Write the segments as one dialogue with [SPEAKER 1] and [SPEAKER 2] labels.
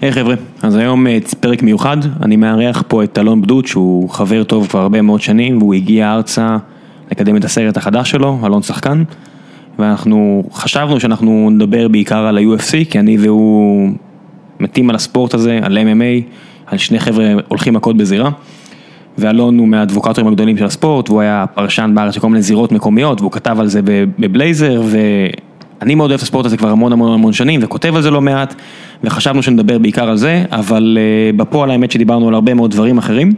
[SPEAKER 1] היי חבר'ה, אז היום אה, פרק מיוחד, אני מארח פה את אלון בדוד שהוא חבר טוב כבר הרבה מאוד שנים והוא הגיע ארצה לקדם את הסרט החדש שלו, אלון שחקן ואנחנו חשבנו שאנחנו נדבר בעיקר על ה-UFC כי אני והוא מתים על הספורט הזה, על MMA, על שני חבר'ה הולכים מכות בזירה ואלון הוא מהאדבוקטורים הגדולים של הספורט, והוא היה פרשן בארץ של כל מיני זירות מקומיות, והוא כתב על זה בב- בבלייזר, ואני מאוד אוהב את הספורט הזה כבר המון המון המון שנים, וכותב על זה לא מעט, וחשבנו שנדבר בעיקר על זה, אבל אה, בפועל האמת שדיברנו על הרבה מאוד דברים אחרים,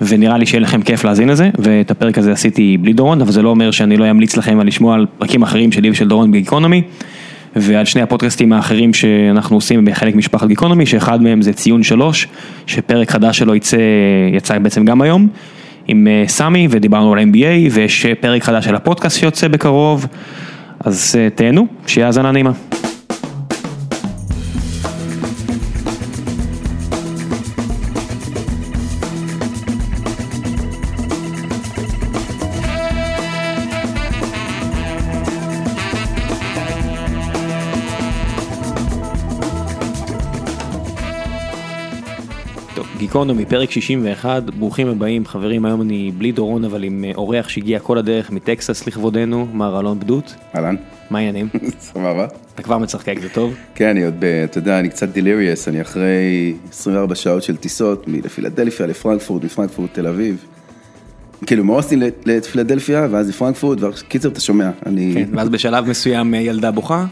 [SPEAKER 1] ונראה לי שיהיה לכם כיף להאזין לזה, ואת הפרק הזה עשיתי בלי דורון, אבל זה לא אומר שאני לא אמליץ לכם על לשמוע על פרקים אחרים שלי ושל דורון בגיקונומי. ועל שני הפודקאסטים האחרים שאנחנו עושים בחלק משפחת גיקונומי, שאחד מהם זה ציון שלוש, שפרק חדש שלו יצא, יצא בעצם גם היום, עם אה, סמי, ודיברנו על NBA, ויש אה, פרק חדש של הפודקאסט שיוצא בקרוב, אז אה, תהנו, שיהיה האזנה נעימה. טוב, גיקונומי, פרק 61, ברוכים הבאים חברים, היום אני בלי דורון, אבל עם אה, אורח שהגיע כל הדרך מטקסס לכבודנו, מר אלון בדוט,
[SPEAKER 2] אהלן,
[SPEAKER 1] מה העניינים?
[SPEAKER 2] סבבה.
[SPEAKER 1] אתה כבר מצחקק, זה טוב?
[SPEAKER 2] כן, אני עוד, ב, אתה יודע, אני קצת דליריוס, אני אחרי 24 שעות של טיסות מפילדלפיה לפרנקפורט, מפרנקפורט לתל אביב. כאילו, מאוסטין לת- לפילדלפיה, ואז לפרנקפורט, וקיצר, אתה שומע, אני...
[SPEAKER 1] כן, ואז בשלב מסוים אה, ילדה בוכה,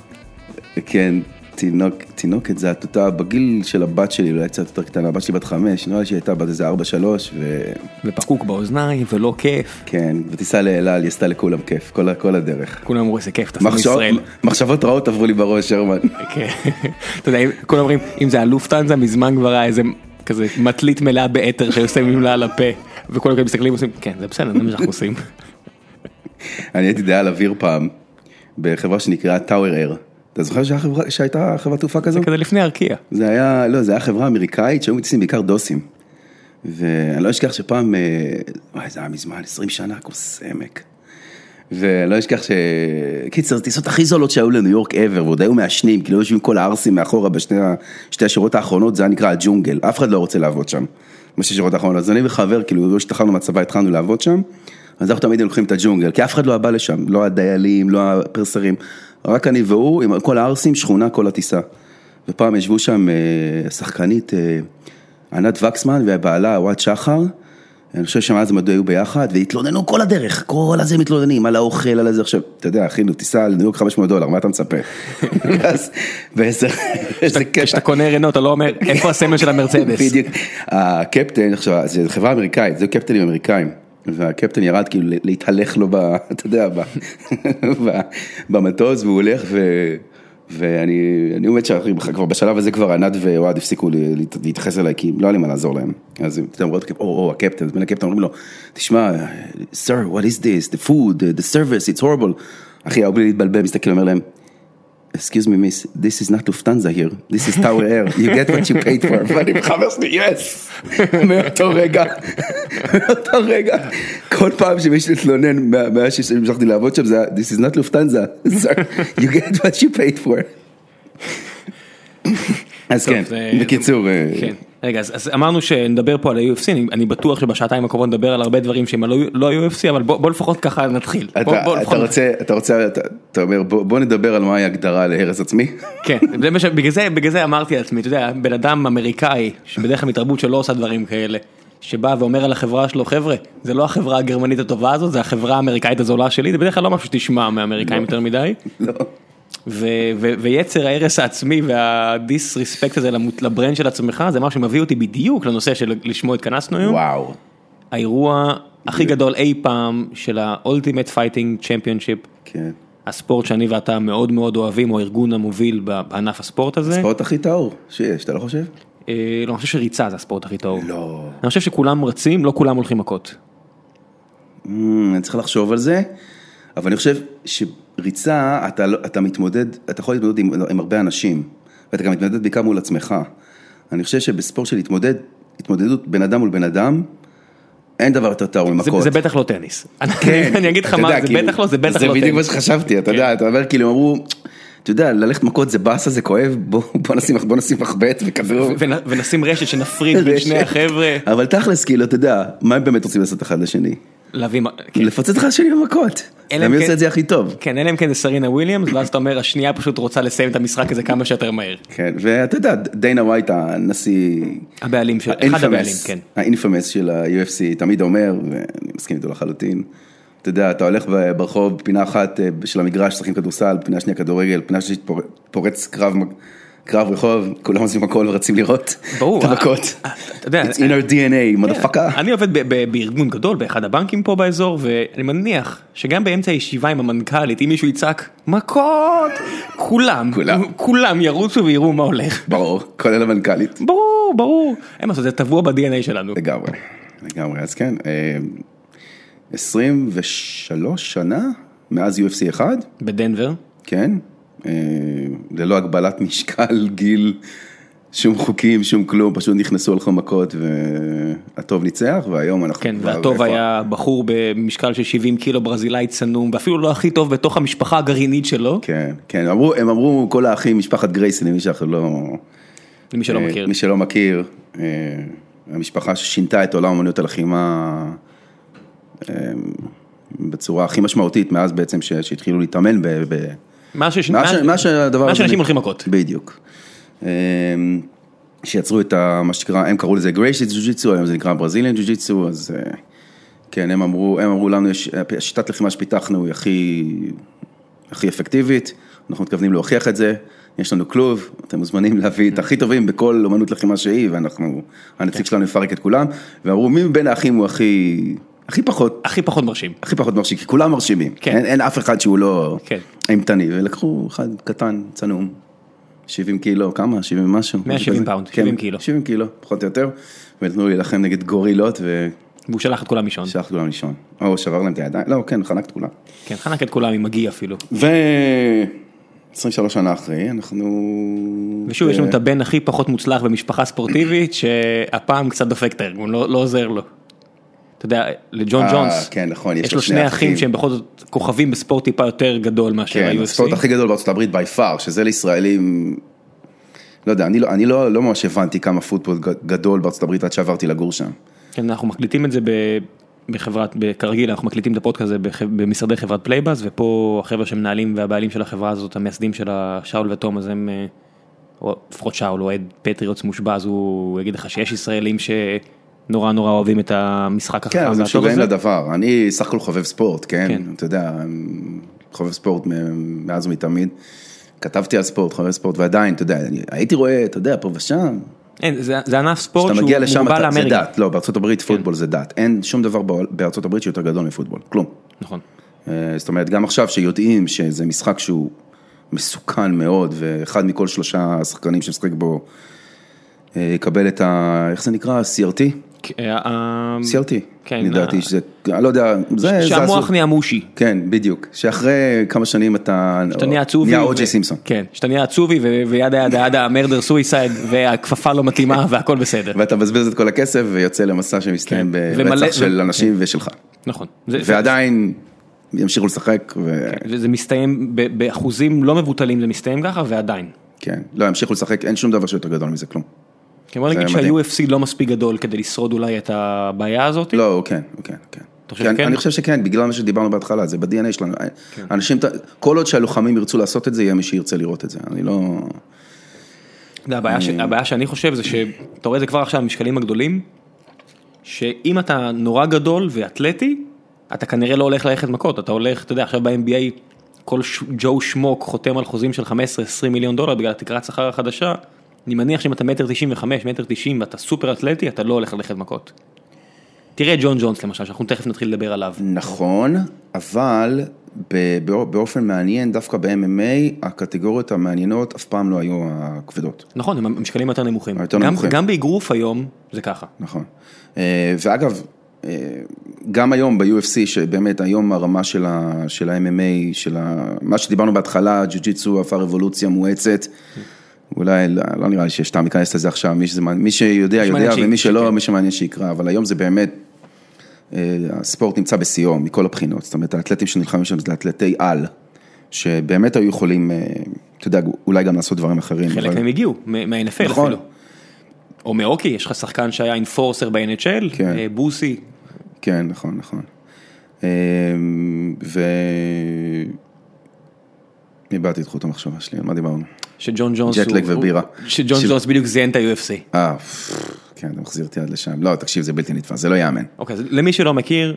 [SPEAKER 2] כן, תינוק, תינוקת זה התותה, בגיל של הבת שלי, אולי קצת יותר קטנה, הבת שלי בת חמש, נראה לי שהיא הייתה בת איזה ארבע שלוש, וכן,
[SPEAKER 1] ופקוק באוזניים, ולא כיף,
[SPEAKER 2] בטיסה לאלעל, היא עשתה לכולם כיף, כל, ה- כל הדרך.
[SPEAKER 1] כולם אמרו, איזה כיף, אתה שם
[SPEAKER 2] מחשבות,
[SPEAKER 1] ישראל.
[SPEAKER 2] מחשבות רעות עברו לי בראש, שרמן.
[SPEAKER 1] כן. אתה יודע, אם- כולם אומרים, אם זה הלופטנזה, מזמן כבר היה איזה כזה מטלית מלאה באתר שהיו שמים לה על הפה, וכולם כאלה מסתכלים ועושים, כן, זה בסדר, זה מה שאנחנו עושים.
[SPEAKER 2] אני הייתי דייל אוויר פעם, בחברה שנקראה טאוור אייר. אתה זוכר שהיה חברה- שהייתה חברת תעופה כזו?
[SPEAKER 1] זה כזה לפני ארקיע.
[SPEAKER 2] זה היה, לא, זה היה חברה אמריקאית שהיו מטיסים בעיקר דוסים. ואני לא אשכח שפעם, אה, וואי, זה היה מזמן, 20 שנה, כוס עמק. ולא אשכח ש... קיצר, זה טיסות הכי זולות שהיו לניו יורק ever, ועוד היו מעשנים, כאילו יושבים כל הערסים מאחורה בשתי ה- שתי השורות האחרונות, זה היה נקרא הג'ונגל, אף אחד לא רוצה לעבוד שם, בשתי השורות האחרונות. אז אני וחבר, כאילו, לא השתחררנו מהצבא, התחלנו לעבוד שם, אז אנחנו תמיד היינו לוקחים את הג'ונגל, כי אף אחד לא בא לשם, לא הדיילים, לא הפרסרים, רק אני והוא, עם כל הערסים, שכונה כל הטיסה. ופעם ישבו שם אה, שחקנית, אה, ענת וקסמן והבעלה, אוהד שחר, אני חושב שמאז הם עוד היו ביחד, והתלוננו כל הדרך, כל הזה הם מתלוננים, על האוכל, על הזה, עכשיו, אתה יודע, אחי, נו, תיסע לניו יורק 500 דולר, מה אתה מצפה? ואז, ואיזה איזה קטע.
[SPEAKER 1] כשאתה קונה רנו, אתה לא אומר, איפה הסמל של המרצדס?
[SPEAKER 2] בדיוק. הקפטן, עכשיו, זו חברה אמריקאית, זה קפטנים אמריקאים. והקפטן ירד כאילו להתהלך לו, ב, אתה יודע, ב, ב, במטוס, והוא הולך ו... ואני אני עומד שם, אחי, כבר בשלב הזה כבר ענת ואוהד הפסיקו ל- להת- להתייחס אליי, כי לא היה לי מה לעזור להם. אז אתה יודע, אומרות, או, או, הקפטן, אז בין הקפטן אומרים לו, תשמע, sir, what is this, the food, the service, it's horrible. אחי, ההוא בלי להתבלבל, מסתכל, אומר להם, excuse me miss, this is not Lufthansa here, this is Tower Air, you get what you paid for. ואני מחבר שלי, יס! מאותו רגע, מאותו רגע, כל פעם שמישהו התלונן, מה- מאז שהמשכתי לעבוד שם, זה היה, this is not Lufthansa, sir, you get what you paid for. אז
[SPEAKER 1] טוב,
[SPEAKER 2] כן,
[SPEAKER 1] זה-
[SPEAKER 2] בקיצור, אה,
[SPEAKER 1] כן. רגע, אז, אז אמרנו שנדבר פה על ה-UFC, אני, אני בטוח שבשעתיים הקרובות נדבר על הרבה דברים שהם לא, לא ה-UFC, אבל בוא, בוא לפחות ככה נתחיל. בוא,
[SPEAKER 2] אתה
[SPEAKER 1] בוא
[SPEAKER 2] אתה
[SPEAKER 1] לפחות-
[SPEAKER 2] רוצה, אתה רוצה, אתה- אתה אומר, בוא בוא נדבר על מהי הגדרה להרס עצמי.
[SPEAKER 1] כן, זה מה ש... בגלל זה, בגלל זה אמרתי לעצמי, אתה יודע, בן אדם אמריקאי, שבדרך כלל מתרבות שלא עושה דברים כאלה, שבא ואומר על החברה שלו, חבר'ה, זה לא החברה הגרמנית הטובה הזאת, זה החברה האמריקאית הזולה שלי, זה בדרך כלל לא משהו שתשמע מאמריקאים יותר מדי,
[SPEAKER 2] לא.
[SPEAKER 1] ו- ו- ויצר ההרס העצמי והדיסרספקט הזה למות- לברנד של עצמך, זה משהו שמביא אותי בדיוק לנושא שלשמו התכנסנו היום,
[SPEAKER 2] וואו.
[SPEAKER 1] האירוע הכי גדול אי פעם של ה-Ultimate Fighting Championship.
[SPEAKER 2] כן.
[SPEAKER 1] הספורט שאני ואתה מאוד מאוד אוהבים, הוא הארגון המוביל בענף הספורט הזה.
[SPEAKER 2] ספורט הכי טהור שיש, אתה לא חושב?
[SPEAKER 1] אה, לא, אני חושב שריצה זה הספורט הכי טהור.
[SPEAKER 2] לא.
[SPEAKER 1] אני חושב שכולם רצים, לא כולם הולכים מכות.
[SPEAKER 2] אמ, אני צריך לחשוב על זה, אבל אני חושב שריצה, אתה, לא- אתה מתמודד, אתה יכול להתמודד עם, עם הרבה אנשים, ואתה גם מתמודד בעיקר מול עצמך. אני חושב שבספורט של התמודד, התמודדות בין אדם מול בן אדם, אין דבר יותר טהור
[SPEAKER 1] זה-
[SPEAKER 2] ממכות.
[SPEAKER 1] זה בטח לא טניס.
[SPEAKER 2] כן,
[SPEAKER 1] אני אגיד לך
[SPEAKER 2] אתה
[SPEAKER 1] מה,
[SPEAKER 2] יודע,
[SPEAKER 1] זה
[SPEAKER 2] כאילו,
[SPEAKER 1] בטח לא, זה בטח לא
[SPEAKER 2] זה בדיוק מה
[SPEAKER 1] טניס.
[SPEAKER 2] שחשבתי, אתה יודע, אתה אומר כאילו, אמרו, אתה יודע, ללכת מכות זה באסה, זה כואב, בוא, בוא נשים בוא נשים מחבט וכדור.
[SPEAKER 3] ונ- ונשים רשת שנפריד בין שני החבר'ה,
[SPEAKER 2] אבל תכלס, כאילו, אתה יודע, מה הם באמת רוצים לעשות אחד לשני?
[SPEAKER 3] להביא, מ- כן.
[SPEAKER 2] לפוצץ אחד לשני במכות.
[SPEAKER 3] אלא אם
[SPEAKER 2] למי
[SPEAKER 3] כן-
[SPEAKER 2] עושה את זה הכי טוב?
[SPEAKER 3] כן, אלא אם כן זה סרינה וויליאמס, ואז אתה אומר, השנייה פשוט רוצה לסיים את המשחק הזה כמה שיותר מהר.
[SPEAKER 2] כן, ואתה יודע, דיינה ווייט, הנשיא...
[SPEAKER 3] הבעלים של, אחד הבעלים,
[SPEAKER 2] האינפמס,
[SPEAKER 3] כן.
[SPEAKER 2] האינפמס של ה-UFC תמיד אומר, ואני מסכים איתו לחלוטין, אתה יודע, אתה הולך ברחוב, פינה אחת אה, של המגרש, משחקים כדורסל, פינה שנייה כדורגל, פינה שלישית פור- פורץ קרב, מ- קרב רחוב, כולם עוזבים הכל ורצים לראות
[SPEAKER 3] ברור. אה,
[SPEAKER 2] את המכות.
[SPEAKER 3] אתה יודע, כן.
[SPEAKER 2] It's in our DNA, מודפקה.
[SPEAKER 3] אני עובד ב- ב- בארגון גדול באחד הבנקים פה באזור ואני מניח שגם באמצע הישיבה עם המנכ"לית אם מישהו יצעק מכות כולם
[SPEAKER 2] כולם.
[SPEAKER 3] כולם ירוצו ויראו מה הולך
[SPEAKER 2] ברור, כולל המנכ"לית.
[SPEAKER 3] ברור ברור אין מה לעשות זה טבוע ב-DNA שלנו
[SPEAKER 2] לגמרי, לגמרי, אז כן. אה, 23 שנה מאז UFC 1,
[SPEAKER 3] בדנבר
[SPEAKER 2] כן, אה, ללא הגבלת משקל, גיל, שום חוקים, שום כלום, פשוט נכנסו הלכו מכות והטוב ניצח, והיום אנחנו
[SPEAKER 3] כן
[SPEAKER 2] כבר
[SPEAKER 3] והטוב
[SPEAKER 2] לא, איפה?
[SPEAKER 3] היה בחור במשקל של 70 קילו ברזילאי צנום ואפילו לא הכי טוב בתוך המשפחה הגרעינית שלו
[SPEAKER 2] כן, כן, הם אמרו, הם אמרו כל האחים, משפחת גרייסי, למי שאנחנו לא...
[SPEAKER 3] למי שלא
[SPEAKER 2] אה,
[SPEAKER 3] לא מכיר
[SPEAKER 2] מי שלא מכיר, אה, המשפחה ששינתה את עולם אמנות הלחימה אה, בצורה הכי משמעותית מאז בעצם ש- שהתחילו להתאמן ב... ב-
[SPEAKER 3] מה שש-
[SPEAKER 2] מה ש-
[SPEAKER 3] מה-
[SPEAKER 2] מה שהדבר
[SPEAKER 3] מה
[SPEAKER 2] הזה
[SPEAKER 3] שאנשים
[SPEAKER 2] נק-
[SPEAKER 3] הולכים מכות
[SPEAKER 2] בדיוק. אה, שיצרו את ה... מה שנקרא, הם קראו לזה גרייסי ג'ו ג'יצו, היום זה נקרא ברזיליאן ג'ו ג'יצו, אז אה, כן, הם אמרו, הם אמרו לנו, יש- השיטת לחימה שפיתחנו היא הכי, הכי אפקטיבית, אנחנו מתכוונים להוכיח את זה, יש לנו כלוב, אתם מוזמנים להביא את הכי טובים בכל אומנות לחימה שהיא, ואנחנו,
[SPEAKER 3] כן.
[SPEAKER 2] הנציג שלנו יפרק את כולם, ואמרו, מי מבין האחים הוא הכי, הכי פחות
[SPEAKER 3] הכי פחות מרשים
[SPEAKER 2] הכי פחות מרשים, כי כולם מרשימים.
[SPEAKER 3] כן.
[SPEAKER 2] כן. אין, אין אף אחד שהוא לא
[SPEAKER 3] כן.
[SPEAKER 2] אימתני, ולקחו אחד קטן, צנום, 70 קילו, כמה? 70 ומשהו? משהו
[SPEAKER 3] 170
[SPEAKER 2] כזה.
[SPEAKER 3] פאונד,
[SPEAKER 2] כן,
[SPEAKER 3] 70 קילו.
[SPEAKER 2] 70 קילו, פחות או יותר, ונתנו להילחם נגד גורילות,
[SPEAKER 3] והוא שלח את כולם לישון
[SPEAKER 2] ושלח כולם לישון. או שבר להם את הידיים, לא, כן, חנק את כולם.
[SPEAKER 3] כן חנק את כולם עם מגי אפילו.
[SPEAKER 2] ו... 23 שנה אחרי, אנחנו...
[SPEAKER 3] ושוב יש לנו
[SPEAKER 2] אה.
[SPEAKER 3] את הבן הכי פחות מוצלח במשפחה ספורטיבית שהפעם קצת דופק את הארגון לא לא עוזר לו. אתה יודע לג'ון
[SPEAKER 2] אה,
[SPEAKER 3] ג'ונס
[SPEAKER 2] כן, נכון,
[SPEAKER 3] יש לו שני אחים שהם בכל זאת כוכבים בספורט טיפה יותר גדול מאשר
[SPEAKER 2] כן, הספורט
[SPEAKER 3] ה-UFC.
[SPEAKER 2] הכי גדול בארצות הברית by far, שזה לישראלים, לא יודע, אני לא, אני לא, לא ממש הבנתי כמה פוטבול ג- גדול בארצות הברית עד שעברתי לגור שם.
[SPEAKER 3] כן, אנחנו מקליטים את זה ב- בחברת ב- כרגיל אנחנו מקליטים את הפודקאסט הזה בח- במשרדי חברת פלייבאז ופה החברה שמנהלים והבעלים של החברה הזאת המייסדים שלה שאול ותום אז הם. אה, או לפחות שאול אוהד פטריוטס מושבע אז הוא יגיד לך שיש ישראלים שנורא נורא אוהבים את המשחק החכם
[SPEAKER 2] כן, אבל זה
[SPEAKER 3] והטוב
[SPEAKER 2] משוגעים
[SPEAKER 3] הזה.
[SPEAKER 2] לדבר. אני סך הכל חובב ספורט, כן?
[SPEAKER 3] כן.
[SPEAKER 2] אתה יודע, חובב ספורט מ- מאז ומתמיד. כתבתי על ספורט, חובב ספורט, ועדיין, אתה יודע, אני הייתי רואה, אתה יודע, פה ושם,
[SPEAKER 3] אין, זה, זה ענף ספורט
[SPEAKER 2] כשאתה
[SPEAKER 3] שהוא
[SPEAKER 2] מגיע לשם,
[SPEAKER 3] מוגבל
[SPEAKER 2] אתה, זה
[SPEAKER 3] לאמריקה. כן.
[SPEAKER 2] דת. לא, בארצות הברית פוטבול זה דת. אין שום דבר בעול- בארצות הברית שיותר גדול מפוטבול, כלום.
[SPEAKER 3] נכון.
[SPEAKER 2] אה, זאת אומרת, גם עכשיו שיודעים שזה משחק שהוא מסוכן מאוד, ואחד מכל שלושה השחקנים שמשחק בו אה, יקבל את ה... איך זה נקרא? CRT?
[SPEAKER 3] כ- אה, אה,
[SPEAKER 2] CRT,
[SPEAKER 3] כן, אה.
[SPEAKER 2] לדעתי שזה, אני לא יודע, זה זה
[SPEAKER 3] שהמוח
[SPEAKER 2] אסור.
[SPEAKER 3] נהיה מושי.
[SPEAKER 2] כן, בדיוק. שאחרי כמה שנים אתה...
[SPEAKER 3] שאתה נהיה עצובי.
[SPEAKER 2] נהיה
[SPEAKER 3] ו-
[SPEAKER 2] אוג'י סימפסון.
[SPEAKER 3] כן, שאתה נהיה עצובי ו- וידה ידה ידה מרדר סוויסייד והכפפה לא מתאימה והכל בסדר.
[SPEAKER 2] ואתה מבזבז את כל הכסף ויוצא למסע שמסתיים
[SPEAKER 3] כן. ומלא-
[SPEAKER 2] ברצח של
[SPEAKER 3] ו-
[SPEAKER 2] אנשים ושלך.
[SPEAKER 3] נכון. זה,
[SPEAKER 2] ועדיין ימשיכו לשחק, ו-
[SPEAKER 3] זה, זה מסתיים ב- באחוזים לא מבוטלים זה מסתיים ככה ועדיין.
[SPEAKER 2] כן, לא, ימשיכו לשחק, אין שום דבר שיותר גדול מזה, כלום.
[SPEAKER 3] כן, בוא
[SPEAKER 2] זה
[SPEAKER 3] נגיד
[SPEAKER 2] מדהים.
[SPEAKER 3] שה-UFC לא מספיק גדול כדי לשרוד אולי את הבעיה הזאת.
[SPEAKER 2] לא, הוא כן, הוא כן, הוא כן.
[SPEAKER 3] אוקיי? אתה חושב
[SPEAKER 2] כן,
[SPEAKER 3] שכן? כן.
[SPEAKER 2] אני חושב שכן, בגלל מה שדיברנו בהתחלה, זה ב-DNA שלנו. אנשים, כל עוד שהלוחמים ירצו לעשות את זה, יהיה מי שירצה לראות את זה. אני לא...
[SPEAKER 3] זה הבעיה, ש... הבעיה שאני חושב זה שאתה רואה את זה כבר עכשיו המשקלים הגדולים, שאם אתה נורא גדול ואתלטי, אתה כנראה לא הולך ללכת מכות, אתה הולך, אתה יודע, עכשיו ב-NBA כל ש... ג'ו שמוק חותם על חוזים של 15-20 מיליון דולר בגלל תקרת שכר החדשה, אני מניח שאם אתה מטר 95, מטר 90 ואתה סופר אתלטי, אתה לא הולך ללכת מכות. תראה את ג'ון ג'ונס למשל, שאנחנו תכף נתחיל לדבר עליו.
[SPEAKER 2] נכון, אבל ב- בא- באופן מעניין, דווקא ב-MMA, הקטגוריות המעניינות אף פעם לא היו הכבדות.
[SPEAKER 3] נכון, הם המשקלים היותר נמוכים.
[SPEAKER 2] היותר
[SPEAKER 3] גם,
[SPEAKER 2] נמוכים.
[SPEAKER 3] גם באגרוף היום זה ככה.
[SPEAKER 2] נכון. אה, ואגב, אה, גם היום ב-UFC, שבאמת היום הרמה של ה- של ה-MMA, של ה- מה שדיברנו בהתחלה, ג'ו-ג'יצו עבר רבולוציה מואצת. אולי, לא לא נראה לי שיש טעם להיכנס לזה עכשיו, מי, שזה, מעניין- מי שיודע, יודע,
[SPEAKER 3] שמעניין ש-
[SPEAKER 2] ומי שלא,
[SPEAKER 3] שכן.
[SPEAKER 2] מי שמעניין שיקרא, אבל היום זה באמת, אה, הספורט נמצא בשיאו מכל הבחינות, זאת אומרת, האתלטים שנלחמים שם זה אתלטי על, שבאמת היו יכולים אה, אתה יודע, אולי גם לעשות דברים אחרים.
[SPEAKER 3] חלק
[SPEAKER 2] אבל-
[SPEAKER 3] מהם הגיעו, מ- מה-NFL
[SPEAKER 2] נכון.
[SPEAKER 3] אפילו. או מאוקי, יש לך שחקן שהיה אינפורסר ב-NHL,
[SPEAKER 2] כן.
[SPEAKER 3] אה, בוסי,
[SPEAKER 2] כן, נכון, נכון. אמ, ו... איבדתי את חוט המחשבה שלי, על מה דיברנו?
[SPEAKER 3] שג'ון ג'ונס,
[SPEAKER 2] ג'טלג
[SPEAKER 3] הוא-
[SPEAKER 2] ובירה.
[SPEAKER 3] הוא- שג'ון
[SPEAKER 2] ש-
[SPEAKER 3] ג'ונס בדיוק זיין את ה-UFC.
[SPEAKER 2] אה, פפפ, כן, אתה מחזיר אותי עד לשם. לא, תקשיב, זה בלתי נתפס, זה לא ייאמן.
[SPEAKER 3] אוקיי, אז למי שלא מכיר,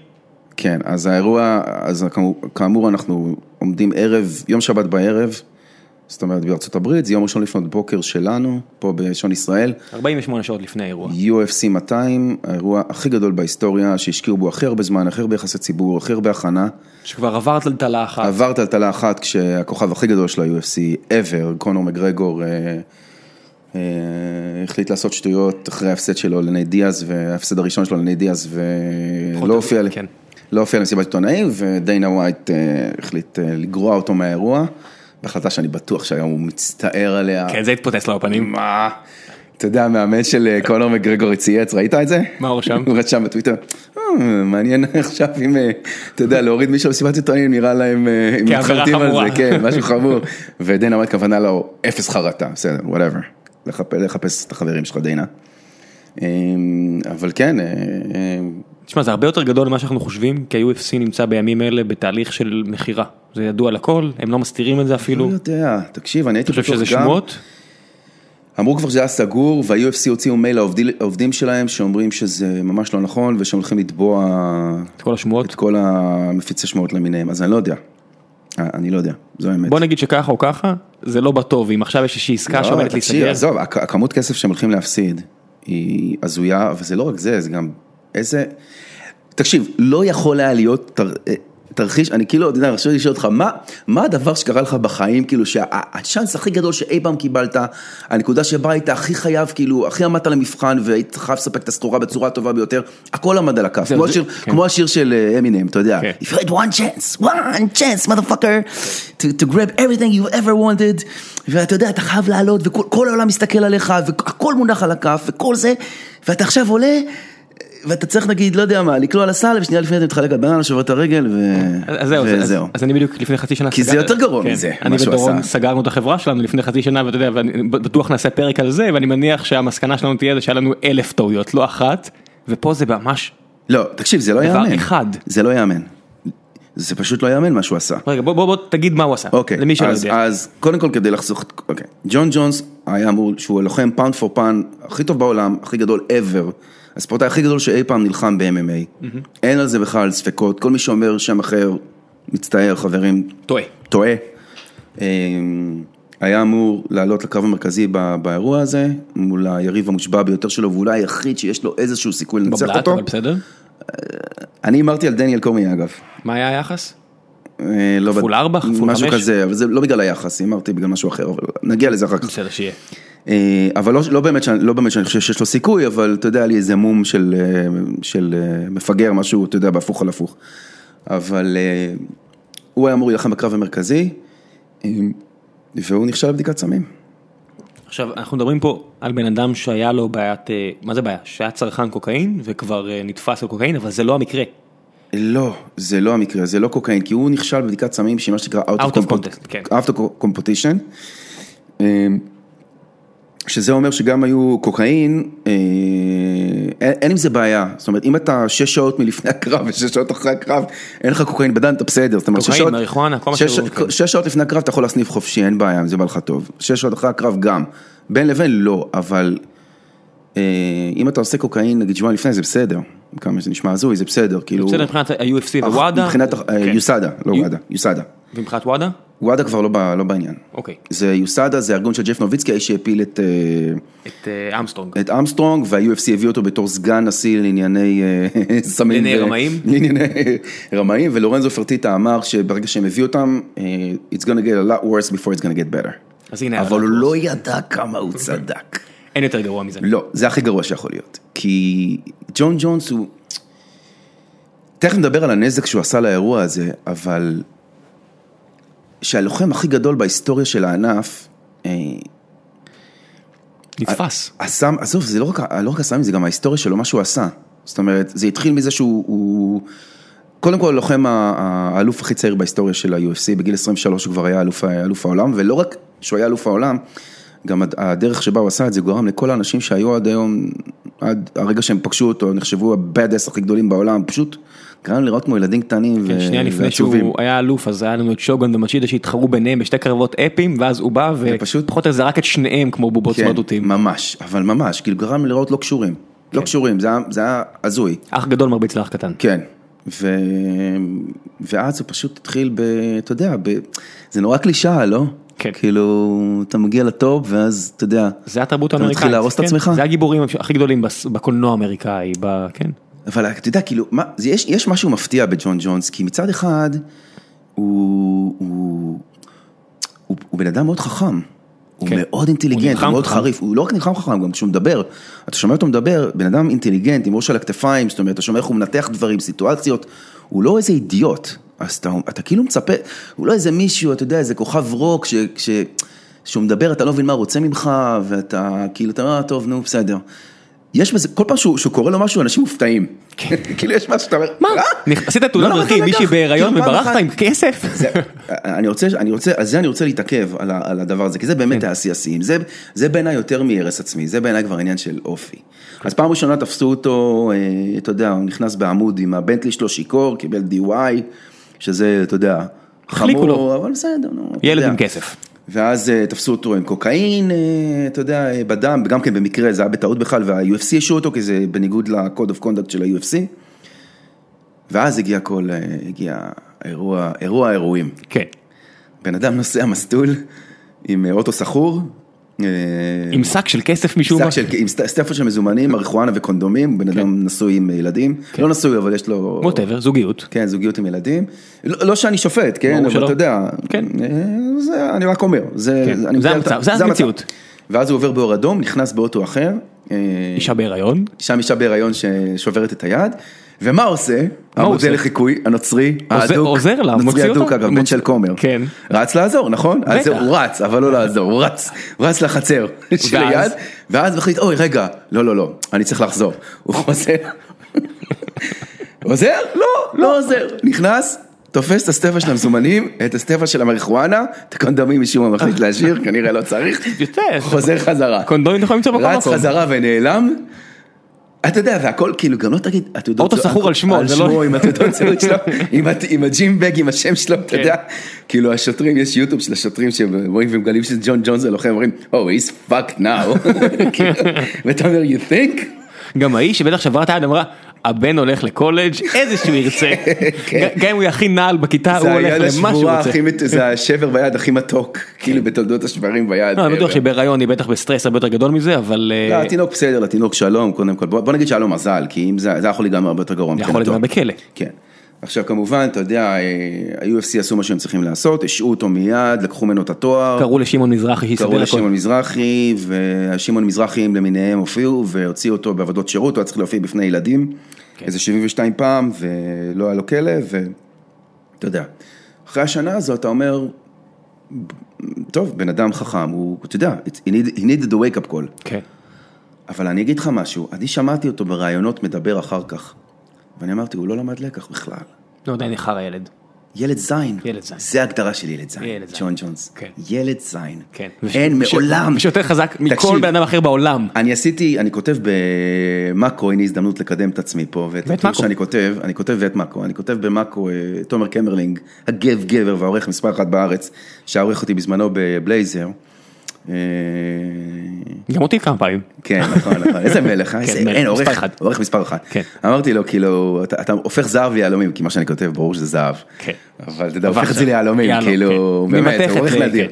[SPEAKER 2] כן, אז האירוע, אז כאמור, כאמור אנחנו עומדים ערב, יום שבת בערב, זאת אומרת בארצות הברית, זה יום ראשון לפנות בוקר שלנו, פה בשעון ישראל,
[SPEAKER 3] 48 שעות לפני האירוע.
[SPEAKER 2] UFC 200, האירוע הכי גדול בהיסטוריה, שהשקיעו בו הכי הרבה זמן, הכי הרבה יחסי ציבור, הכי הרבה הכנה.
[SPEAKER 3] שכבר עבר טלטלה אחת,
[SPEAKER 2] עבר טלטלה אחת כשהכוכב הכי גדול של ה-UFC ever, קונור מגרגור, אה, אה, החליט לעשות שטויות אחרי ההפסד שלו לני דיאז, וההפסד הראשון שלו לני דיאז, ולא
[SPEAKER 3] חוטף,
[SPEAKER 2] הופיע, ל-
[SPEAKER 3] כן.
[SPEAKER 2] לא הופיע למסיבת עיתונאים, ודיינה ווייט אה, החליט אה, לגרוע אותו מהאירוע, בהחלטה שאני בטוח שהיום הוא מצטער עליה.
[SPEAKER 3] כן, זה התפוצץ לו בפנים.
[SPEAKER 2] מה? אתה יודע, המאמן של אה, קונור מגרגורי צייץ, ראית את זה?
[SPEAKER 3] מה הוא רשם?
[SPEAKER 2] הוא רשם בטוויטר, "אה, מעניין עכשיו אם, אה, אתה יודע, להוריד מישהו למסיבת עיתונאים נראה להם, אה, אם
[SPEAKER 3] כעבירה
[SPEAKER 2] מתחרטים על
[SPEAKER 3] חמורה."
[SPEAKER 2] זה, כן, משהו חמור. ודיינה אמרת כוונה לו, אפס חרטה, בסדר, וואטאבר. לחפש את החברים שלך, דיינה. אה, אבל כן, אה, אה,
[SPEAKER 3] תשמע, זה הרבה יותר גדול ממה שאנחנו חושבים, כי ה-UFC נמצא בימים אלה בתהליך של מכירה. זה ידוע לכל, הם לא מסתירים את זה אפילו.
[SPEAKER 2] לא יודע, תקשיב, אני הייתי
[SPEAKER 3] אתה חושב
[SPEAKER 2] בטוח גם...
[SPEAKER 3] שזה שמועות?
[SPEAKER 2] אמרו כבר שזה היה סגור, וה-UFC הוציאו מייל לעובדים לעובדים שלהם, שאומרים שזה ממש לא נכון, ושהם הולכים לתבוע
[SPEAKER 3] את כל השמועות?
[SPEAKER 2] את כל המפיצי שמועות למיניהם, אז אני לא יודע. אה, אני לא יודע, זו האמת.
[SPEAKER 3] בוא נגיד שככה או ככה, זה לא בטוב, אם עכשיו יש איזושהי עסקה
[SPEAKER 2] לא,
[SPEAKER 3] שעומדת
[SPEAKER 2] תקשיב,
[SPEAKER 3] להיסגר,
[SPEAKER 2] עזוב, הכ- הכמות כסף שהם הולכים להפסיד היא הזויה, וזה לא רק זה, זה גם איזה... תקשיב, לא יכול היה להיות תר... אה, תרחיש, אני כאילו, אתה יודע, רציתי לשאול אותך, מה, מה הדבר שקרה לך בחיים, כאילו, שהצ'אנס הכי גדול שאי פעם קיבלת, הנקודה שבה היית הכי חייב, כאילו, הכי עמדת למבחן והיית חייב לספק את הסחורה בצורה הטובה ביותר, הכל עמד על הכף, לא
[SPEAKER 3] זה-
[SPEAKER 2] כמו,
[SPEAKER 3] זה-
[SPEAKER 2] השיר-
[SPEAKER 3] כן.
[SPEAKER 2] כמו השיר של אה, אמינם, אתה יודע,
[SPEAKER 3] כן.
[SPEAKER 2] If you had one chance, one chance, motherfucker, to, to grab everything you ever wanted, ואתה יודע, אתה חייב לעלות, וכל כל העולם מסתכל עליך, והכל מונח על הכף, וכל זה, ואתה עכשיו עולה, ואתה צריך נגיד, לא יודע מה, לקלוע לסל, ושנייה לפני אתה מתחלק על בננה, שובר את הרגל, ו...
[SPEAKER 3] אז זהו, אז-
[SPEAKER 2] וזהו.
[SPEAKER 3] אז אני בדיוק לפני חצי שנה,
[SPEAKER 2] כי זה
[SPEAKER 3] סגר-
[SPEAKER 2] יותר גרוע
[SPEAKER 3] כן,
[SPEAKER 2] מזה,
[SPEAKER 3] אני
[SPEAKER 2] מה שהוא
[SPEAKER 3] ודורון
[SPEAKER 2] עשה.
[SPEAKER 3] סגרנו את החברה שלנו לפני חצי שנה ואתה יודע, ואני בטוח נעשה פרק על זה ואני מניח שהמסקנה שלנו תהיה זה שהיה לנו אלף טעויות, לא אחת, ופה זה ממש,
[SPEAKER 2] לא, תקשיב, זה לא
[SPEAKER 3] דבר
[SPEAKER 2] ייאמן.
[SPEAKER 3] אחד.
[SPEAKER 2] זה לא ייאמן. זה פשוט לא ייאמן מה שהוא עשה.
[SPEAKER 3] רגע בוא בוא בוא תגיד מה הוא עשה,
[SPEAKER 2] אוקיי,
[SPEAKER 3] למי שלא
[SPEAKER 2] אז,
[SPEAKER 3] יודע,
[SPEAKER 2] אז קודם כל כדי לחסוך, את- אוקיי, ג'ון ג'ונס היה אמור, שהוא הלוחם פאונד פור פאונד, הכי טוב בעולם, הכי גדול ever, הספורטאי הכי גדול שאי פעם נלחם ב-MMA, אין על זה בכלל ספקות, כל מי שאומר שם אחר, מצטער חברים,
[SPEAKER 3] טועה,
[SPEAKER 2] טועה. אמ, היה אמור לעלות לקרב המרכזי ב- באירוע הזה, מול היריב המושבע ביותר שלו, ואולי היחיד שיש לו איזשהו סיכוי לנצח
[SPEAKER 3] בבלעת
[SPEAKER 2] אותו.
[SPEAKER 3] אבל בסדר,
[SPEAKER 2] אני הימרתי על דניאל קורמי אגב.
[SPEAKER 3] מה היה היחס?
[SPEAKER 2] אה, לא
[SPEAKER 3] כפול
[SPEAKER 2] בד-
[SPEAKER 3] ארבע, כפול
[SPEAKER 2] משהו
[SPEAKER 3] חמש?
[SPEAKER 2] כזה, אבל זה לא בגלל היחס, הימרתי בגלל משהו אחר, אבל נגיע לזה אחר כך.
[SPEAKER 3] בסדר שיהיה,
[SPEAKER 2] אה, אבל לא, לא, באמת, שאני- לא באמת שאני חושב שיש לו סיכוי, אבל אתה יודע, היה לי איזה מום של, אה, של אה, מפגר, משהו, אתה יודע, בהפוך על הפוך. אבל אה, הוא היה אמור להילחם בקרב המרכזי, אה, והוא נכשל לבדיקת סמים.
[SPEAKER 3] עכשיו אנחנו מדברים פה על בן אדם שהיה לו בעיית, אה, מה זה בעיה, שהיה צרכן קוקאין וכבר אה, נתפס על קוקאין אבל זה לא המקרה,
[SPEAKER 2] לא, זה לא המקרה, זה לא קוקאין, כי הוא נכשל בבדיקת סמים שהיא מה שנקרא out
[SPEAKER 3] Out
[SPEAKER 2] of
[SPEAKER 3] of
[SPEAKER 2] compet-
[SPEAKER 3] contest, כן.
[SPEAKER 2] out of competition. אה, שזה אומר שגם היו קוקאין, אה, אין, אין עם זה בעיה, זאת אומרת אם אתה שש שעות מלפני הקרב ושש שעות אחרי הקרב, אין לך קוקאין בדם, אתה בסדר, זאת אומרת שש
[SPEAKER 3] קוקאין,
[SPEAKER 2] שעות,
[SPEAKER 3] מריחואנה, כל מה
[SPEAKER 2] שש,
[SPEAKER 3] שהוא- כן.
[SPEAKER 2] שש שעות לפני הקרב אתה יכול להסניף חופשי, אין בעיה, אם זה בא לך טוב, שש שעות אחרי הקרב גם, בין לבין לא, אבל אה, אם אתה עושה קוקאין נגיד שבועיים לפני זה בסדר, כמה שזה נשמע הזוי זה בסדר, כאילו,
[SPEAKER 3] בסדר מבחינת ה-UFC
[SPEAKER 2] אך-
[SPEAKER 3] ווואדה,
[SPEAKER 2] מבחינת, אה,
[SPEAKER 3] כאילו, כן.
[SPEAKER 2] יוסדה, לא
[SPEAKER 3] יו-
[SPEAKER 2] וואדה, יוסדה,
[SPEAKER 3] ומבחינת וואדה,
[SPEAKER 2] וואדה כבר לא, ב- לא בעניין,
[SPEAKER 3] אוקיי,
[SPEAKER 2] זה יוסדה, זה ארגון של ג'ף נוביצקי, האיש שהפיל את... אה,
[SPEAKER 3] את אה, אמסטרונג.
[SPEAKER 2] את אמסטרונג, וה-UFC הביא אותו בתור סגן נשיא לענייני אה, סמים.
[SPEAKER 3] לענייני
[SPEAKER 2] ו-
[SPEAKER 3] רמאים?
[SPEAKER 2] לענייני רמאים, ולורנזו פרטיטה אמר שברגע שהם הביאו אותם, אה, it's gonna get a lot worse before it's gonna get better.
[SPEAKER 3] אז הנה,
[SPEAKER 2] אבל הוא
[SPEAKER 3] אבל-
[SPEAKER 2] לא ידע כמה הוא צדק.
[SPEAKER 3] אין יותר גרוע מזה.
[SPEAKER 2] לא, זה הכי גרוע שיכול להיות. כי ג'ון ג'ונס הוא... תכף נדבר על הנזק שהוא עשה לאירוע הזה, אבל... שהלוחם הכי גדול בהיסטוריה של הענף, אה,
[SPEAKER 3] נתפס.
[SPEAKER 2] הסם, עזוב, זה לא רק, ה- לא רק הסמים, זה גם ההיסטוריה שלו, מה שהוא עשה. זאת אומרת, זה התחיל מזה שהוא, הוא, קודם כל הלוחם ה- ה- האלוף הכי צעיר בהיסטוריה של ה-UFC, בגיל 23 הוא כבר היה אלוף, אלוף העולם, ולא רק שהוא היה אלוף העולם, גם הד- הדרך שבה הוא עשה את זה גרם לכל האנשים שהיו עד היום, עד הרגע שהם פגשו אותו, נחשבו הבאד-אס הכי גדולים בעולם, פשוט גרם להם לראות כמו ילדים קטנים ו-
[SPEAKER 3] כן, שנייה לפני
[SPEAKER 2] ועצובים.
[SPEAKER 3] שהוא היה אלוף, אז היה לנו את שוגן ומצ'ידה שהתחרו ביניהם בשתי קרבות אפיים, ואז הוא בא
[SPEAKER 2] ופשוט-
[SPEAKER 3] ופחות או יותר זרק את שניהם כמו בובות
[SPEAKER 2] כן.
[SPEAKER 3] סמרטוטים.
[SPEAKER 2] ממש, אבל ממש, כאילו גרם לראות לא קשורים, לא
[SPEAKER 3] כן.
[SPEAKER 2] קשורים, זה היה- זה היה הזוי.
[SPEAKER 3] אח גדול מרביץ לאח קטן.
[SPEAKER 2] כן. ו... ואז זה פשוט התחיל ב... אתה יודע, ב... זה נורא קלישאה, לא?
[SPEAKER 3] כן.
[SPEAKER 2] כאילו, אתה מגיע לטופ, ואז, אתה יודע,
[SPEAKER 3] זה התרבות
[SPEAKER 2] אתה
[SPEAKER 3] האמריקאית.
[SPEAKER 2] מתחיל להרוס את
[SPEAKER 3] כן.
[SPEAKER 2] עצמך?
[SPEAKER 3] זה הגיבורים הכי גדולים בס- בקולנוע האמריקאי, ב- כן.
[SPEAKER 2] אבל אתה יודע, כאילו, מה, זה, יש, יש משהו מפתיע בג'ון ג'ונס, כי מצד אחד, הוא, הוא, הוא, הוא בן אדם מאוד חכם. הוא
[SPEAKER 3] כן.
[SPEAKER 2] מאוד אינטליגנט,
[SPEAKER 3] נלחם
[SPEAKER 2] הוא מאוד
[SPEAKER 3] חכם.
[SPEAKER 2] חריף, הוא לא רק נלחם חכם, גם כשהוא מדבר, אתה שומע אותו מדבר, בן אדם אינטליגנט, עם ראש על הכתפיים, זאת אומרת, אתה שומע איך הוא מנתח דברים, סיטואציות, הוא לא איזה אידיוט, אז אתה, אתה כאילו מצפה, הוא לא איזה מישהו, אתה יודע, איזה כוכב רוק, ש, ש, שהוא מדבר, אתה לא מבין מה הוא רוצה ממך, ואתה כאילו, אתה אומר, "אה, טוב, נו, בסדר. יש בזה, כל פעם שהוא, שהוא קורא לו משהו, אנשים מופתעים. כאילו, יש משהו שאתה אומר,
[SPEAKER 3] מה?
[SPEAKER 2] "אה?"
[SPEAKER 3] נכ- עשית
[SPEAKER 2] לא
[SPEAKER 3] תאונת
[SPEAKER 2] למדת
[SPEAKER 3] דרכים, מישהי
[SPEAKER 2] לקח.
[SPEAKER 3] בהיריון
[SPEAKER 2] כאילו, פעם אחת-
[SPEAKER 3] וברחת עם כסף?
[SPEAKER 2] זה, אני רוצה, אני רוצה, על זה אני רוצה להתעכב, על, ה- על הדבר הזה, כי זה באמת היה שיא השיאים, זה, זה בעיניי יותר מהרס עצמי, זה בעיניי כבר עניין של אופי. אז פעם ראשונה תפסו אותו, אה, אתה יודע, הוא נכנס בעמוד עם הבנטלי שלו שיכור, קיבל DUI, שזה, אתה יודע,
[SPEAKER 3] החליקו
[SPEAKER 2] חמור, אבל בסדר, נו, אתה
[SPEAKER 3] ילד
[SPEAKER 2] יודע.
[SPEAKER 3] עם כסף.
[SPEAKER 2] ואז אה, תפסו אותו עם קוקאין, אה, אתה יודע, אה, בדם, גם כן במקרה, זה היה בטעות בכלל, וה-UFC השעו אותו, כי זה בניגוד ל-code of conduct של ה-UFC. ואז הגיע כל, אה, הגיע האירוע, אירוע האירועים.
[SPEAKER 3] כן.
[SPEAKER 2] בן אדם נוסע מסלול עם אה, אוטו סחור, אה,
[SPEAKER 3] עם שק של כסף משום מה. כן.
[SPEAKER 2] שק של, עם סט- סטפל של מזומנים, מריחואנה וקונדומים, בן אדם נשוי עם ילדים, לא נשוי אבל יש לו...
[SPEAKER 3] ווטאבר, זוגיות.
[SPEAKER 2] כן, זוגיות עם ילדים. לא לא שאני שופט, כן,
[SPEAKER 3] ברור
[SPEAKER 2] אבל
[SPEAKER 3] שלא.
[SPEAKER 2] אתה יודע,
[SPEAKER 3] כן.
[SPEAKER 2] אה, זה- אני רק אומר, זה
[SPEAKER 3] כן,
[SPEAKER 2] אני
[SPEAKER 3] זה
[SPEAKER 2] מתאר-
[SPEAKER 3] המצב, זה
[SPEAKER 2] המצב.
[SPEAKER 3] המציאות.
[SPEAKER 2] ואז הוא עובר באור אדום, נכנס באוטו אחר, אה,
[SPEAKER 3] אישה בהיריון.
[SPEAKER 2] שם אישה בהיריון ששוברת את היד, ומה עושה?
[SPEAKER 3] הוא
[SPEAKER 2] המודל
[SPEAKER 3] עושה?
[SPEAKER 2] לחיקוי הנוצרי האדוק,
[SPEAKER 3] עוזר לה,
[SPEAKER 2] נוצרי
[SPEAKER 3] מוציא
[SPEAKER 2] אדוק
[SPEAKER 3] אותה?
[SPEAKER 2] אגב, בן של כומר,
[SPEAKER 3] כן.
[SPEAKER 2] רץ לעזור נכון? אז
[SPEAKER 3] בטח.
[SPEAKER 2] הוא רץ, אבל לא לעזור, הוא רץ, הוא רץ לחצר שליד, ואז מחליט אוי רגע, לא לא לא, אני צריך לחזור, הוא חוזר, עוזר? לא, לא עוזר, נכנס. תופס את הסטפה של המזומנים, את הסטפה של המריחואנה, את הקונדומים משום מה מחליט להשאיר, כנראה לא צריך,
[SPEAKER 3] יפה.
[SPEAKER 2] חוזר חזרה.
[SPEAKER 3] קונדומים אתה יכול למצוא בכל
[SPEAKER 2] רץ
[SPEAKER 3] מקום.
[SPEAKER 2] חזרה ונעלם. אתה יודע, והכל כאילו, גם לא תגיד, התעודות...
[SPEAKER 3] אוטו סחור על שמו,
[SPEAKER 2] על
[SPEAKER 3] זה לא-
[SPEAKER 2] שמו, עם התעודות זהות שלו, עם הת- עם הג'ימבג, עם השם שלו, אתה
[SPEAKER 3] כן.
[SPEAKER 2] יודע, כאילו השוטרים, יש יוטיוב של השוטרים שרואים ומגלים שג'ון ג'ונס הלוחם, אומרים, Oh, he's fucked now. כאילו, ואתה אומר, you think?
[SPEAKER 3] אה, גם ההיא שבטח שברה את היד אמרה, הבן הולך לקולג' איזה שהוא ירצה.
[SPEAKER 2] כן.
[SPEAKER 3] גם אם הוא הכי נעל בכיתה, הוא
[SPEAKER 2] זה
[SPEAKER 3] הולך
[SPEAKER 2] היד
[SPEAKER 3] למה שהוא
[SPEAKER 2] השבורה
[SPEAKER 3] רוצה.
[SPEAKER 2] הכי, מת- זה השבר ביד הכי מתוק, כאילו בתולדות השברים ביד.
[SPEAKER 3] לא, אני בטוח שבהיריון היא בטח בסטרס הרבה יותר גדול מזה, אבל אה,
[SPEAKER 2] לא, התינוק בסדר, לתינוק שלום, קודם כל, בוא בוא נגיד שהיה לו מזל, כי אם זה זה היה יכול להיגמר הרבה יותר גרוע
[SPEAKER 3] זה יכול
[SPEAKER 2] מבחינתו.
[SPEAKER 3] לגמרי בכלא.
[SPEAKER 2] כן. עכשיו כמובן, אתה יודע, אה, ה-UFC עשו מה שהם צריכים לעשות, השעו אותו מיד, לקחו ממנו את התואר,
[SPEAKER 3] קראו לשמעון מזרחי
[SPEAKER 2] לא. קראו
[SPEAKER 3] שיסדר הכל.
[SPEAKER 2] לשמעון מזרחי, והשמעון מזרחים למיניהם הופיעו, והוציאו אותו בעבודות שירות, הוא היה צריך להופיע בפני ילדים,
[SPEAKER 3] כן.
[SPEAKER 2] איזה 72 פעם, ולא היה לו כלב, ואתה יודע. אחרי השנה הזו אתה אומר, טוב, בן אדם חכם, הוא, אתה יודע, it's- he need- he needed the wake up call.
[SPEAKER 3] כן.
[SPEAKER 2] אבל אני אגיד לך משהו, אני שמעתי אותו בראיונות מדבר אחר כך, ואני אמרתי, הוא לא למד לקח בכלל.
[SPEAKER 3] לא עדיין ניחר הילד.
[SPEAKER 2] ילד זין.
[SPEAKER 3] ילד זין.
[SPEAKER 2] זה ההגדרה של ילד זין.
[SPEAKER 3] ילד זין.
[SPEAKER 2] ג'ון ג'ונס.
[SPEAKER 3] כן.
[SPEAKER 2] ילד זין.
[SPEAKER 3] כן.
[SPEAKER 2] אין
[SPEAKER 3] וש-
[SPEAKER 2] מעולם.
[SPEAKER 3] ושיותר חזק מכל
[SPEAKER 2] תקשיב.
[SPEAKER 3] בן אדם אחר בעולם.
[SPEAKER 2] אני עשיתי, אני כותב במאקו, הנה הזדמנות לקדם את עצמי פה, ואת
[SPEAKER 3] ואת
[SPEAKER 2] הטור
[SPEAKER 3] מאקו.
[SPEAKER 2] שאני כותב, אני כותב ואת מאקו, אני כותב במאקו, אה, תומר קמרלינג, הגב גבר והעורך מספר אחת בארץ, שעורך אותי בזמנו בבלייזר. אה,
[SPEAKER 3] גם אותי כמה פעמים.
[SPEAKER 2] כן, נכון, נכון, איזה מלך, אה? איזה-
[SPEAKER 3] כן, מלך,
[SPEAKER 2] אין,
[SPEAKER 3] מספר
[SPEAKER 2] עורך,
[SPEAKER 3] אחד.
[SPEAKER 2] עורך מספר אחת.
[SPEAKER 3] כן.
[SPEAKER 2] אמרתי לו, כאילו, אתה אתה הופך זהב ליהלומים, כי מה שאני כותב, ברור שזה זהב.
[SPEAKER 3] כן.
[SPEAKER 2] אבל אתה יודע,
[SPEAKER 3] אבל
[SPEAKER 2] הופך את זה
[SPEAKER 3] עכשיו,
[SPEAKER 2] ליהלומים,
[SPEAKER 3] יהלום,
[SPEAKER 2] כאילו,
[SPEAKER 3] כן.
[SPEAKER 2] באמת,
[SPEAKER 3] ממתכת
[SPEAKER 2] הוא עורך
[SPEAKER 3] ל-
[SPEAKER 2] נדיר.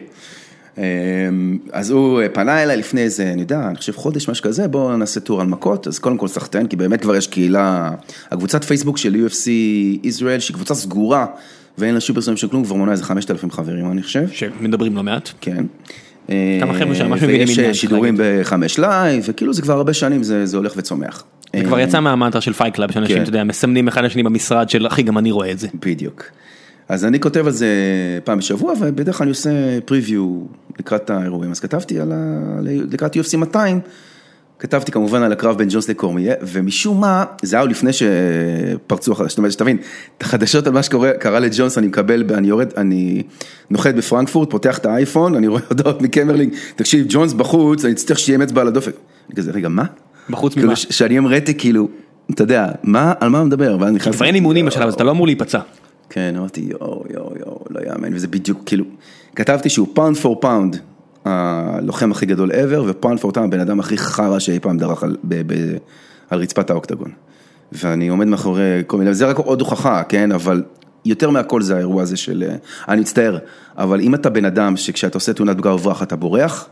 [SPEAKER 3] כן.
[SPEAKER 2] אמ, אז הוא אה, פנה אליי לפני איזה, אני יודע, אני חושב חודש, משהו כזה, בואו נעשה טור על מכות, אז קודם כל סחטיין, כי באמת כבר יש קהילה, הקבוצת פייסבוק של UFC ישראל, שהיא קבוצה סגורה, ואין לה שום פרסומים של כלום, כבר מונה איזה 5,000 חברים, אני חושב.
[SPEAKER 3] שמדברים לא מעט.
[SPEAKER 2] כן.
[SPEAKER 3] כמה חבר'ה שם, ממש מבינים
[SPEAKER 2] ויש
[SPEAKER 3] עניין,
[SPEAKER 2] אה, שידורים בחמש לייב, וכאילו זה כבר הרבה שנים, זה זה הולך וצומח. אה,
[SPEAKER 3] זה כבר יצא מהמנטרה של פייט קלאב, שאנשים,
[SPEAKER 2] כן.
[SPEAKER 3] אתה יודע, מסמנים אחד לשני במשרד של אחי, גם אני רואה את זה.
[SPEAKER 2] בדיוק. אז אני כותב על זה פעם בשבוע, ובדרך כלל אני עושה preview לקראת האירועים. אז כתבתי על ה... לקראת UFC 200, כתבתי כמובן על הקרב בין ג'ונס לקורמיה, ומשום מה, זה היה עוד לפני שפרצו החדשות, זאת אומרת, שתבין, את החדשות על מה שקרה לג'ונס אני מקבל, אני יורד, אני נוחת בפרנקפורט, פותח את האייפון, אני רואה הודעות מקמרלינג, תקשיב, ג'ונס בחוץ, אני אצטרך שיהיה אצבע על הדופק. אני כזה, רגע, מה?
[SPEAKER 3] בחוץ
[SPEAKER 2] כאילו,
[SPEAKER 3] ממה?
[SPEAKER 2] ש- שאני אמרתי, כאילו, אתה יודע, מה, על מה הוא מדבר? ואז נכנסתי-
[SPEAKER 3] כבר אין אימונים בשלב הזה, אתה לא אמור להיפצע.
[SPEAKER 2] כן, אמרתי, יואו, יואו, יואו, לא יאמן, וזה בדיוק, כאילו, כתבתי שהוא פאונד פור פאונד, הלוחם הכי גדול ever, ופאונד פור פאונד, הבן אדם הכי חרא שאי פעם דרך על, ב, ב, על רצפת האוקטגון. ואני עומד מאחורי כל מיני, זה רק עוד הוכחה, כן, אבל יותר מהכל זה האירוע הזה של, אה, אני מצטער, אבל אם אתה בן אדם שכשאתה עושה תאונת פגע וברח אתה בורח,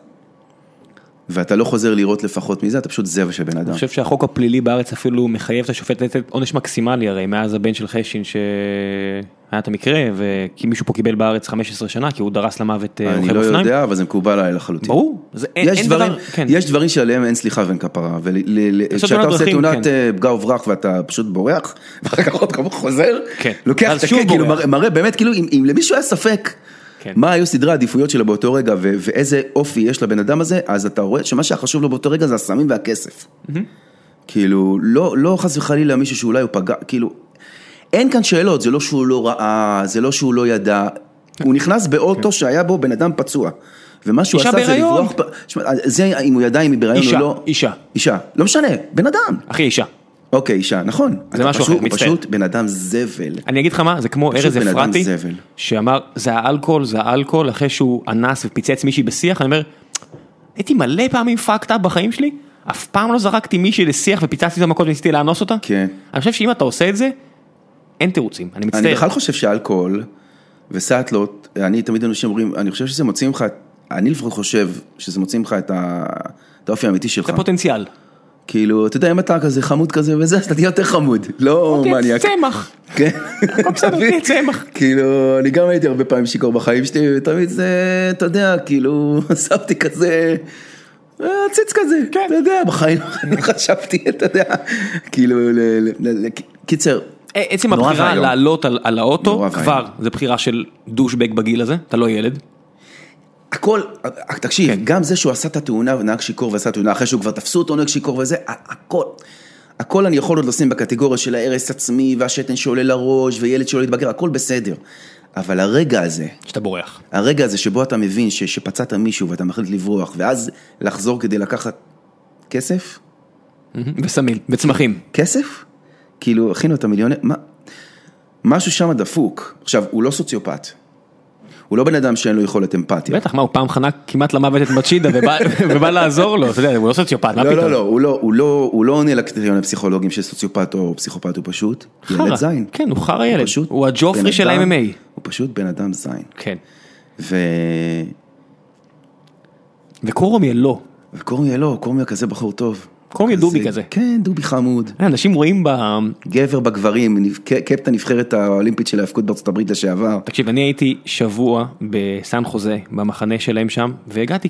[SPEAKER 2] ואתה לא חוזר לראות לפחות מזה, אתה פשוט זבל של בן אדם.
[SPEAKER 3] אני חושב שהחוק הפלילי בארץ אפילו מחייב את השופט לתת עונש מקסימלי הרי מאז הבן של חשין שהיה את המקרה וכי מישהו פה קיבל בארץ 15 שנה כי הוא דרס למוות אה,
[SPEAKER 2] אני
[SPEAKER 3] רוכב
[SPEAKER 2] לא
[SPEAKER 3] אופניים.
[SPEAKER 2] יודע, אבל זה מקובל עליי לחלוטין.
[SPEAKER 3] ברור. זה אין-
[SPEAKER 2] יש
[SPEAKER 3] אין
[SPEAKER 2] דברים,
[SPEAKER 3] דבר- כן.
[SPEAKER 2] יש דברים שעליהם אין סליחה ואין כפרה,
[SPEAKER 3] לעשות
[SPEAKER 2] וכשאתה
[SPEAKER 3] תאונת
[SPEAKER 2] עושה
[SPEAKER 3] דרכים,
[SPEAKER 2] תאונת
[SPEAKER 3] כן.
[SPEAKER 2] אה, פגע וברח ואתה פשוט בורח, ואחר כך עוד כמוך חוזר,
[SPEAKER 3] כן.
[SPEAKER 2] לוקח
[SPEAKER 3] ואז
[SPEAKER 2] את
[SPEAKER 3] שוב
[SPEAKER 2] הקט, כאילו
[SPEAKER 3] בורח.
[SPEAKER 2] מראה- מראה באמת, כאילו אם אם למישהו היה ספק.
[SPEAKER 3] כן.
[SPEAKER 2] מה היו סדרי העדיפויות שלו באותו רגע ו- ואיזה אופי יש לבן אדם הזה, אז אתה רואה שמה שהיה חשוב לו באותו רגע זה הסמים והכסף. כאילו, לא, לא חס וחלילה מישהו שאולי הוא פגע, כאילו, אין כאן שאלות, זה לא שהוא לא ראה, זה לא שהוא לא ידע, הוא נכנס באוטו שהיה בו בן אדם פצוע. ומה שהוא
[SPEAKER 3] כן. אישה
[SPEAKER 2] עשה זה
[SPEAKER 3] בהיריון.
[SPEAKER 2] לברוח, פ- שמע, זה אם הוא ידע אם היא בהיריון
[SPEAKER 3] אישה,
[SPEAKER 2] או לא.
[SPEAKER 3] אישה.
[SPEAKER 2] אישה, לא משנה, בן אדם.
[SPEAKER 3] אחי אישה.
[SPEAKER 2] אוקיי, אישה, נכון. אתה
[SPEAKER 3] משהו
[SPEAKER 2] פשוט-
[SPEAKER 3] אחר, מצטער.
[SPEAKER 2] הוא פשוט בן אדם זבל.
[SPEAKER 3] אני אגיד לך מה, זה כמו
[SPEAKER 2] פשוט
[SPEAKER 3] ארז
[SPEAKER 2] בן אדם
[SPEAKER 3] אפרתי,
[SPEAKER 2] זבל.
[SPEAKER 3] שאמר, זה האלכוהול, זה האלכוהול, אחרי שהוא אנס ופיצץ מישהי בשיח, אני אומר, הייתי מלא פעמים fucked up בחיים שלי, אף פעם לא זרקתי מישהי לשיח ופיצצתי אותה מכות וניסיתי לאנוס אותה.
[SPEAKER 2] כן.
[SPEAKER 3] אני חושב שאם אתה עושה את זה, אין תירוצים, אני מצטער.
[SPEAKER 2] אני בכלל חושב שאלכוהול וסאטלות, אני תמיד אנשים אומרים, אני חושב שזה מוציא ממך, אני לפחות חושב שזה מוציא ממך את ה- את האופי האמיתי שלך.
[SPEAKER 3] זה פוטנציאל.
[SPEAKER 2] כאילו, אתה יודע, אם אתה כזה חמוד כזה וזה, אז אתה תהיה יותר חמוד, לא
[SPEAKER 3] אוקיי,
[SPEAKER 2] מניאק.
[SPEAKER 3] צמח.
[SPEAKER 2] כן.
[SPEAKER 3] הכל בסדר, תהיה צמח.
[SPEAKER 2] כאילו, אני גם הייתי הרבה פעמים שיכור בחיים שלי, ותמיד זה, אתה יודע, כאילו, עשבתי כזה, אה, עציץ כזה,
[SPEAKER 3] כן.
[SPEAKER 2] אתה יודע, בחיים לא חשבתי, אתה יודע, כאילו, ל- ל- ל- ל- קיצר,
[SPEAKER 3] אה, עצם
[SPEAKER 2] נורא
[SPEAKER 3] הבחירה
[SPEAKER 2] ואיום.
[SPEAKER 3] לעלות על- על האוטו,
[SPEAKER 2] נורא
[SPEAKER 3] כבר,
[SPEAKER 2] ואיום.
[SPEAKER 3] זה בחירה של דושבג בגיל הזה, אתה לא ילד.
[SPEAKER 2] הכל, אה, תקשיב,
[SPEAKER 3] כן.
[SPEAKER 2] גם זה שהוא עשה את התאונה, נהג שיכור ועשה תאונה, אחרי שהוא כבר תפסו אותו נהג שיכור וזה, ה- הכל, הכל אני יכול עוד לשים בקטגוריה של ההרס עצמי, והשתן שעולה לראש, וילד שלא יתבגר, הכל בסדר. אבל הרגע הזה,
[SPEAKER 3] שאתה בורח.
[SPEAKER 2] הרגע הזה שבו אתה מבין ש, שפצעת מישהו ואתה מחליט לברוח, ואז לחזור כדי לקחת כסף?
[SPEAKER 3] וסמים, וצמחים.
[SPEAKER 2] כסף? כאילו, הכינו את המיליוני... מה? משהו שם דפוק. עכשיו, הוא לא סוציופט. הוא לא בן אדם שאין לו יכולת אמפתיה.
[SPEAKER 3] בטח, מה, הוא פעם חנק כמעט למוות את מצ'ידה ובא- ובא לעזור לו, אתה יודע, הוא לא סוציופט, מה
[SPEAKER 2] לא, לא,
[SPEAKER 3] פתאום?
[SPEAKER 2] לא, הוא לא, הוא לא, הוא לא עונה לקריטריון הפסיכולוגיים של סוציופט או פסיכופת, הוא פשוט ילד זין.
[SPEAKER 3] כן, הוא חרא ילד.
[SPEAKER 2] פשוט
[SPEAKER 3] הוא
[SPEAKER 2] בן
[SPEAKER 3] הג'ופרי של
[SPEAKER 2] אדם-
[SPEAKER 3] ה-MMA.
[SPEAKER 2] הוא פשוט בן אדם זין.
[SPEAKER 3] כן.
[SPEAKER 2] ו...
[SPEAKER 3] וקורומיה לא.
[SPEAKER 2] וקורמיה לא, קורמיה כזה בחור טוב.
[SPEAKER 3] קורמיה דובי כזה.
[SPEAKER 2] כן, דובי חמוד.
[SPEAKER 3] אנשים רואים ב...
[SPEAKER 2] גבר בגברים, נבח- ק- קפטן הנבחרת האולימפית של ההאבקות בארצות הברית לשעבר.
[SPEAKER 3] תקשיב, אני הייתי שבוע בסן חוזה, במחנה שלהם שם, והגעתי,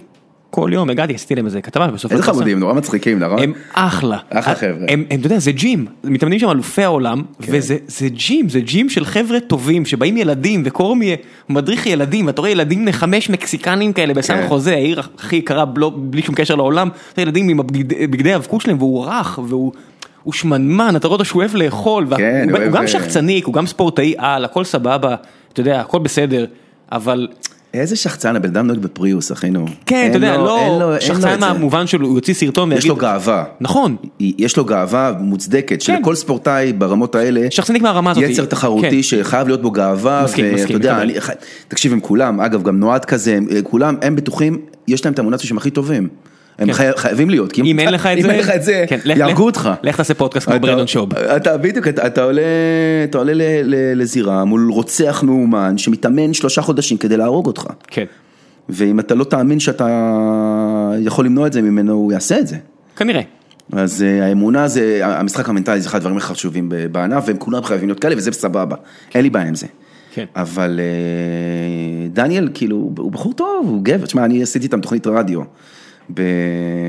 [SPEAKER 3] כל יום הגעתי, עשיתי להם איזה כתבה, ובסוף...
[SPEAKER 2] איזה
[SPEAKER 3] לא התפרסם.
[SPEAKER 2] חמודים, נורא מצחיקים, נכון?
[SPEAKER 3] הם אחלה. אה,
[SPEAKER 2] אחלה חבר'ה. כן.
[SPEAKER 3] הם, הם, אתה יודע, זה ג'ים. מתאמנים שם אלופי העולם, וזה זה ג'ים, זה ג'ים של חבר'ה טובים, שבאים ילדים, וקורמי מדריך ילדים, ואתה רואה ילדים בני חמש מקסיקנים כאלה בסן
[SPEAKER 2] כן.
[SPEAKER 3] חוזה, העיר הכי יקרה בלו, בלי שום קשר לעולם, אתה יודע, ילדים עם הבגד- בגדי האבקות שלהם, והוא רך, והוא... הוא שמנמן, אתה רואה אותו שהוא אוהב לאכול, וה-
[SPEAKER 2] כן,
[SPEAKER 3] הוא, הוא
[SPEAKER 2] אוהב,
[SPEAKER 3] גם
[SPEAKER 2] אה,
[SPEAKER 3] שחצניק, הוא גם ספורטאי על, הכל סבבה, אתה יודע, הכל בסדר, אבל
[SPEAKER 2] איזה שחצן, הבן אדם נוהג בפריוס, אחינו.
[SPEAKER 3] כן,
[SPEAKER 2] אין
[SPEAKER 3] אתה יודע,
[SPEAKER 2] לו- אין לו-
[SPEAKER 3] לא,
[SPEAKER 2] אין לו
[SPEAKER 3] שחצן
[SPEAKER 2] את זה.
[SPEAKER 3] מהמובן שלו, הוא יוציא סרטון
[SPEAKER 2] יש לו גאווה.
[SPEAKER 3] נכון,
[SPEAKER 2] יש לו גאווה מוצדקת,
[SPEAKER 3] כן.
[SPEAKER 2] שלכל ספורטאי ברמות האלה,
[SPEAKER 3] שחצניק מהרמה הזאת.
[SPEAKER 2] יצר תחרותי
[SPEAKER 3] כן.
[SPEAKER 2] שחייב להיות בו גאווה,
[SPEAKER 3] מסכים, מסכים,
[SPEAKER 2] ואתה יודע,
[SPEAKER 3] מקבל.
[SPEAKER 2] אני, ח- תקשיב, הם כולם, אגב, גם נועד כזה, הם, אה, כולם, הם בטוחים, יש להם את המונסים שהם הכי טובים. הם
[SPEAKER 3] כן.
[SPEAKER 2] חי- חייבים להיות, כי
[SPEAKER 3] אם אין לך את זה,
[SPEAKER 2] אם אין לך את זה,
[SPEAKER 3] כן, לך- לך-
[SPEAKER 2] יהרגו אותך.
[SPEAKER 3] לך תעשה פודקאסט כמו
[SPEAKER 2] אתה-
[SPEAKER 3] ברנדון שוב.
[SPEAKER 2] אתה בדיוק, אתה אתה עולה, אתה עולה ל- ל- לזירה מול רוצח מאומן שמתאמן שלושה חודשים כדי להרוג אותך.
[SPEAKER 3] כן.
[SPEAKER 2] ואם אתה לא תאמין שאתה יכול למנוע את זה ממנו, הוא יעשה את זה.
[SPEAKER 3] כנראה.
[SPEAKER 2] אז אה, האמונה זה, המשחק המנטלי זה אחד הדברים הכי חשובים ב- בענף, והם כולם חייבים להיות כאלה, וזה סבבה, אין לי בעיה עם זה.
[SPEAKER 3] כן.
[SPEAKER 2] אבל אה, דניאל, כאילו, הוא בחור טוב, הוא גבר, תשמע, אני עשיתי איתם תוכנית רדיו, ב...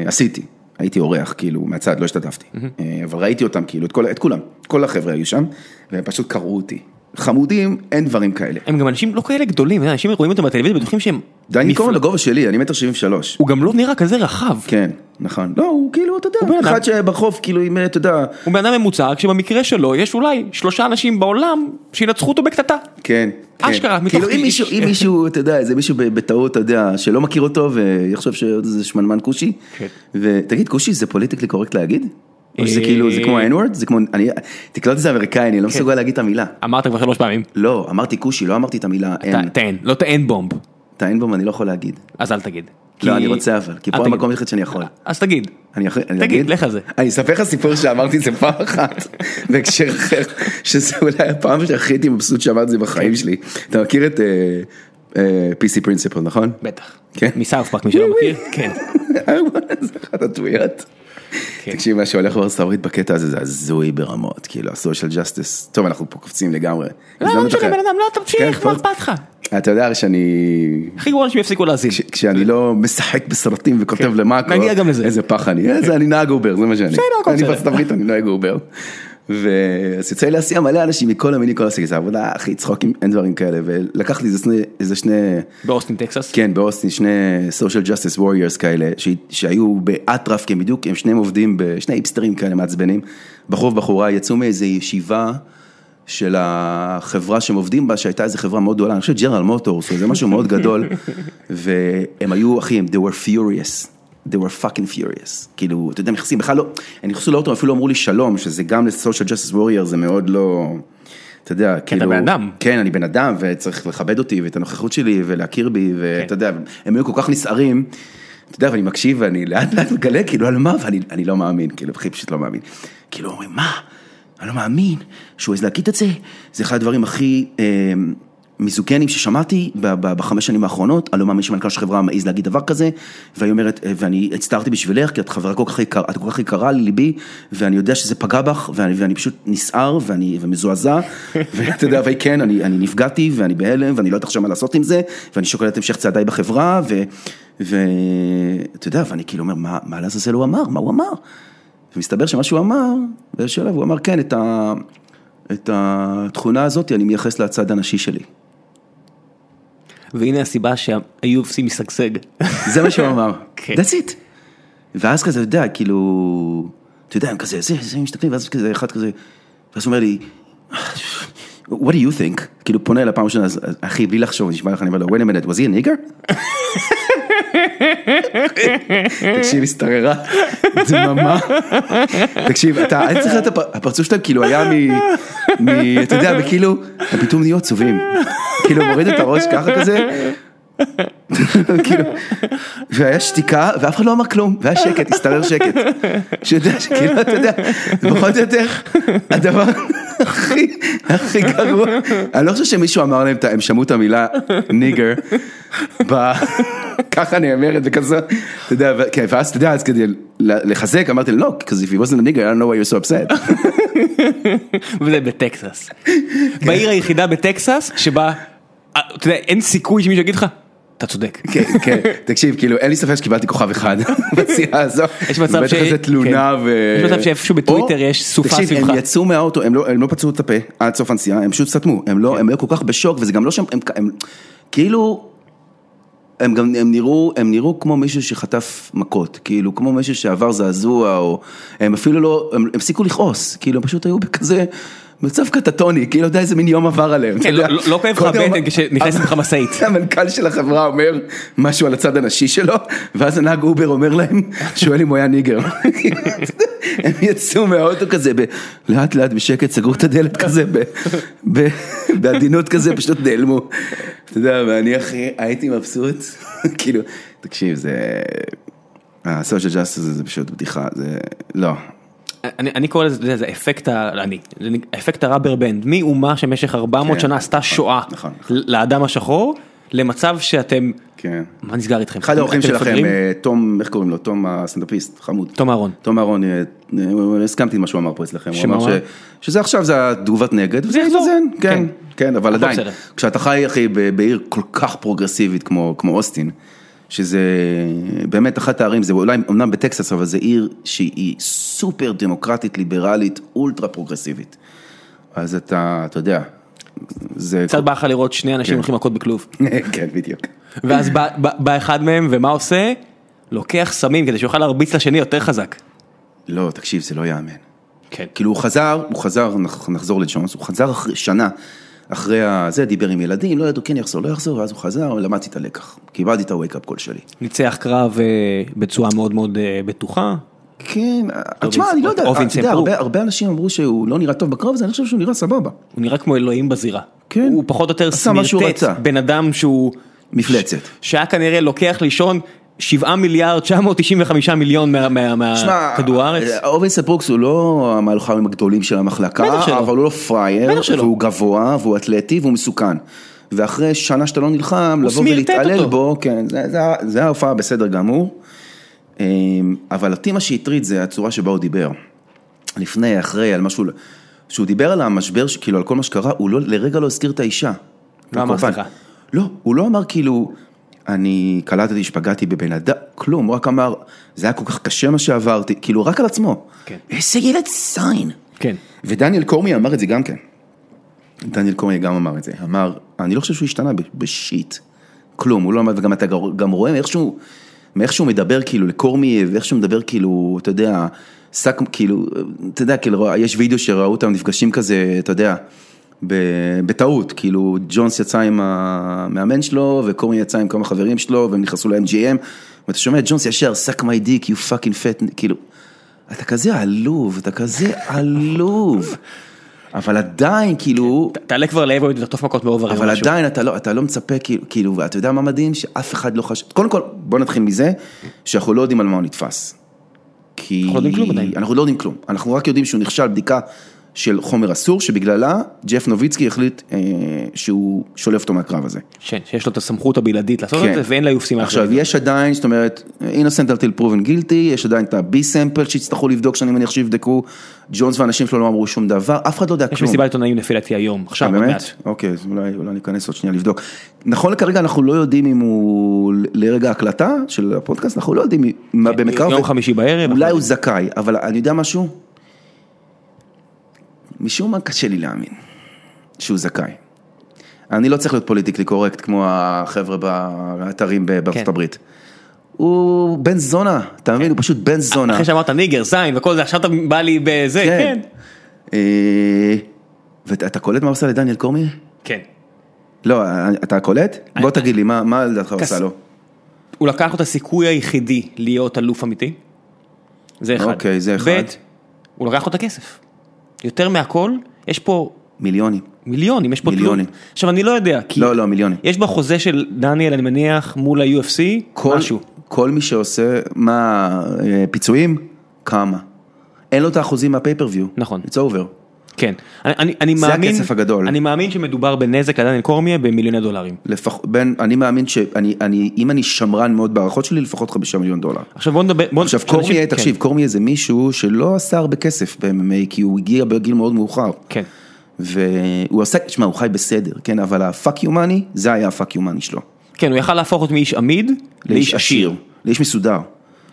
[SPEAKER 2] עשיתי, הייתי אורח, כאילו, מהצד, לא השתתפתי, אה, אבל ראיתי אותם, כאילו, את, כל, את כולם, כל החבר'ה היו שם, והם פשוט קראו אותי. חמודים, אין דברים כאלה.
[SPEAKER 1] הם גם אנשים לא כאלה גדולים, אנשים רואים אותם בטלוויזיה בטוחים שהם...
[SPEAKER 2] דני
[SPEAKER 1] נפלא-
[SPEAKER 2] קורן הגובה שלי, אני מטר שבעים ושלוש.
[SPEAKER 1] הוא גם לא נראה כזה רחב.
[SPEAKER 2] כן, נכון. לא, הוא כאילו, אתה
[SPEAKER 1] הוא בן אדם.
[SPEAKER 2] יודע, אחד שברחוב, כאילו, עם, אתה יודע,
[SPEAKER 1] הוא בן אדם ממוצע, רק שבמקרה שלו יש אולי שלושה אנשים בעולם שינצחו אותו בקטטה.
[SPEAKER 2] כן. כן.
[SPEAKER 1] אשכרה, מתוך
[SPEAKER 2] כאילו, אם
[SPEAKER 1] איש.
[SPEAKER 2] מישהו, אם מישהו, אתה יודע, איזה מישהו ב- בטעות, אתה יודע, שלא מכיר אותו, ויחשוב שזה שמנמן כושי,
[SPEAKER 1] כן.
[SPEAKER 2] ותגיד, כושי זה פוליטיקלי קורקט להגיד? או שזה
[SPEAKER 1] אה, כן.
[SPEAKER 2] כאילו, זה כמו ה-N-word? זה כמו, אני, תקלוט את זה אמריקאי, אני לא מסוגל להגיד את המילה.
[SPEAKER 1] אמרת כבר שלוש פעמים.
[SPEAKER 2] לא, אמרתי כושי, לא אמרתי את המילה N.
[SPEAKER 1] ת- תן, לא תן בומב.
[SPEAKER 2] את ה-N-בום אני לא יכול להגיד.
[SPEAKER 1] אז אל תגיד. כי-
[SPEAKER 2] לא, אני רוצה אבל, כי
[SPEAKER 1] אל
[SPEAKER 2] פה
[SPEAKER 1] תגיד.
[SPEAKER 2] המקום היחיד שאני יכול.
[SPEAKER 1] אז תגיד.
[SPEAKER 2] אני יכול, אני
[SPEAKER 1] תגיד, לך על זה.
[SPEAKER 2] אני אספר לך סיפור שאמרתי את זה פעם אחת, בהקשר אחר, שזה אולי הפעם שהכי הייתי מבסוט שאמרתי את זה
[SPEAKER 1] כן.
[SPEAKER 2] בחיים שלי. אתה מכיר את אה, אה, PC פרינסיפל, נכון?
[SPEAKER 1] בטח.
[SPEAKER 2] כן.
[SPEAKER 1] מסאוף פארק, מי שלא מכיר. כן.
[SPEAKER 2] זה אחת הטוויות.
[SPEAKER 1] כן.
[SPEAKER 2] תקשיב, מה שהולך בארצות הברית בקטע הזה זה הזוי ברמות, כאילו ה-social justice, טוב אנחנו פה קופצים לגמרי.
[SPEAKER 1] לא, לא
[SPEAKER 2] הזדמנות
[SPEAKER 1] משנה,
[SPEAKER 2] אחרת.
[SPEAKER 1] בן אדם, לא, תמשיך,
[SPEAKER 2] כן,
[SPEAKER 1] מה
[SPEAKER 2] פה-
[SPEAKER 1] אכפת לך?
[SPEAKER 2] אתה יודע שאני
[SPEAKER 1] הכי גרוע אנשים יפסיקו להאזין.
[SPEAKER 2] כש- כשאני לא משחק בסרטים וכותב למאקו,
[SPEAKER 1] כן. נגיע גם לזה.
[SPEAKER 2] איזה פח אני, איזה- אני נהג אובר, זה מה שאני,
[SPEAKER 1] בסדר, הכל
[SPEAKER 2] אני
[SPEAKER 1] בסדר.
[SPEAKER 2] בארצות הברית, אני נוהג אובר, ו- אז יוצא לי להסיע מלא אנשים מכל המיני, כל הסגל, זה עבודה הכי צחוקים, אין דברים כאלה, ולקח לי איזה שני, איזה שני,
[SPEAKER 1] באוסטין, טקסס.
[SPEAKER 2] כן, באוסטין, שני social justice warriors כאלה, ש- שהיו באטרף, כי הם בדיוק, הם שניהם עובדים, ב- שני היפסטרים כאלה מעצבנים, בחור ובחורה, יצאו מאיזה ישיבה. של החברה שהם עובדים בה, שהייתה איזו חברה מאוד גדולה, אני חושב ג'נרל מוטורס, זה משהו מאוד גדול, והם היו, אחי, הם, they were furious, they were fucking furious, כאילו, אתה יודע, הם נכנסים, בכלל לא, הם נכנסו לאוטו, הם אפילו לא אמרו לי שלום, שזה גם ל-social justice warrior, זה מאוד לא, אתה יודע, כאילו,
[SPEAKER 1] בן אדם.
[SPEAKER 2] כן, אני בן אדם, וצריך לכבד אותי, ואת הנוכחות שלי, ולהכיר בי,
[SPEAKER 1] כן.
[SPEAKER 2] ואתה יודע, הם היו כל כך נסערים. אתה יודע, ואני מקשיב, ואני לאט לאט מגלה, כאילו, על מה, ואני אני לא מאמין, כאילו, אחי פשוט לא מאמין. כאילו, אומרים, מה? אני לא מאמין שהוא העז להגיד את זה. זה אחד הדברים הכי אה, מיזוגנים ששמעתי ב- ב- בחמש שנים האחרונות. אני לא מאמין שמנכ"ל של חברה מעז להגיד דבר כזה. והיא אומרת, אה, ואני הצטערתי בשבילך, כי את חברה כל כך יקרה, את כל כך יקרה לליבי, ואני יודע שזה פגע בך, ואני, ואני פשוט נסער, ואני ומזועזע, ואתה יודע, והיא כן, אני, אני נפגעתי, ואני בהלם, ואני לא יודעת עכשיו מה לעשות עם זה, ואני שוקל את המשך צעדיי בחברה, ו- ואתה יודע, ואני כאילו אומר, מה, מה לעזאזל הוא אמר? מה הוא אמר? ומסתבר שמה שהוא אמר, באיזשהו שלב הוא אמר, כן, את, ה, את התכונה הזאת אני מייחס לצד הנשי שלי.
[SPEAKER 1] כן. והנה הסיבה שה-UFC משגשג.
[SPEAKER 2] זה מה שהוא אמר.
[SPEAKER 1] כן.
[SPEAKER 2] That's it. ואז כזה, אתה יודע, כאילו, אתה יודע, הם כזה, זה, זה, מסתכלים, ואז כזה, אחד כזה, ואז הוא אומר לי, What do you think? כאילו פונה לפעם ראשונה, אז אז, אחי, בלי לחשוב, נשמע לך, אני אומר לו, wait a minute, was he a nigger? תקשיב, השתררה, דממה. תקשיב, אתה, אני צריך לדעת, הפר- הפרצוף שלהם כאילו היה מ... מ- אתה יודע, וכאילו, הם פתאום נהיו עצובים. כאילו, מוריד את הראש ככה כזה, כאילו, והיה שתיקה, ואף אחד לא אמר כלום, והיה שקט, הסתרר שקט. שיודע שכאילו, אתה יודע, זה פחות או יותר, הדבר הכי, הכי גרוע, אני לא חושב שמישהו אמר להם, את ה- הם שמעו את המילה ניגר, ב- ככה נאמרת וכזו, אתה יודע, ו- כן, ואז אתה יודע, אז כדי ל- לחזק, אמרתי לו, לא, because if he wasn't a nigger, I don't know why you're so upset.
[SPEAKER 1] וזה בטקסס. בעיר היחידה בטקסס שבה, אה, אתה יודע, אין סיכוי שמישהו יגיד לך, אתה צודק.
[SPEAKER 2] כן, כן, תקשיב, כאילו, אין לי ספק שקיבלתי כוכב אחד בסיעה הזו.
[SPEAKER 1] יש מצב
[SPEAKER 2] בטח
[SPEAKER 1] ש-
[SPEAKER 2] איזה תלונה
[SPEAKER 1] כן.
[SPEAKER 2] ו...
[SPEAKER 1] יש מצב שאיפשהו בטוויטר
[SPEAKER 2] או-
[SPEAKER 1] יש סופה
[SPEAKER 2] תקשיב,
[SPEAKER 1] סביבך.
[SPEAKER 2] הם יצאו מהאוטו, הם לא- הם לא פצעו את הפה עד סוף הנסיעה, הם פשוט סתמו, הם
[SPEAKER 1] כן.
[SPEAKER 2] לא, הם היו כל כך בשוק, וזה גם לא שם, הם- הם כאילו... הם גם, הם נראו, הם נראו כמו מישהו שחטף מכות, כאילו, כמו מישהו שעבר זעזוע, או הם אפילו לא, הם הם הפסיקו לכעוס, כאילו, הם פשוט היו בכזה מצב קטטוני, כאילו, אתה יודע איזה מין יום עבר עליהם. אתה
[SPEAKER 1] כן,
[SPEAKER 2] יודע.
[SPEAKER 1] לא- לא כואב לך
[SPEAKER 2] קודם-
[SPEAKER 1] הבטן כשנכנסת לך משאית.
[SPEAKER 2] המנכ"ל של החברה אומר משהו על הצד הנשי שלו, ואז הנהג אובר אומר להם, שואל אם הוא היה ניגר. הם יצאו מהאוטו כזה, ב- לאט לאט בשקט, סגרו את הדלת כזה, ב- ב- בעדינות כזה, פשוט נעלמו. אתה יודע, ואני אחי, הייתי מבסוט, כאילו, תקשיב, זה... ה-social justice הזה זה פשוט בדיחה, זה... לא.
[SPEAKER 1] אני, אני קורא לזה, אתה יודע, זה אפקט, ה- אני, זה נק- אפקט הראבר בנד, מי אומה שבמשך 400
[SPEAKER 2] כן,
[SPEAKER 1] שנה עשתה שואה
[SPEAKER 2] נכון, נכון.
[SPEAKER 1] ל- לאדם השחור, למצב שאתם,
[SPEAKER 2] כן.
[SPEAKER 1] מה נסגר איתכם?
[SPEAKER 2] אחד האורחים
[SPEAKER 1] אתם
[SPEAKER 2] שלכם,
[SPEAKER 1] מפגרים?
[SPEAKER 2] אה, תום, איך קוראים לו? תום הסטנדאפיסט, חמוד.
[SPEAKER 1] תום אהרון.
[SPEAKER 2] תום אהרון, אה, אה, הסכמתי עם מה שהוא אמר פה אצלכם, הוא
[SPEAKER 1] שמה
[SPEAKER 2] אמר
[SPEAKER 1] הוא אמר?
[SPEAKER 2] ש- שזה עכשיו זה התגובת נגד, וזה
[SPEAKER 1] יחזור.
[SPEAKER 2] יתאזן,
[SPEAKER 1] כן.
[SPEAKER 2] כן, כן, אבל
[SPEAKER 1] הכל
[SPEAKER 2] עדיין,
[SPEAKER 1] בסדר.
[SPEAKER 2] כשאתה חי אחי ב- בעיר כל כך פרוגרסיבית כמו כמו אוסטין, שזה באמת אחת הערים, זה אולי אמנם בטקסס, אבל זו עיר שהיא סופר דמוקרטית, ליברלית, אולטרה פרוגרסיבית. אז אתה, אתה יודע, זה...
[SPEAKER 3] קצת בא לך לראות שני אנשים הולכים מכות בכלוב.
[SPEAKER 2] כן, בדיוק.
[SPEAKER 3] ואז בא- בא בא אחד מהם, ומה עושה? לוקח סמים כדי שיוכל להרביץ לשני יותר חזק.
[SPEAKER 2] לא, תקשיב, זה לא יאמן.
[SPEAKER 1] כן.
[SPEAKER 2] כאילו הוא חזר, הוא חזר, נח- נחזור לג'ונס, הוא חזר אחרי שנה אחרי ה- זה, דיבר עם ילדים, לא ידעו כן יחזור, לא יחזור, ואז הוא חזר, למדתי את הלקח. קיבלתי את ה-wake-up call שלי.
[SPEAKER 3] ניצח קרב אה, בצורה מאוד מאוד אה, בטוחה.
[SPEAKER 2] כן, תשמע, אני לא יודע,
[SPEAKER 3] אובין
[SPEAKER 2] אתה יודע,
[SPEAKER 3] סמפרו.
[SPEAKER 2] הרבה- הרבה אנשים אמרו שהוא לא נראה טוב בקרב הזה, אני חושב שהוא נראה סבבה.
[SPEAKER 3] הוא נראה כמו אלוהים בזירה.
[SPEAKER 2] כן.
[SPEAKER 3] הוא פחות או יותר
[SPEAKER 2] עשה מה שהוא רצה.
[SPEAKER 3] סמרטט, בן אדם שהוא...
[SPEAKER 2] מפלצת.
[SPEAKER 3] ש- שהיה כנראה לוקח לישון 7 מיליארד 995 מיליון מה- מה-
[SPEAKER 2] תשמע,
[SPEAKER 3] מהכדור הארץ.
[SPEAKER 2] אה, אורן ספרוקס הוא לא המלחמים הגדולים של
[SPEAKER 3] בטח
[SPEAKER 2] המחלקה,
[SPEAKER 3] שלא.
[SPEAKER 2] אבל הוא לא פראייר,
[SPEAKER 3] בטח שלא.
[SPEAKER 2] והוא גבוה, והוא אתלטי, והוא מסוכן. ואחרי שנה שאתה לא נלחם, לבוא
[SPEAKER 3] סמרטט
[SPEAKER 2] ולהתעלל
[SPEAKER 3] אותו.
[SPEAKER 2] בו, כן, זה- זה- זה ההופעה בסדר גמור. אה, אבל אותי מה שהטריד זה הצורה שבה הוא דיבר. לפני, אחרי, על משהו, כשהוא דיבר על המשבר, ש- כאילו על כל מה שקרה, הוא לא, לרגע לא הזכיר את האישה.
[SPEAKER 3] לא אמר
[SPEAKER 2] הקורבן.
[SPEAKER 3] סליחה.
[SPEAKER 2] לא, הוא לא אמר כאילו, אני קלטתי שפגעתי בבן אדם, כלום, הוא רק אמר, זה היה כל כך קשה מה שעברתי, כאילו רק על עצמו.
[SPEAKER 3] כן.
[SPEAKER 2] איזה ילד סיין.
[SPEAKER 3] כן.
[SPEAKER 2] ודניאל קורמי אמר את זה גם כן. דניאל קורמי גם אמר את זה, אמר, אני לא חושב שהוא השתנה ב- בשיט, כלום, הוא לא אמר, וגם אתה גר- גם רואה מאיכשהו, מאיך שהוא מדבר כאילו לקורמי, ואיך שהוא מדבר כאילו, אתה יודע, שק, כאילו, אתה יודע, כאילו, יש וידאו שראו אותם נפגשים כזה, אתה יודע, ב- בטעות, כאילו, ג'ונס יצא עם המאמן שלו, וקורמי יצא עם כמה חברים שלו, והם נכנסו ל-MGM, ואתה שומע את ג'ונס ישר, suck my dick, you fucking fat, כאילו, אתה כזה עלוב, אתה כזה עלוב. אבל עדיין, כאילו,
[SPEAKER 3] תעלה כבר לאבו ותחטוף מכות באוברים.
[SPEAKER 2] אבל עדיין אתה לא, אתה לא מצפה, כאילו- כאילו, ואתה יודע מה מדהים? שאף אחד לא חשב, קודם כל, בוא נתחיל מזה, שאנחנו לא יודעים על מה הוא נתפס. כי...
[SPEAKER 3] אנחנו לא יודעים כלום עדיין.
[SPEAKER 2] אנחנו לא יודעים כלום, אנחנו רק יודעים שהוא נכשל בדיקה של חומר אסור, שבגללה ג'ף נוביצקי החליט אה, שהוא שולף אותו מהקרב הזה.
[SPEAKER 3] כן, שיש לו את הסמכות הבלעדית לעשות את
[SPEAKER 2] כן.
[SPEAKER 3] לא, זה, ואין ליופסים
[SPEAKER 2] עכשיו, יש עדיין, זאת אומרת, innocent until proven guilty, יש עדיין את ה-B sample שיצטרכו לבדוק, שאני מניח שיבדקו, ג'ונס והאנשים שלו לא אמרו שום דבר, אף אחד לא יודע כלום.
[SPEAKER 3] יש מסיבת עיתונאים לפי דעתי היום, עכשיו
[SPEAKER 2] אה,
[SPEAKER 3] עוד
[SPEAKER 2] באמת?
[SPEAKER 3] מעט.
[SPEAKER 2] אוקיי, אז אולי, אולי ניכנס עוד שנייה לבדוק. נכון לכרגע אנחנו לא יודעים אם הוא, ל- לרגע ההקלטה של הפודקאסט, אנחנו לא יודעים מה באמת קרה.
[SPEAKER 3] כן, יום חמישי בערב.
[SPEAKER 2] אולי
[SPEAKER 3] אחרי
[SPEAKER 2] הוא
[SPEAKER 3] זה.
[SPEAKER 2] זכאי, אבל אני יודע משהו? משום מה קשה לי להאמין שהוא זכאי. אני לא צריך להיות פוליטיקלי קורקט כמו החבר'ה באתרים בארצות
[SPEAKER 3] כן.
[SPEAKER 2] הברית. הוא בן זונה, אתה מבין? הוא פשוט בן זונה.
[SPEAKER 3] אה, אחרי שאמרת ניגר, זין וכל זה, עכשיו אתה בא לי בזה, כן.
[SPEAKER 2] אה, ואתה אתה קולט מה עושה לדניאל קורמי?
[SPEAKER 3] כן.
[SPEAKER 2] לא, אתה קולט? בוא תגיד לי, מה מה לדעתך
[SPEAKER 3] כס-
[SPEAKER 2] עושה לו?
[SPEAKER 3] הוא לקח לו את הסיכוי היחידי להיות אלוף אמיתי. זה אחד.
[SPEAKER 2] אוקיי, זה אחד.
[SPEAKER 3] ב', הוא לקח לו את הכסף. יותר מהכל, יש פה
[SPEAKER 2] מיליונים.
[SPEAKER 3] מיליונים, יש פה
[SPEAKER 2] מיליונים.
[SPEAKER 3] תלות. עכשיו אני לא יודע, כי
[SPEAKER 2] לא, לא, מיליונים.
[SPEAKER 3] יש בחוזה של דניאל, אני מניח, מול ה-UFC,
[SPEAKER 2] כל-
[SPEAKER 3] משהו.
[SPEAKER 2] כל מי שעושה, מה, אה, פיצויים? כמה. אין לו את האחוזים מהפייפריוויו.
[SPEAKER 3] נכון.
[SPEAKER 2] It's over.
[SPEAKER 3] כן. אני, אני, אני
[SPEAKER 2] זה
[SPEAKER 3] מאמין,
[SPEAKER 2] הכסף הגדול.
[SPEAKER 3] אני מאמין שמדובר בנזק לדניאל קורמיה במיליוני דולרים.
[SPEAKER 2] לפח... בין, אני מאמין שאני, אני, אם אני שמרן מאוד בהערכות שלי, לפחות חמישה מיליון דולר.
[SPEAKER 3] עכשיו כן. בוא נדבר, בוא,
[SPEAKER 2] עכשיו
[SPEAKER 3] שאנשים-
[SPEAKER 2] קורמיה, תקשיב, קורמיה זה מישהו שלא עשה הרבה כסף ב-MMA, כי הוא הגיע בגיל מאוד מאוחר.
[SPEAKER 3] כן, כן.
[SPEAKER 2] והוא עשה, תשמע, הוא חי בסדר, כן, אבל ה-fuck you money, זה היה ה-fuck you money שלו.
[SPEAKER 3] כן, הוא יכל להפוך אותו מאיש עמיד לאיש עשיר.
[SPEAKER 2] לאיש מסודר.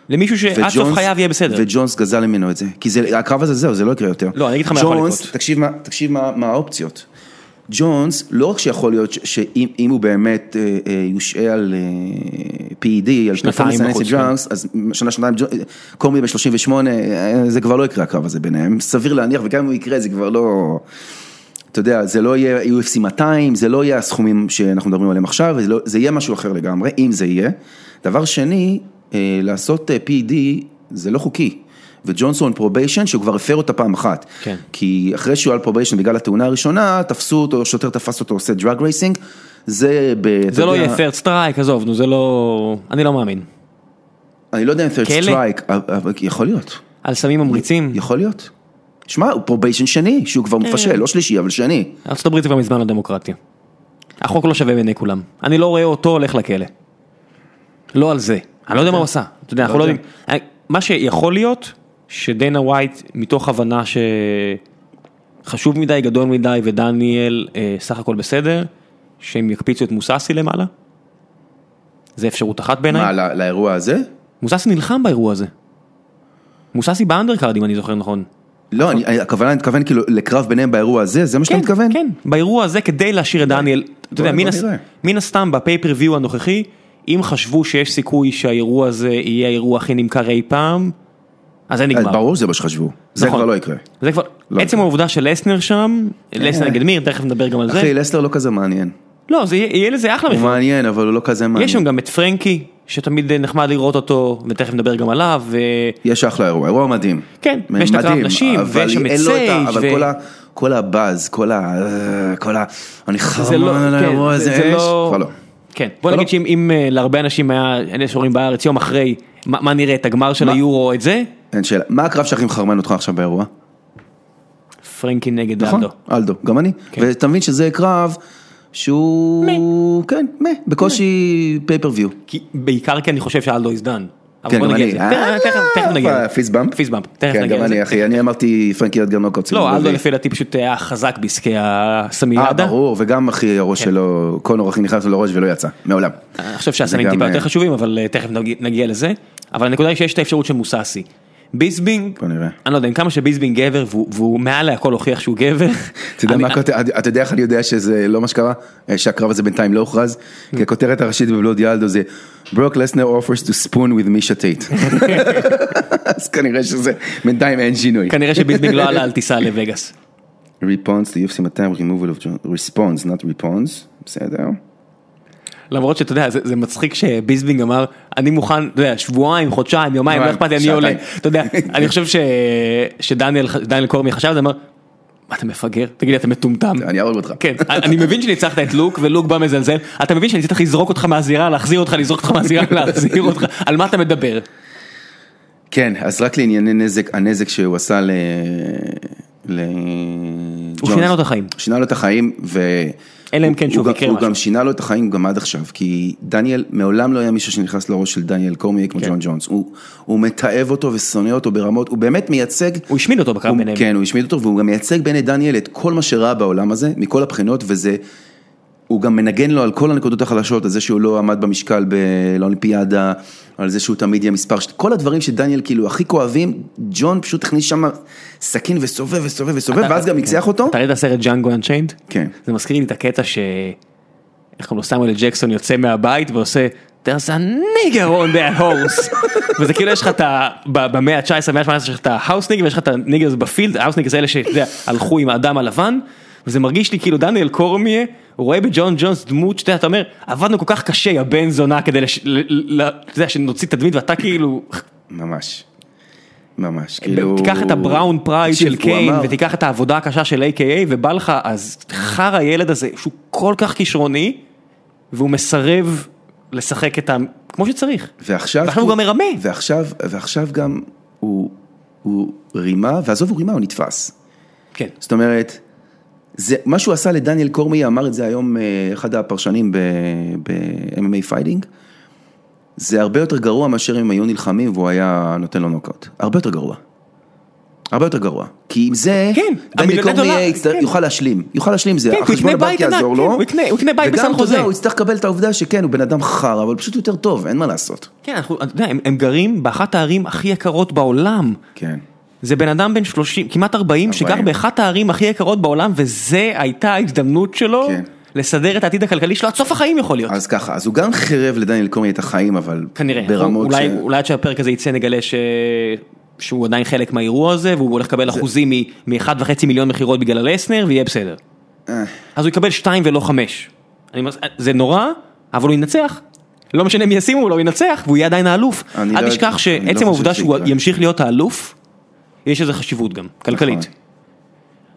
[SPEAKER 3] למישהו שעד סוף
[SPEAKER 2] וג'ונס-
[SPEAKER 3] חייו יהיה בסדר.
[SPEAKER 2] וג'ונס גזל ממנו את זה, כי זה, הקרב הזה זהו, זה לא יקרה יותר.
[SPEAKER 3] לא, אני אגיד לך מה יכול
[SPEAKER 2] ג'ונס,
[SPEAKER 3] לקרות.
[SPEAKER 2] תקשיב, מה, תקשיב מה, מה האופציות. ג'ונס, לא רק שיכול להיות ש- שאם אם הוא באמת אה, אה, יושעה על אה, PED, על
[SPEAKER 3] שנתיים כן.
[SPEAKER 2] Performance
[SPEAKER 3] בחוץ,
[SPEAKER 2] Enhanced Drugs, אז שנה, שנתיים, ג'ו- קומי ב-38, זה כבר לא יקרה הקרב הזה ביניהם, סביר להניח, וגם אם הוא יקרה זה כבר לא... אתה יודע, זה לא יהיה UFC 200, זה לא יהיה הסכומים שאנחנו מדברים עליהם עכשיו, זה, לא, זה יהיה משהו אחר לגמרי, אם זה יהיה. דבר שני, אה, לעשות אה, PED זה לא חוקי. וג'ונסון פרוביישן, שהוא כבר הפר אותה פעם אחת.
[SPEAKER 3] כן.
[SPEAKER 2] כי אחרי שהוא על פרוביישן בגלל התאונה הראשונה, תפסו אותו, שוטר תפס אותו עושה דרג רייסינג, זה ב... אתה
[SPEAKER 3] זה לא
[SPEAKER 2] יודע,
[SPEAKER 3] יהיה פרט סטרייק, עזוב, נו, זה לא... אני לא מאמין.
[SPEAKER 2] אני לא יודע אם third
[SPEAKER 3] כלא?
[SPEAKER 2] strike, אבל- אבל יכול להיות,
[SPEAKER 3] על סמים ממריצים,
[SPEAKER 2] יכול להיות. שמע, הוא פרוביישן שני, שהוא כבר
[SPEAKER 3] כן.
[SPEAKER 2] מפשל, לא שלישי, אבל שני.
[SPEAKER 3] ארה"ב זה כבר מזמן לא דמוקרטיה. החוק לא שווה בעיני כולם. אני לא רואה אותו הולך לכלא. לא על זה. אני לא יודע מה הוא עשה. אתה יודע, אנחנו לא
[SPEAKER 2] יודע.
[SPEAKER 3] יודעים. אני- מה שיכול להיות, שדנה ווייט, מתוך הבנה שחשוב מדי, גדול מדי, ודניאל אה, סך הכל בסדר, שהם יקפיצו את מוססי למעלה. זה אפשרות אחת בעיניי.
[SPEAKER 2] מה, לא- לאירוע הזה?
[SPEAKER 3] מוססי נלחם באירוע הזה. מוססי באנדרקארד אם אני זוכר נכון.
[SPEAKER 2] לא, אני, הכוונה, אני מתכוון כאילו לקרב ביניהם באירוע הזה, זה מה שאתה
[SPEAKER 3] כן,
[SPEAKER 2] מתכוון?
[SPEAKER 3] כן, באירוע הזה כדי להשאיר את דניאל, אתה יודע,
[SPEAKER 2] בוא
[SPEAKER 3] מן הס-
[SPEAKER 2] לא, נראה.
[SPEAKER 3] מן הסתם בפייפריוויו הנוכחי, אם חשבו שיש סיכוי שהאירוע הזה יהיה האירוע הכי נמכר אי פעם, אז זה
[SPEAKER 2] אז
[SPEAKER 3] נגמר.
[SPEAKER 2] אה, ברור שזה מה שחשבו, זה
[SPEAKER 3] נכון.
[SPEAKER 2] כבר לא יקרה.
[SPEAKER 3] זה כבר,
[SPEAKER 2] לא. אה,
[SPEAKER 3] עצם העובדה שלסנר שם, לסנר נגד מיר, תכף נדבר גם על זה.
[SPEAKER 2] אחי, לסלר לא כזה מעניין.
[SPEAKER 3] לא, זה יהיה יהיה לזה אחלה
[SPEAKER 2] הוא
[SPEAKER 3] מפעל.
[SPEAKER 2] מעניין, אבל הוא לא כזה מעניין.
[SPEAKER 3] יש שם גם את פרנקי, שתמיד נחמד לראות אותו, ותכף נדבר גם עליו, וכן,
[SPEAKER 2] יש אחלה אירוע, אירוע מדהים.
[SPEAKER 3] כן, ויש את הקרב
[SPEAKER 2] מדהים,
[SPEAKER 3] נשים,
[SPEAKER 2] אבל
[SPEAKER 3] ויש שם את
[SPEAKER 2] אין לו ה-
[SPEAKER 3] סייג',
[SPEAKER 2] אבל כל ה- כל הבאז, כל ה... אה, כל ה... אני
[SPEAKER 3] לא-
[SPEAKER 2] חרמן על
[SPEAKER 3] כן,
[SPEAKER 2] האירוע
[SPEAKER 3] זה-
[SPEAKER 2] הזה,
[SPEAKER 3] זה
[SPEAKER 2] יש?
[SPEAKER 3] לא-
[SPEAKER 2] כבר לא.
[SPEAKER 3] כן, בוא
[SPEAKER 2] לא.
[SPEAKER 3] נגיד שאם אם, אה, להרבה אנשים היה, אלה שרואים בארץ יום אחרי, מה מה נראה, את הגמר של
[SPEAKER 2] מה?
[SPEAKER 3] היורו, את זה?
[SPEAKER 2] אין שאלה. מה הקרב שהכי מחרמן אותך עכשיו באירוע?
[SPEAKER 3] פרנקי נגד
[SPEAKER 2] נכון?
[SPEAKER 3] אלדו.
[SPEAKER 2] אלדו, גם אני.
[SPEAKER 3] כן.
[SPEAKER 2] ואתה מבין שזה קרב שהוא... כן, מה. בקושי פייפריוויו.
[SPEAKER 3] כי- בעיקר כי אני חושב שאלדו הזדן. אבל
[SPEAKER 2] כן,
[SPEAKER 3] בוא
[SPEAKER 2] גם
[SPEAKER 3] נגיע
[SPEAKER 2] אני.
[SPEAKER 3] לזה.
[SPEAKER 2] אה,
[SPEAKER 3] תכף- תכף- תכף נגיע לזה.
[SPEAKER 2] פיסבאמפ?
[SPEAKER 3] פיסבאמפ, תכף
[SPEAKER 2] כן,
[SPEAKER 3] נגיע
[SPEAKER 2] גם
[SPEAKER 3] לזה.
[SPEAKER 2] אני, אחי. אני אמרתי פרנקי עד גנוקאוט. סיבוב
[SPEAKER 3] לא, אלדו
[SPEAKER 2] רביעי.
[SPEAKER 3] לפי דעתי פשוט היה חזק בעסקי
[SPEAKER 2] אה,
[SPEAKER 3] הסמיאדה.
[SPEAKER 2] ברור, וגם אחי,
[SPEAKER 3] כן.
[SPEAKER 2] הראש שלו, קונור אחי נכנס לו לראש ולא יצא, מעולם.
[SPEAKER 3] אני חושב
[SPEAKER 2] זה
[SPEAKER 3] שהסנים
[SPEAKER 2] גם,
[SPEAKER 3] אה, טיפה יותר
[SPEAKER 2] אה,
[SPEAKER 3] חשובים, אבל אה, תכף נגיע- נגיע לזה. אבל הנקודה היא שיש את האפשרות של מוססי. ביסבינג,
[SPEAKER 2] בוא נראה.
[SPEAKER 3] אני לא יודע, עם כמה שביסבינג גבר, והוא- והוא מעל להכל הוכיח שהוא גבר.
[SPEAKER 2] אתה יודע
[SPEAKER 3] אני-
[SPEAKER 2] מה הכותרת, אתה יודע איך אני יודע שזה לא מה שקרה? אה, שהקרב הזה בינתיים לא הוכרז?
[SPEAKER 3] Mm.
[SPEAKER 2] כי הכותרת הראשית בבלוד ילדו זה ברוק לסנר offers to spoon with מישה טייט. אז כנראה שזה, בינתיים אין שינוי.
[SPEAKER 3] כנראה שביסבינג לא עלה על טיסה לווגאס.
[SPEAKER 2] Response to UFC 200 removal of John- response, not response, בסדר.
[SPEAKER 3] למרות שאתה יודע, זה, זה מצחיק שביסבינג אמר, אני מוכן, אתה יודע, שבועיים, חודשיים, יומיים, לא
[SPEAKER 2] יומיים,
[SPEAKER 3] אכפת לי, אני עולה.
[SPEAKER 2] שעתיים.
[SPEAKER 3] אתה יודע, אני חושב ש... שדניאל דניאל קורמי חשב, זה אמר, מה אתה מפגר? תגיד לי, אתה מטומטם.
[SPEAKER 2] אני אהרוג אותך.
[SPEAKER 3] כן, אני- אני מבין שניצחת את לוק, ולוק בא מזלזל, אתה מבין שאני צריך לזרוק אותך מהזירה, להחזיר אותך, לזרוק אותך מהזירה, להחזיר אותך, על מה אתה מדבר?
[SPEAKER 2] כן, אז רק לענייני נזק, הנזק שהוא עשה ל... ל...
[SPEAKER 3] הוא שינה לו את החיים.
[SPEAKER 2] שינה לו את החיים, ו...
[SPEAKER 3] אלא אם כן
[SPEAKER 2] הוא-
[SPEAKER 3] שוב
[SPEAKER 2] הוא גם-
[SPEAKER 3] יקרה
[SPEAKER 2] הוא
[SPEAKER 3] משהו.
[SPEAKER 2] גם שינה לו את החיים גם עד עכשיו, כי דניאל, מעולם לא היה מישהו שנכנס לראש של דניאל קורמי
[SPEAKER 3] כן.
[SPEAKER 2] כמו ג'ון ג'ונס. הוא- הוא מתעב אותו ושונא אותו ברמות, הוא באמת מייצג...
[SPEAKER 3] הוא השמיד אותו בקרב
[SPEAKER 2] הוא-
[SPEAKER 3] ביניהם.
[SPEAKER 2] כן, הוא השמיד אותו, והוא גם מייצג בעיני דניאל את כל מה שרע בעולם הזה, מכל הבחינות, וזה... הוא גם מנגן לו על כל הנקודות החלשות, על זה שהוא לא עמד במשקל ב- לאולימפיאדה, על זה שהוא תמיד יהיה מספר, ש- כל הדברים שדניאל כאילו הכי כואבים, ג'ון פשוט הכניס שם סכין וסובב וסובב וסובב, ואז גם ניצח אותו.
[SPEAKER 3] אתה ראית את הסרט ג'אנגו אנצ'יינד?
[SPEAKER 2] כן.
[SPEAKER 3] זה מזכיר לי את הקטע ש... איך קוראים לו? סמואל ג'קסון יוצא מהבית ועושה there's a nigger on that horse וזה כאילו יש לך את ה... ב- במאה ה-19, במאה ה-18 יש לך את ההאוס ניגר ויש לך את הניגר בפילד, ההאוס ניגר זה אלה שאתה יודע, הלכו עם האדם הלבן וזה מרגיש לי כאילו דניאל קורמיה הוא רואה בג'ון ג'ונס דמות שאתה יודע, אתה אומר עבדנו כל כך קשה יא בן זונה כדי לש... ל... ל... אתה יודע, שנוציא תדמית ואתה כאילו
[SPEAKER 2] ממש. ממש, כאילו...
[SPEAKER 3] תיקח את הבראון פרייד
[SPEAKER 2] תקשיב,
[SPEAKER 3] של
[SPEAKER 2] הוא
[SPEAKER 3] קיין
[SPEAKER 2] אמר-
[SPEAKER 3] ותיקח את העבודה הקשה של איי-קיי ובא לך אז חר הילד הזה שהוא כל כך כישרוני והוא מסרב לשחק את ה... כמו שצריך.
[SPEAKER 2] ועכשיו...
[SPEAKER 3] ועכשיו הוא גם מרמה.
[SPEAKER 2] ועכשיו, ועכשיו גם הוא, הוא רימה, ועזוב הוא רימה, הוא נתפס.
[SPEAKER 3] כן.
[SPEAKER 2] זאת אומרת, זה, מה שהוא עשה לדניאל קורמי, אמר את זה היום אה, אחד הפרשנים ב-MMA פיידינג, זה הרבה יותר גרוע מאשר אם היו נלחמים והוא היה נותן לו נוקאוט. הרבה יותר גרוע. הרבה יותר גרוע. כי עם זה,
[SPEAKER 3] כן,
[SPEAKER 2] דניאל
[SPEAKER 3] המיליון
[SPEAKER 2] קורמי
[SPEAKER 3] דולר,
[SPEAKER 2] יצטר-
[SPEAKER 3] כן.
[SPEAKER 2] יוכל להשלים. יוכל להשלים, זה
[SPEAKER 3] כן, הוא
[SPEAKER 2] החשבון
[SPEAKER 3] יקנה
[SPEAKER 2] הבנק
[SPEAKER 3] בית ענק,
[SPEAKER 2] יעזור
[SPEAKER 3] כן,
[SPEAKER 2] לו.
[SPEAKER 3] הוא יקנה- הוא יקנה בית בסן
[SPEAKER 2] וגם, אתה יודע,
[SPEAKER 3] חוזה.
[SPEAKER 2] הוא יצטרך לקבל את העובדה שכן, הוא בן אדם חרא, אבל פשוט יותר טוב, אין מה לעשות.
[SPEAKER 3] כן, אנחנו, אתה יודע, הם, הם גרים באחת הערים הכי יקרות בעולם.
[SPEAKER 2] כן.
[SPEAKER 3] זה בן אדם בן 30, כמעט 40, שגר
[SPEAKER 2] 40.
[SPEAKER 3] באחת הערים הכי יקרות בעולם וזה הייתה ההזדמנות שלו
[SPEAKER 2] כן.
[SPEAKER 3] לסדר את העתיד הכלכלי שלו עד סוף החיים יכול להיות.
[SPEAKER 2] אז ככה, אז הוא גם חירב לדניאל קורמי את החיים, אבל
[SPEAKER 3] כנראה,
[SPEAKER 2] ברמות
[SPEAKER 3] אולי,
[SPEAKER 2] ש...
[SPEAKER 3] אולי עד שהפרק הזה יצא נגלה ש... שהוא עדיין חלק מהאירוע הזה והוא הולך לקבל אחוזים מ-1.5 מיליון מכירות בגלל הלסנר ויהיה בסדר.
[SPEAKER 2] אה.
[SPEAKER 3] אז הוא יקבל 2 ולא 5. אני... מס- זה נורא, אבל הוא ינצח. לא משנה מי ישימו, הוא לא ינצח והוא יהיה עדיין האלוף.
[SPEAKER 2] אני
[SPEAKER 3] אל
[SPEAKER 2] לא-
[SPEAKER 3] תשכח
[SPEAKER 2] אני לא
[SPEAKER 3] שעצם
[SPEAKER 2] חושב
[SPEAKER 3] העובדה
[SPEAKER 2] שזה
[SPEAKER 3] שהוא
[SPEAKER 2] יקרה.
[SPEAKER 3] ימשיך להיות האלוף, יש לזה חשיבות גם, כלכלית.
[SPEAKER 2] נכון.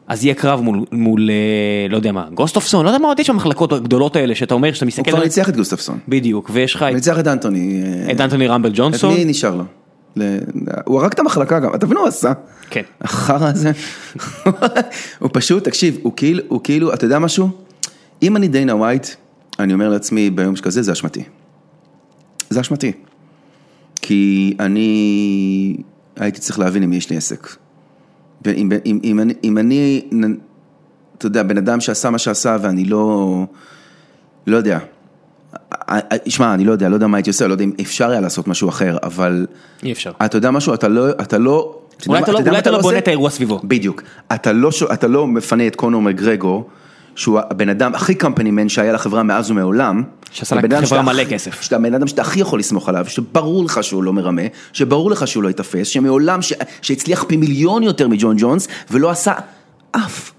[SPEAKER 3] אז יהיה קרב מול, מול אה, לא יודע מה, גוסטופסון, לא יודע מה עוד יש במחלקות הגדולות האלה שאתה אומר שאתה
[SPEAKER 2] הוא
[SPEAKER 3] מסתכל
[SPEAKER 2] כבר
[SPEAKER 3] על...
[SPEAKER 2] ניצח את גוסטפסון.
[SPEAKER 3] בדיוק, ויש לך את-
[SPEAKER 2] הוא ניצח את אנטוני. אה,
[SPEAKER 3] את אנטוני רמבל
[SPEAKER 2] את
[SPEAKER 3] ג'ונסון.
[SPEAKER 2] מי נשאר לו? ל- הוא הרג את המחלקה גם, אתה מבין מה הוא עשה?
[SPEAKER 3] כן.
[SPEAKER 2] החרא הזה. הוא פשוט, תקשיב, הוא כאילו, הוא כאילו, אתה יודע משהו? אם אני דיינה ווייט, אני אומר לעצמי ביום שכזה, זה אשמתי. זה אשמתי. כי אני הייתי צריך להבין עם מי יש לי עסק. ואם- אם, אם, אם, אני- אם אני, נ- אתה יודע, בן אדם שעשה מה שעשה ואני לא, לא יודע. אה, אה, שמע, אני לא יודע, לא יודע מה הייתי עושה, לא יודע אם אפשר היה לעשות משהו אחר, אבל
[SPEAKER 3] אי אפשר.
[SPEAKER 2] אתה יודע משהו, אתה לא, אתה לא, יודע
[SPEAKER 3] אולי
[SPEAKER 2] מה-
[SPEAKER 3] אתה לא-
[SPEAKER 2] יודע
[SPEAKER 3] אולי
[SPEAKER 2] מה
[SPEAKER 3] אתה לא בונה
[SPEAKER 2] עושה?
[SPEAKER 3] את האירוע סביבו.
[SPEAKER 2] בדיוק. אתה לא, ש- אתה לא מפנה את קונור מגרגו, שהוא הבן אדם הכי קמפנימן שהיה לחברה מאז ומעולם.
[SPEAKER 3] שעשה לה
[SPEAKER 2] הבן אדם
[SPEAKER 3] חברה
[SPEAKER 2] שאתה
[SPEAKER 3] מלא
[SPEAKER 2] הכי-
[SPEAKER 3] כסף.
[SPEAKER 2] שאתה הבן אדם שאתה הכי יכול לסמוך עליו, שברור לך שהוא לא מרמה, שברור לך שהוא לא ייתפס, שמעולם, ש... שהצליח פי מיליון יותר מג'ון ג'ונס, ולא עשה אף.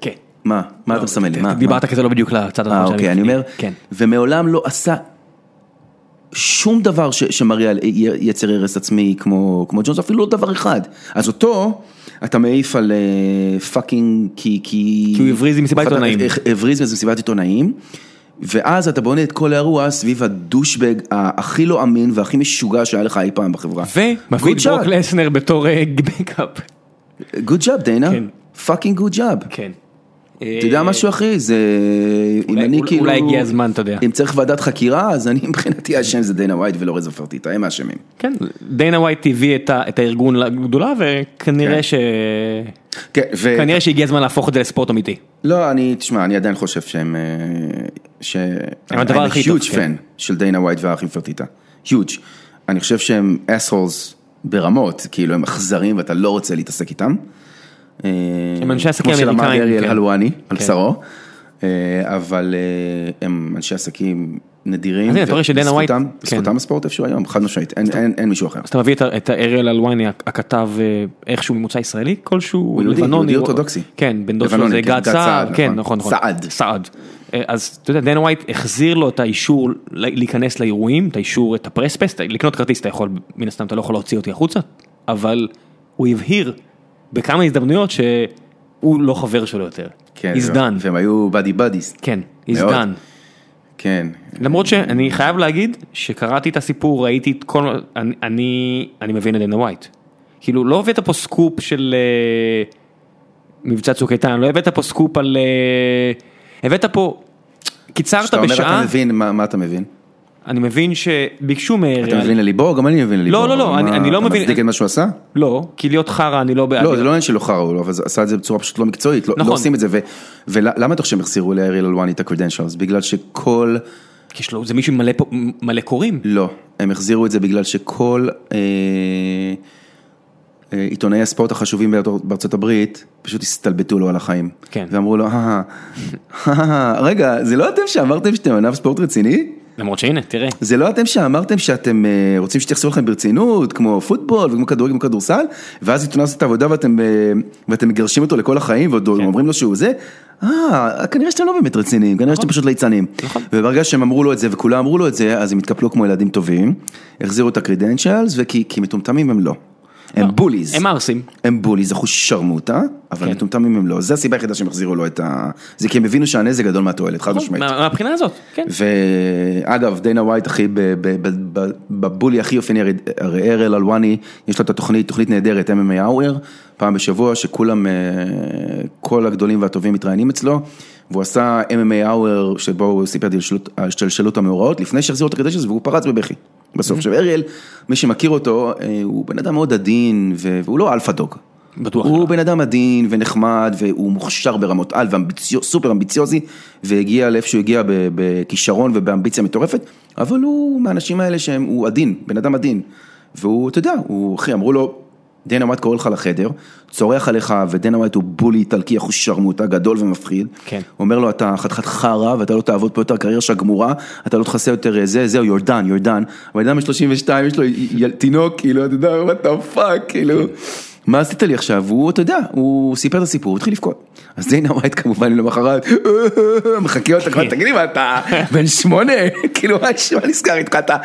[SPEAKER 3] כן.
[SPEAKER 2] מה? מה אתה מסמן לי? מה?
[SPEAKER 3] דיברת כזה לא בדיוק לצד
[SPEAKER 2] אה,
[SPEAKER 3] הנכון שאני-
[SPEAKER 2] אוקיי, אני אומר,
[SPEAKER 3] כן.
[SPEAKER 2] ומעולם לא עשה שום דבר ש, שמראה על י- יצר הרס עצמי כמו, כמו ג'ונס, אפילו לא דבר אחד. אז אותו, אתה מעיף על פאקינג, כי... כי
[SPEAKER 3] כי הוא הבריז במסיבת
[SPEAKER 2] אתה-
[SPEAKER 3] עיתונאים.
[SPEAKER 2] אה, הבריז במסיבת עיתונאים. ואז אתה בונה את כל האירוע סביב הדושבג הכי לא אמין והכי משוגע שהיה לך אי פעם בחברה.
[SPEAKER 3] ומביא את
[SPEAKER 2] Good
[SPEAKER 3] ברוק
[SPEAKER 2] job.
[SPEAKER 3] לסנר בתור אה, בקאפ.
[SPEAKER 2] Good job, דיינה.
[SPEAKER 3] כן.
[SPEAKER 2] פאקינג גוד ג'אב.
[SPEAKER 3] כן.
[SPEAKER 2] אתה יודע משהו אחי, זה... אם
[SPEAKER 3] אולי-
[SPEAKER 2] אני
[SPEAKER 3] אולי-
[SPEAKER 2] כאילו...
[SPEAKER 3] אולי הגיע הזמן, אתה יודע.
[SPEAKER 2] אם צריך ועדת חקירה, אז אני מבחינתי האשם זה דיינה ווייט ולא רזו פרטיטה, הם האשמים.
[SPEAKER 3] כן, דיינה ווייט הביא את ה- את הארגון לגדולה וכנראה
[SPEAKER 2] כן.
[SPEAKER 3] ש...
[SPEAKER 2] כן, ו...
[SPEAKER 3] כנראה שהגיע הזמן להפוך את זה לספורט אמיתי.
[SPEAKER 2] לא, אני, תשמע, אני עדיין חושב שהם... אה, ש...
[SPEAKER 3] הם הדבר הכי טוב,
[SPEAKER 2] אני huge
[SPEAKER 3] כן.
[SPEAKER 2] fan של דיינה ווייט והאחים פרטיטה. huge. אני חושב שהם אסהולס ברמות, כאילו הם אכזרים ואתה לא רוצה להתעסק איתם. אה,
[SPEAKER 3] הם אנשי עסקים
[SPEAKER 2] כמו
[SPEAKER 3] אמריקאים,
[SPEAKER 2] שאמר אריאל
[SPEAKER 3] כן.
[SPEAKER 2] הלואני על
[SPEAKER 3] כן.
[SPEAKER 2] בשרו. אה, אבל אה, הם אנשי עסקים נדירים,
[SPEAKER 3] אז הנה, אתה רואה שדנה ווייט-
[SPEAKER 2] ובזכותם-
[SPEAKER 3] כן.
[SPEAKER 2] בזכותם הספורט איפשהו היום, חד משמעית, אין- אין אין מישהו אחר.
[SPEAKER 3] אז אתה מביא את ה- את האריאל אלואני הכתב אה, איכשהו ממוצא ישראלי כלשהו,
[SPEAKER 2] הוא יהודי,
[SPEAKER 3] לבנוני,
[SPEAKER 2] יהודי
[SPEAKER 3] הוא-
[SPEAKER 2] אורתודוקסי.
[SPEAKER 3] כן, בן דוד שלו
[SPEAKER 2] לבנוני,
[SPEAKER 3] זה
[SPEAKER 2] כן,
[SPEAKER 3] גד
[SPEAKER 2] גד
[SPEAKER 3] סעד,
[SPEAKER 2] סעד,
[SPEAKER 3] כן
[SPEAKER 2] נכון.
[SPEAKER 3] נכון, נכון,
[SPEAKER 2] סעד.
[SPEAKER 3] סעד. אה, אז אתה יודע, דנה ווייט החזיר לו את האישור ל- להיכנס לאירועים, את האישור, את הפרספס, את ה- לקנות כרטיס אתה יכול, מן הסתם אתה לא יכול להוציא אותי החוצה, אבל הוא הבהיר בכמה הזדמנויות שהוא לא חבר שלו יותר,
[SPEAKER 2] כן,
[SPEAKER 3] he's
[SPEAKER 2] וה-
[SPEAKER 3] done,
[SPEAKER 2] והם היו באדי באדיס.
[SPEAKER 3] כן, he's
[SPEAKER 2] מאוד.
[SPEAKER 3] done.
[SPEAKER 2] כן.
[SPEAKER 3] למרות שאני חייב להגיד שקראתי את הסיפור ראיתי את כל אני אני, אני מבין את דנה ווייט. כאילו לא הבאת פה סקופ של אה, מבצע צוק איתן לא הבאת פה סקופ על אה, הבאת פה קיצרת
[SPEAKER 2] כשאתה אומר
[SPEAKER 3] בשעה
[SPEAKER 2] אתה מבין, מה מה אתה מבין?
[SPEAKER 3] אני מבין שביקשו
[SPEAKER 2] אתה
[SPEAKER 3] מאריאל
[SPEAKER 2] מבין לליבו? גם אני מבין לליבו.
[SPEAKER 3] לא, לא, לא,
[SPEAKER 2] אבל
[SPEAKER 3] אני-
[SPEAKER 2] מה,
[SPEAKER 3] אני לא מבין-
[SPEAKER 2] אתה מצדיק את מה שהוא עשה?
[SPEAKER 3] לא כי להיות חרא אני לא בעד
[SPEAKER 2] לא, זה לא עניין שלא חרא, הוא לא- אבל זה- עשה את זה בצורה פשוט לא מקצועית, לא לא
[SPEAKER 3] נכון.
[SPEAKER 2] עושים את זה. ו- ולמה אתה חושב שהם החסירו לאריאל אלואני את הקרדנשלס? בגלל שכל...
[SPEAKER 3] כי יש לו זה מישהו עם מלא פה- מלא קוראים
[SPEAKER 2] לא, הם החזירו את זה בגלל שכל אה, אה, עיתונאי הספורט החשובים ביותר בארצות הברית פשוט הסתלבטו לו על החיים.
[SPEAKER 3] כן.
[SPEAKER 2] ואמרו לו, "אה, אה, אה, רגע, זה לא אתם שאמרתם שאתם ענף ספורט רציני?
[SPEAKER 3] למרות שהנה תראה
[SPEAKER 2] זה לא אתם שאמרתם שאתם אה, רוצים שיתייחסו לכם ברצינות, כמו פוטבול וכמו כדורגל וכמו כדורסל, ואז עיתונאי עושה את העבודה ואתם, אה, ואתם מגרשים אותו לכל החיים ועוד
[SPEAKER 3] כן.
[SPEAKER 2] אומרים לו שהוא זה, אה, כנראה שאתם לא באמת רציניים, כנראה
[SPEAKER 3] נכון.
[SPEAKER 2] שאתם פשוט ליצנים. וברגע שהם אמרו לו את זה וכולם אמרו לו את זה, אז הם התקפלו כמו ילדים טובים, החזירו את הקרידנציאלס, וכי כי מטומטמים הם לא. הם בוליז.
[SPEAKER 3] הם כן. ערסים
[SPEAKER 2] הם בוליז, אחוז שרמוטה, אבל מטומטמים הם לא. זה הסיבה היחידה שהם החזירו לו את ה... זה כי הם הבינו שהנזק גדול מהתועלת, חד משמעית.
[SPEAKER 3] נכון, מה- מהבחינה הזאת כן.
[SPEAKER 2] ואגב, דיינה ווייט, אחי, ב- ב- ב- ב- בבולי הכי אופייני, הרי- הרי ארל אלואני, יש לו את התוכנית, תוכנית נהדרת, MMA Hour, פעם בשבוע, שכולם, אה, כל הגדולים והטובים מתראיינים אצלו, והוא עשה MMA Hour, שבו הוא סיפר את השתלשלות- ההשתלשלות המאורעות, לפני שהחזירו את הקדשת, והוא פרץ בבכי. בסוף, עכשיו אריאל, מי שמכיר אותו, אה, הוא בן אדם מאוד עדין, ו- והוא לא אלפא דוג.
[SPEAKER 3] בטוח
[SPEAKER 2] הוא
[SPEAKER 3] שלא.
[SPEAKER 2] בן אדם עדין ונחמד והוא מוכשר ברמות על וסופר אמביציוזי והגיע לאיפה שהוא הגיע ב- בכישרון ובאמביציה מטורפת, אבל הוא מהאנשים האלה שהם, הוא עדין, בן אדם עדין. והוא, אתה יודע, הוא, אחי, אמרו לו, דנה ווייט קורא לך לחדר, צורח עליך ודנה ווייט הוא בולי איטלקי, אחוז שרמוטה גדול ומפחיד.
[SPEAKER 3] כן.
[SPEAKER 2] אומר לו, אתה חתיכת חרא ואתה לא תעבוד פה יותר קריירה שלך גמורה, אתה לא תכסה יותר זה, זהו, you're done, you're done. הבן אדם ב-32, יש לו יל- תינוק, כאילו, אתה יודע, what the fuck, כאילו. מה עשית לי עכשיו? הוא, אתה יודע, הוא סיפר את הסיפור, הוא התחיל לבכות. אז דיינה ווייט כמובן למחרת, מחכה אותה כבר, תגיד לי מה אתה, בן שמונה, כאילו מה מה נזכר איתך, אתה,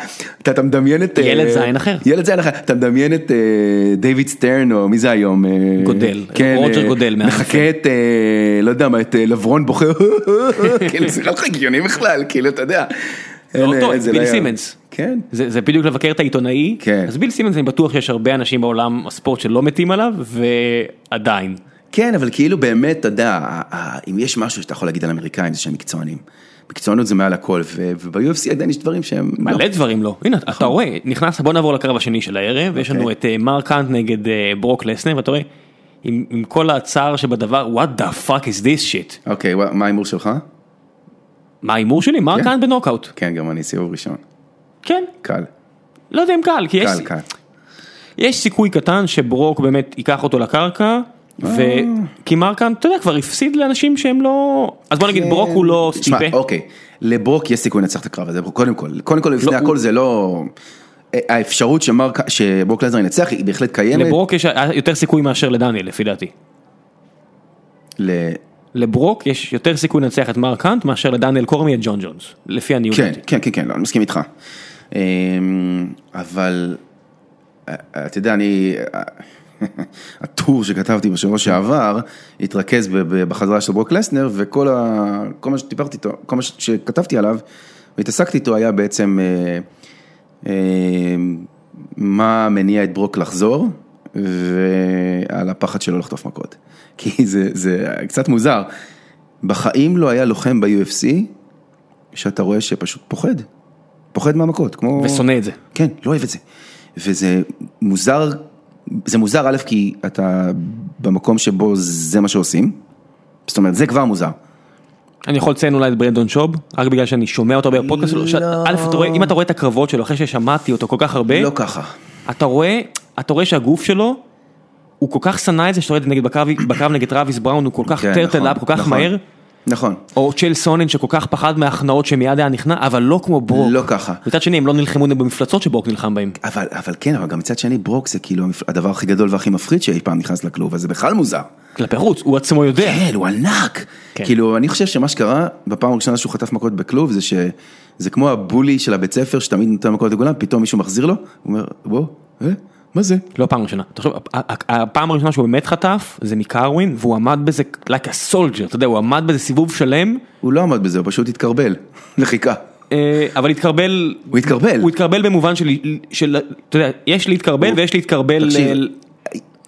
[SPEAKER 2] אתה אתה מדמיין את... אה,
[SPEAKER 3] ילד זין אחר.
[SPEAKER 2] ילד זין אחר, אתה מדמיין את אה, דיוויד סטרן, או מי זה היום? אה,
[SPEAKER 3] גודל,
[SPEAKER 2] כן,
[SPEAKER 3] רוג'ר
[SPEAKER 2] אה,
[SPEAKER 3] גודל מהאנפילד.
[SPEAKER 2] מחכה את, אה, לא יודע מה, את אה, לברון בוכה, כאילו זה לא לך הגיוני בכלל, כאילו אתה יודע. אין,
[SPEAKER 3] אותו,
[SPEAKER 2] אה,
[SPEAKER 3] את
[SPEAKER 2] זה
[SPEAKER 3] ביל
[SPEAKER 2] לא היה-
[SPEAKER 3] סימנס.
[SPEAKER 2] כן.
[SPEAKER 3] זה, זה בדיוק לבקר את העיתונאי,
[SPEAKER 2] כן.
[SPEAKER 3] אז ביל סימנס אני בטוח שיש הרבה אנשים בעולם הספורט שלא מתים עליו ועדיין.
[SPEAKER 2] כן, אבל כאילו באמת, אתה יודע, ה- ה- אם יש משהו שאתה יכול להגיד על אמריקאים זה שהם מקצוענים. מקצוענות זה מעל הכל, ו- וב-UFC עדיין יש דברים שהם...
[SPEAKER 3] מלא דברים לא, הנה אתה רואה, נכנס, בוא נעבור לקרב השני של הערב, יש לנו את אה, מרק האנט נגד אה, ברוק לסנר, ואתה רואה, עם, עם כל הצער שבדבר, what the fuck is this shit,
[SPEAKER 2] לא. אוקיי, ווא- מה ההימור שלך?
[SPEAKER 3] מה ההימור שלי? מרק
[SPEAKER 2] כן.
[SPEAKER 3] האנט בנוקאוט,
[SPEAKER 2] כן, גרמני, סיבוב ראשון.
[SPEAKER 3] כן,
[SPEAKER 2] קל.
[SPEAKER 3] לא יודע אם קל, כי יש,
[SPEAKER 2] קל, קל.
[SPEAKER 3] יש סיכוי קטן שברוק באמת ייקח אותו לקרקע. וקימרקן, אתה יודע, כבר הפסיד לאנשים שהם לא... אז בוא נגיד, ברוק הוא לא
[SPEAKER 2] תשמע,
[SPEAKER 3] סטיפה.
[SPEAKER 2] כן. אוקיי, לברוק יש סיכוי לנצח את הקרב הזה, קודם כל. קודם כל, לפני
[SPEAKER 3] לא,
[SPEAKER 2] הכל זה לא... האפשרות שמרק- שברוק לזנר ינצח היא בהחלט קיימת.
[SPEAKER 3] לברוק יש היה יותר סיכוי מאשר לדניאל, לפי דעתי.
[SPEAKER 2] ל-
[SPEAKER 3] לברוק יש יותר סיכוי לנצח את מרק האנט מאשר לדניאל קורמי את ג'ון ג'ונס, לפי הניהול.
[SPEAKER 2] כן,
[SPEAKER 3] דעתי.
[SPEAKER 2] כן, כן, כן, לא, אני מסכים איתך. אמ, אבל, אה, אה, אתה יודע, אני... אה, הטור שכתבתי בשבוע שעבר התרכז ב- ב- בחזרה של ברוק לסנר, וכל ה... כל מה שדיברתי איתו, כל מה ש- שכתבתי עליו והתעסקתי איתו היה בעצם אה, אה, מה מניע את ברוק לחזור. ועל הפחד שלו לחטוף מכות, כי זה, זה קצת מוזר. בחיים לא היה לוחם ב-UFC שאתה רואה שפשוט פוחד, פוחד מהמכות, כמו...
[SPEAKER 3] ושונא את זה.
[SPEAKER 2] כן, לא אוהב את זה. וזה מוזר, זה מוזר א', כי אתה במקום שבו זה מה שעושים, זאת אומרת, זה כבר מוזר.
[SPEAKER 3] אני יכול לציין אולי את ברנדון שוב, רק בגלל שאני שומע אותו הרבה בפודקאסט שלו, שאת-
[SPEAKER 2] לא.
[SPEAKER 3] א', אתה רואה- אם אתה רואה את הקרבות שלו אחרי ששמעתי אותו כל כך הרבה,
[SPEAKER 2] לא ככה.
[SPEAKER 3] אתה רואה, אתה רואה שהגוף שלו, הוא כל כך שנא את זה, שאתה רואה את זה נגיד בקרב, בקרב נגד טראביס בראון, הוא כל כך
[SPEAKER 2] כן,
[SPEAKER 3] טרטל
[SPEAKER 2] נכון,
[SPEAKER 3] אפ, כל כך
[SPEAKER 2] נכון,
[SPEAKER 3] מהר,
[SPEAKER 2] נכון,
[SPEAKER 3] או צ'ל סונן שכל כך פחד מההכנעות שמיד היה נכנע, אבל לא כמו ברוק.
[SPEAKER 2] לא ככה.
[SPEAKER 3] מצד שני, הם לא נלחמו במפלצות שברוק נלחם בהם.
[SPEAKER 2] אבל, אבל כן, אבל גם מצד שני, ברוק זה כאילו המפ- הדבר הכי גדול והכי מפחיד שאי פעם נכנס לכלוב, אז זה בכלל מוזר.
[SPEAKER 3] כלפי חוץ, הוא עצמו יודע.
[SPEAKER 2] כן, הוא ענק.
[SPEAKER 3] כן.
[SPEAKER 2] כאילו, אני חושב שמה שקרה בפעם הראשונה שהוא חטף מכות בכלוב, זה שזה כמו הבולי של הבית ספר שתמיד נותן מכות לכולם, פתאום מישהו מחזיר לו, הוא אומר, בוא, אה, מה זה?
[SPEAKER 3] לא פעם ראשונה. תחשוב, ה- ה- הפעם הראשונה שהוא באמת חטף, זה מקרווין, והוא עמד בזה like a soldier, אתה יודע, הוא עמד בזה סיבוב שלם,
[SPEAKER 2] הוא לא עמד בזה, הוא פשוט התקרבל, וחיכה.
[SPEAKER 3] אה, אבל התקרבל...
[SPEAKER 2] הוא התקרבל.
[SPEAKER 3] הוא התקרבל במובן של, של, אתה יודע, יש להתקרבל ויש להתקרבל... אה,
[SPEAKER 2] תקשיב,
[SPEAKER 3] ל-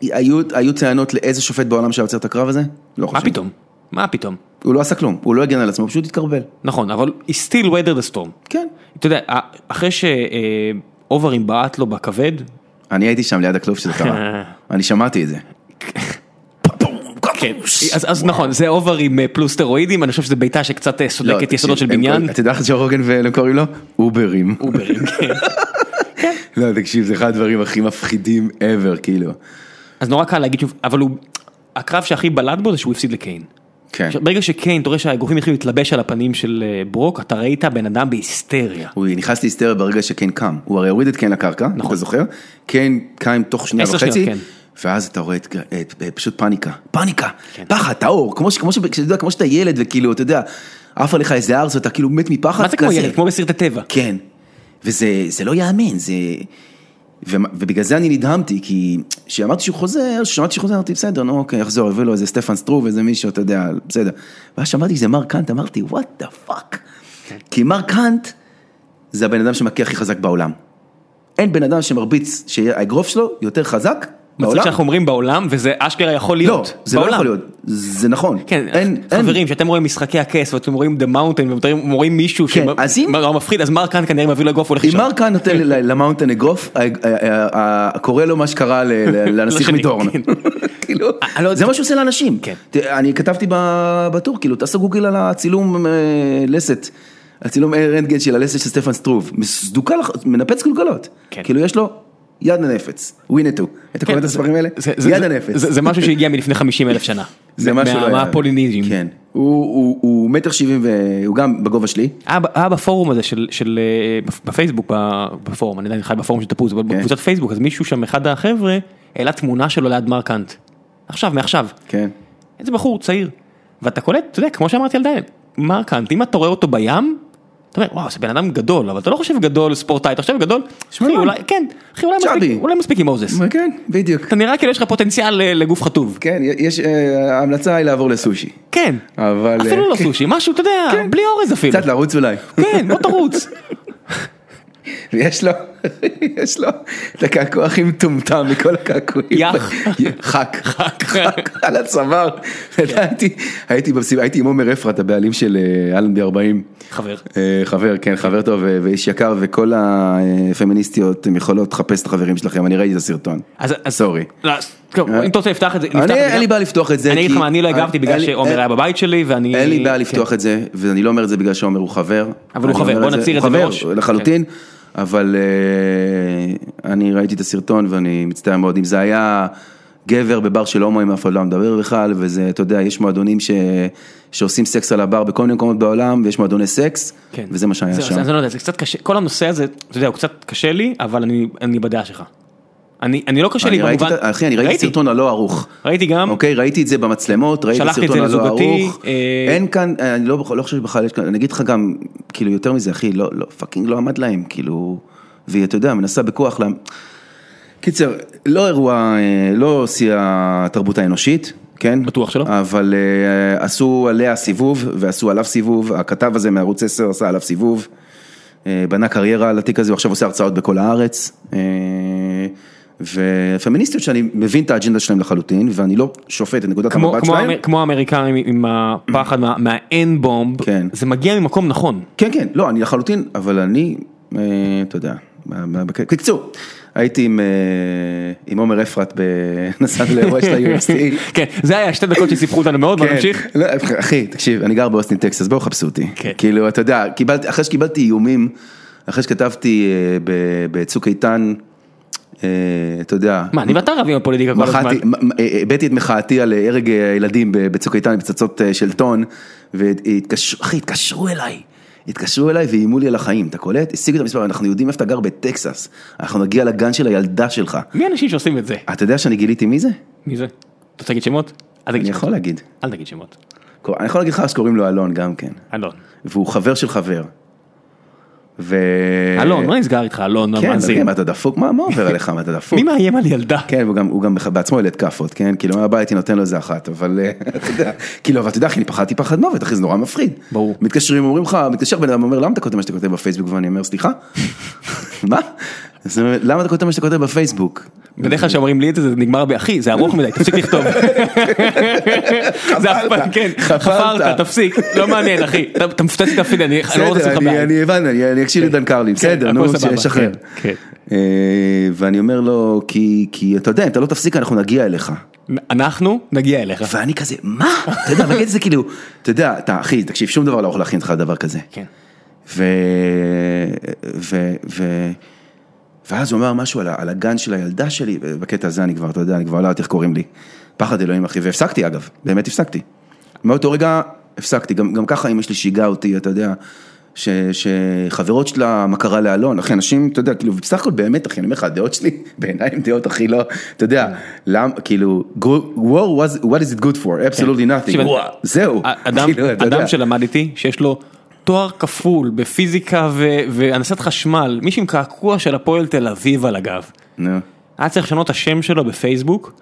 [SPEAKER 2] היו, היו טענות לאיזה שופט בעולם שהיה עוצר את הקרב הזה? לא חושב.
[SPEAKER 3] מה פתאום? מה פתאום?
[SPEAKER 2] הוא לא עשה כלום, הוא לא הגן על עצמו, הוא פשוט התקרבל.
[SPEAKER 3] נכון, אבל he still weather the storm.
[SPEAKER 2] כן.
[SPEAKER 3] אתה יודע, אה, אחרי שאוברים בעט לו בכבד,
[SPEAKER 2] אני הייתי שם ליד הכלוב שזה קרה, אני שמעתי את זה.
[SPEAKER 3] כן,
[SPEAKER 2] oh,
[SPEAKER 3] אז, אז נכון, זה אוברים אה, פלוס סטרואידים, אני חושב שזה בעיטה שקצת אה,
[SPEAKER 2] לא,
[SPEAKER 3] סודקת
[SPEAKER 2] תקשיב,
[SPEAKER 3] יסודות של
[SPEAKER 2] הם
[SPEAKER 3] בניין.
[SPEAKER 2] קוראים- אתה יודע איך ג'ו רוגן והם קוראים לו? אוברים.
[SPEAKER 3] אוברים, כן.
[SPEAKER 2] לא, תקשיב, זה אחד הדברים הכי מפחידים ever, כאילו.
[SPEAKER 3] אז נורא קל להגיד שוב, אבל הוא, הקרב שהכי בלט בו זה שהוא הפסיד לקיין.
[SPEAKER 2] כן.
[SPEAKER 3] עכשיו, ברגע שקיין, אתה רואה שהאגרופים התחילו להתלבש על הפנים של אה, ברוק, אתה ראית בן אדם בהיסטריה.
[SPEAKER 2] הוא נכנס להיסטריה ברגע שקיין קם, הוא הרי הוריד את קיין לקרקע, נכון, אתה זוכר? קיין קם תוך שנייה
[SPEAKER 3] עשר
[SPEAKER 2] וחצי,
[SPEAKER 3] שניות, כן.
[SPEAKER 2] ואז אתה רואה את, את, את, פשוט פאניקה, פאניקה,
[SPEAKER 3] כן.
[SPEAKER 2] פחד, טהור, כמו, ש- כמו, ש- כשאתה יודע, כמו שאתה ילד וכאילו, אתה יודע, עף עליך איזה ארץ ואתה כאילו מת מפחד
[SPEAKER 3] מה זה כמו ילד? כמו בסרט הטבע.
[SPEAKER 2] כן, וזה זה לא ייאמן, זה... ו, ובגלל זה אני נדהמתי, כי כשאמרתי שהוא חוזר, כששמעתי שהוא חוזר, אמרתי, בסדר, נו, אוקיי, יחזור, יביא לו איזה סטפן סטרוב, איזה מישהו, אתה יודע, בסדר. ואז שמעתי שזה מרק קאנט, אמרתי, וואט דה פאק.
[SPEAKER 3] כן.
[SPEAKER 2] כי מרק קאנט זה הבן אדם שמכה הכי חזק בעולם. אין בן אדם שמרביץ, שהאגרוף שלו יותר חזק
[SPEAKER 3] מצחיק
[SPEAKER 2] בעולם.
[SPEAKER 3] שאנחנו אומרים בעולם, וזה אשכרה יכול
[SPEAKER 2] לא,
[SPEAKER 3] להיות.
[SPEAKER 2] זה לא
[SPEAKER 3] בעולם.
[SPEAKER 2] יכול להיות, זה נכון.
[SPEAKER 3] כן,
[SPEAKER 2] אין- אין-
[SPEAKER 3] חברים, כשאתם רואים משחקי הכס ואתם רואים The Mountain ואתם רואים מישהו
[SPEAKER 2] כן,
[SPEAKER 3] שמ-
[SPEAKER 2] אז אם-
[SPEAKER 3] מה, לא מפחיד, אז מרק כאן כנראה מביא לו אגרוף והולך
[SPEAKER 2] אם מרקה נותן ל- למאונטן אגרוף, ה- ה- ה- ה- קורא לו מה שקרה ל- ל- לנסיך
[SPEAKER 3] לשני,
[SPEAKER 2] מדורן.
[SPEAKER 3] כן.
[SPEAKER 2] כאילו,
[SPEAKER 3] אני לא יודע.
[SPEAKER 2] זה מה שהוא עושה לאנשים.
[SPEAKER 3] כן.
[SPEAKER 2] ת- אני כתבתי ב- בטור, כאילו, תעשו גוגל על הצילום אה, לסת, הצילום אה, רנטגן של הלסת של סטפן סטרוב, מסדוקה לח- מנפץ קלקלות.
[SPEAKER 3] כן.
[SPEAKER 2] כאילו, יש לו יד הנפץ, ווינטו. אתה קורא את הספרים האלה?
[SPEAKER 3] זה- זה-
[SPEAKER 2] יד
[SPEAKER 3] זה-
[SPEAKER 2] הנפץ.
[SPEAKER 3] זה זה משהו שהגיע מלפני 50 אלף שנה.
[SPEAKER 2] זה
[SPEAKER 3] מה-
[SPEAKER 2] משהו לא
[SPEAKER 3] מה-
[SPEAKER 2] היה.
[SPEAKER 3] מהפוליניזם.
[SPEAKER 2] כן. הוא- הוא הוא מטר שבעים והוא גם בגובה שלי.
[SPEAKER 3] היה ב- היה בפורום הזה של, של אה, בפייסבוק, ב- בפורום, אני עדיין חי בפורום של תפוז, אבל
[SPEAKER 2] כן.
[SPEAKER 3] בקבוצת פייסבוק, אז מישהו שם, אחד החבר'ה, העלה תמונה שלו ליד מרק האנט. עכשיו, מעכשיו.
[SPEAKER 2] כן.
[SPEAKER 3] איזה בחור צעיר. ואתה קולט, אתה יודע, כמו שאמרתי על דיין, מרק האנט, אם אתה רואה אותו בים, אתה אומר, וואו, זה בן אדם גדול, אבל אתה לא חושב גדול ספורטאי, אתה חושב גדול, אחי,
[SPEAKER 2] שמנמן.
[SPEAKER 3] אולי, כן, אחי, אולי
[SPEAKER 2] צ'אבי.
[SPEAKER 3] מספיק- אולי מספיק עם מוזס.
[SPEAKER 2] כן, בדיוק.
[SPEAKER 3] אתה נראה כאילו יש לך פוטנציאל אה, לגוף חטוב.
[SPEAKER 2] כן, יש, אה, ההמלצה היא לעבור לסושי.
[SPEAKER 3] כן.
[SPEAKER 2] אבל...
[SPEAKER 3] אפילו
[SPEAKER 2] אה,
[SPEAKER 3] לא סושי, משהו, אתה יודע,
[SPEAKER 2] כן.
[SPEAKER 3] בלי אורז אפילו.
[SPEAKER 2] קצת לרוץ אולי.
[SPEAKER 3] כן, בוא תרוץ.
[SPEAKER 2] ויש לו, יש לו את הקעקוע הכי מטומטם מכל הקעקועים.
[SPEAKER 3] יח.
[SPEAKER 2] חק. חק. על הצוואר. לדעתי, הייתי במסיבה, הייתי עם עומר אפרת, הבעלים של אה, אלנבי 40.
[SPEAKER 3] חבר.
[SPEAKER 2] אה, חבר, כן, חבר טוב אה, ואיש יקר, וכל הפמיניסטיות, אתם יכולות לחפש את החברים שלכם, אני ראיתי את הסרטון.
[SPEAKER 3] אז, אז,
[SPEAKER 2] סורי.
[SPEAKER 3] לא, אז, טוב,
[SPEAKER 2] אה?
[SPEAKER 3] אם אתה רוצה לפתח את זה, נפתח את
[SPEAKER 2] אני-
[SPEAKER 3] זה.
[SPEAKER 2] אין לי בעיה לפתוח את זה,
[SPEAKER 3] אני אגיד
[SPEAKER 2] כי- אה,
[SPEAKER 3] לך מה, אני לא הגבתי
[SPEAKER 2] אין-
[SPEAKER 3] בגלל
[SPEAKER 2] אין-
[SPEAKER 3] שעומר
[SPEAKER 2] אין-
[SPEAKER 3] היה בבית שלי, ואני...
[SPEAKER 2] אין לי בעיה
[SPEAKER 3] כן.
[SPEAKER 2] לפתוח את זה, ואני לא אומר את זה בגלל שעומר הוא חבר.
[SPEAKER 3] אבל הוא
[SPEAKER 2] אני
[SPEAKER 3] חבר,
[SPEAKER 2] אומר
[SPEAKER 3] בוא
[SPEAKER 2] את זה-
[SPEAKER 3] נצהיר את זה
[SPEAKER 2] הוא
[SPEAKER 3] מראש.
[SPEAKER 2] חבר, לחלוטין. אבל אה, אני ראיתי את הסרטון ואני מצטער מאוד. אם זה היה גבר בבר של הומואים, אף אחד לא היה מדבר בכלל, וזה, אתה יודע, יש מועדונים ש... שעושים סקס על הבר בכל מיני מקומות בעולם, ויש מועדוני סקס,
[SPEAKER 3] כן.
[SPEAKER 2] וזה מה שהיה
[SPEAKER 3] זה,
[SPEAKER 2] שם.
[SPEAKER 3] זה, זה, לא יודע, זה קצת קשה, כל הנושא הזה, אתה יודע, הוא קצת קשה לי, אבל אני, אני בדעה שלך. אני, אני לא קשה לי
[SPEAKER 2] אני ראיתי,
[SPEAKER 3] במובן...
[SPEAKER 2] את ה- אחי, אני ראיתי את הסרטון הלא ערוך.
[SPEAKER 3] ראיתי גם,
[SPEAKER 2] אוקיי, ראיתי את זה במצלמות, ראיתי את
[SPEAKER 3] שלחתי את
[SPEAKER 2] הסרטון
[SPEAKER 3] זה
[SPEAKER 2] הלא
[SPEAKER 3] לזוגתי,
[SPEAKER 2] ערוך.
[SPEAKER 3] אה,
[SPEAKER 2] אין כאן, אה, אני לא לא חושב שבכלל יש כאן, אני אגיד לך גם, כאילו, יותר מזה, אחי, לא, לא, פאקינג לא עמד להם, כאילו, והיא, אתה יודע, מנסה בכוח להם. קיצר, לא אירוע, אה, לא שיא התרבות האנושית, כן?
[SPEAKER 3] בטוח שלא.
[SPEAKER 2] אבל אה, עשו עליה סיבוב, ועשו עליו סיבוב, הכתב הזה מערוץ 10 עשה עליו סיבוב, אה, בנה קריירה על התיק הזה, הוא עכשיו עושה הרצאות בכל הארץ. אה, ופמיניסטיות שאני מבין את האג'נדה שלהם לחלוטין, ואני לא שופט את נקודת
[SPEAKER 3] כמו,
[SPEAKER 2] המבט
[SPEAKER 3] כמו,
[SPEAKER 2] שלהם.
[SPEAKER 3] האמר- כמו האמריקאים עם הפחד מה- מה-N-בומב,
[SPEAKER 2] כן.
[SPEAKER 3] זה מגיע ממקום נכון.
[SPEAKER 2] כן, כן, לא, אני לחלוטין, אבל אני, אה, אתה יודע, מה- מה- בק- בקיצור, הייתי עם, אה, עם עומר אפרת, ב- נסענו לאירוע של ה-UFC.
[SPEAKER 3] כן, זה היה שתי דקות שסיפחו אותנו מאוד, בוא
[SPEAKER 2] כן.
[SPEAKER 3] נמשיך.
[SPEAKER 2] לא, אחי, תקשיב, אני גר באוסטין, טקסס, בואו חפשו אותי.
[SPEAKER 3] כן.
[SPEAKER 2] כאילו, אתה יודע, קיבלתי, אחרי שקיבלתי איומים, אחרי שכתבתי אה, ב- בצוק איתן, אה, אתה יודע.
[SPEAKER 3] מה, אני ואתה רבים על פוליטיקה כל הזמן.
[SPEAKER 2] מחאתי- מ- מ- אה, הבעתי את מחאתי על אה, הרג אה, ילדים ב- בצוק איתן, בפצצות אה, של טון, והתקשרו, אחי, התקשרו אליי. התקשרו אליי ואיימו לי על החיים, אתה קולט? השיגו את המספר, אנחנו יודעים איפה אתה גר בטקסס, אנחנו נגיע לגן של הילדה שלך.
[SPEAKER 3] מי האנשים שעושים את זה?
[SPEAKER 2] אתה יודע שאני גיליתי מי זה?
[SPEAKER 3] מי זה? אתה רוצה להגיד שמות? אל תגיד
[SPEAKER 2] אני
[SPEAKER 3] שמות.
[SPEAKER 2] יכול להגיד.
[SPEAKER 3] אל תגיד שמות.
[SPEAKER 2] אני יכול להגיד לך שקוראים לו אלון גם כן.
[SPEAKER 3] אלון.
[SPEAKER 2] והוא חבר של חבר. ו...
[SPEAKER 3] אלון, מה נסגר איתך, אלון
[SPEAKER 2] אה, כן,
[SPEAKER 3] המאזין?
[SPEAKER 2] אחי, מה אתה דפוק? מה מה עובר עליך? מה אתה דפוק?
[SPEAKER 3] מי מאיים על ילדה?
[SPEAKER 2] כן, והוא גם, הוא גם בעצמו ילד כאפות, כן? כאילו, מהבית הייתי נותן לו איזה אחת, אבל אה, אתה יודע, כאילו, אבל אתה יודע, אחי, אני פחדתי פחד מוות, אחי, זה נורא מפחיד.
[SPEAKER 3] ברור.
[SPEAKER 2] מתקשרים, אומרים לך, מתקשר בן אדם, אומר, למה אתה כותב מה שאתה כותב בפייסבוק? ואני אומר, סליחה? מה? אז הוא אומר, למה אתה כותב מה שאתה כותב בפייסבוק?
[SPEAKER 3] בדרך כלל כשאומרים לי את זה, זה נגמר באחי, זה ארוך מדי, תפסיק לכתוב. זה אף פעם, כן,
[SPEAKER 2] חפרת.
[SPEAKER 3] חפרת, תפסיק, לא מעניין אחי, אתה אתה מפוצץ את הפיד, אני אני לא רוצה לעשות
[SPEAKER 2] בסדר,
[SPEAKER 3] לך
[SPEAKER 2] אני-
[SPEAKER 3] בעיה.
[SPEAKER 2] אני הבנתי, אני- אני אקשיב לדן קרלי, בסדר,
[SPEAKER 3] הכל
[SPEAKER 2] נו,
[SPEAKER 3] סבבה,
[SPEAKER 2] שחרר.
[SPEAKER 3] כן, כן.
[SPEAKER 2] אה, ואני אומר לו, כי כי אתה יודע, אם אתה לא תפסיק, אנחנו נגיע אליך.
[SPEAKER 3] אנחנו נגיע אליך.
[SPEAKER 2] ואני כזה, מה? אתה יודע, בקטע זה כאילו, אתה יודע, אתה אחי, תקשיב, שום דבר לא יכול להכין אותך לדבר כזה.
[SPEAKER 3] כן.
[SPEAKER 2] ו... ו... ו... ואז הוא אמר משהו על, ה- על הגן של הילדה שלי, בקטע הזה אני כבר, אתה יודע, אני כבר לא יודעת איך קוראים לי. פחד אלוהים אחי, והפסקתי אגב, באמת הפסקתי. מאותו רגע הפסקתי, גם, גם ככה אמא שלי שיגעה אותי, אתה יודע, ש, שחברות שלה, מה קרה לאלון, אחי, אנשים, אתה יודע, כאילו, בסך הכל באמת, אחי, אני אומר לך, הדעות שלי, בעיניי הן דעות הכי לא, אתה
[SPEAKER 3] כן.
[SPEAKER 2] יודע, למה, כאילו, go- war was, what is it good for, absolutely nothing,
[SPEAKER 3] תקשיב,
[SPEAKER 2] זהו,
[SPEAKER 3] כן. אדם,
[SPEAKER 2] כאילו, אתה יודע.
[SPEAKER 3] אדם שלמד איתי, שיש לו תואר כפול בפיזיקה ו- והנדסת חשמל, מישהו עם קעקוע של הפועל תל אביב על הגב.
[SPEAKER 2] נו.
[SPEAKER 3] היה צריך לשנות את השם שלו בפייסבוק,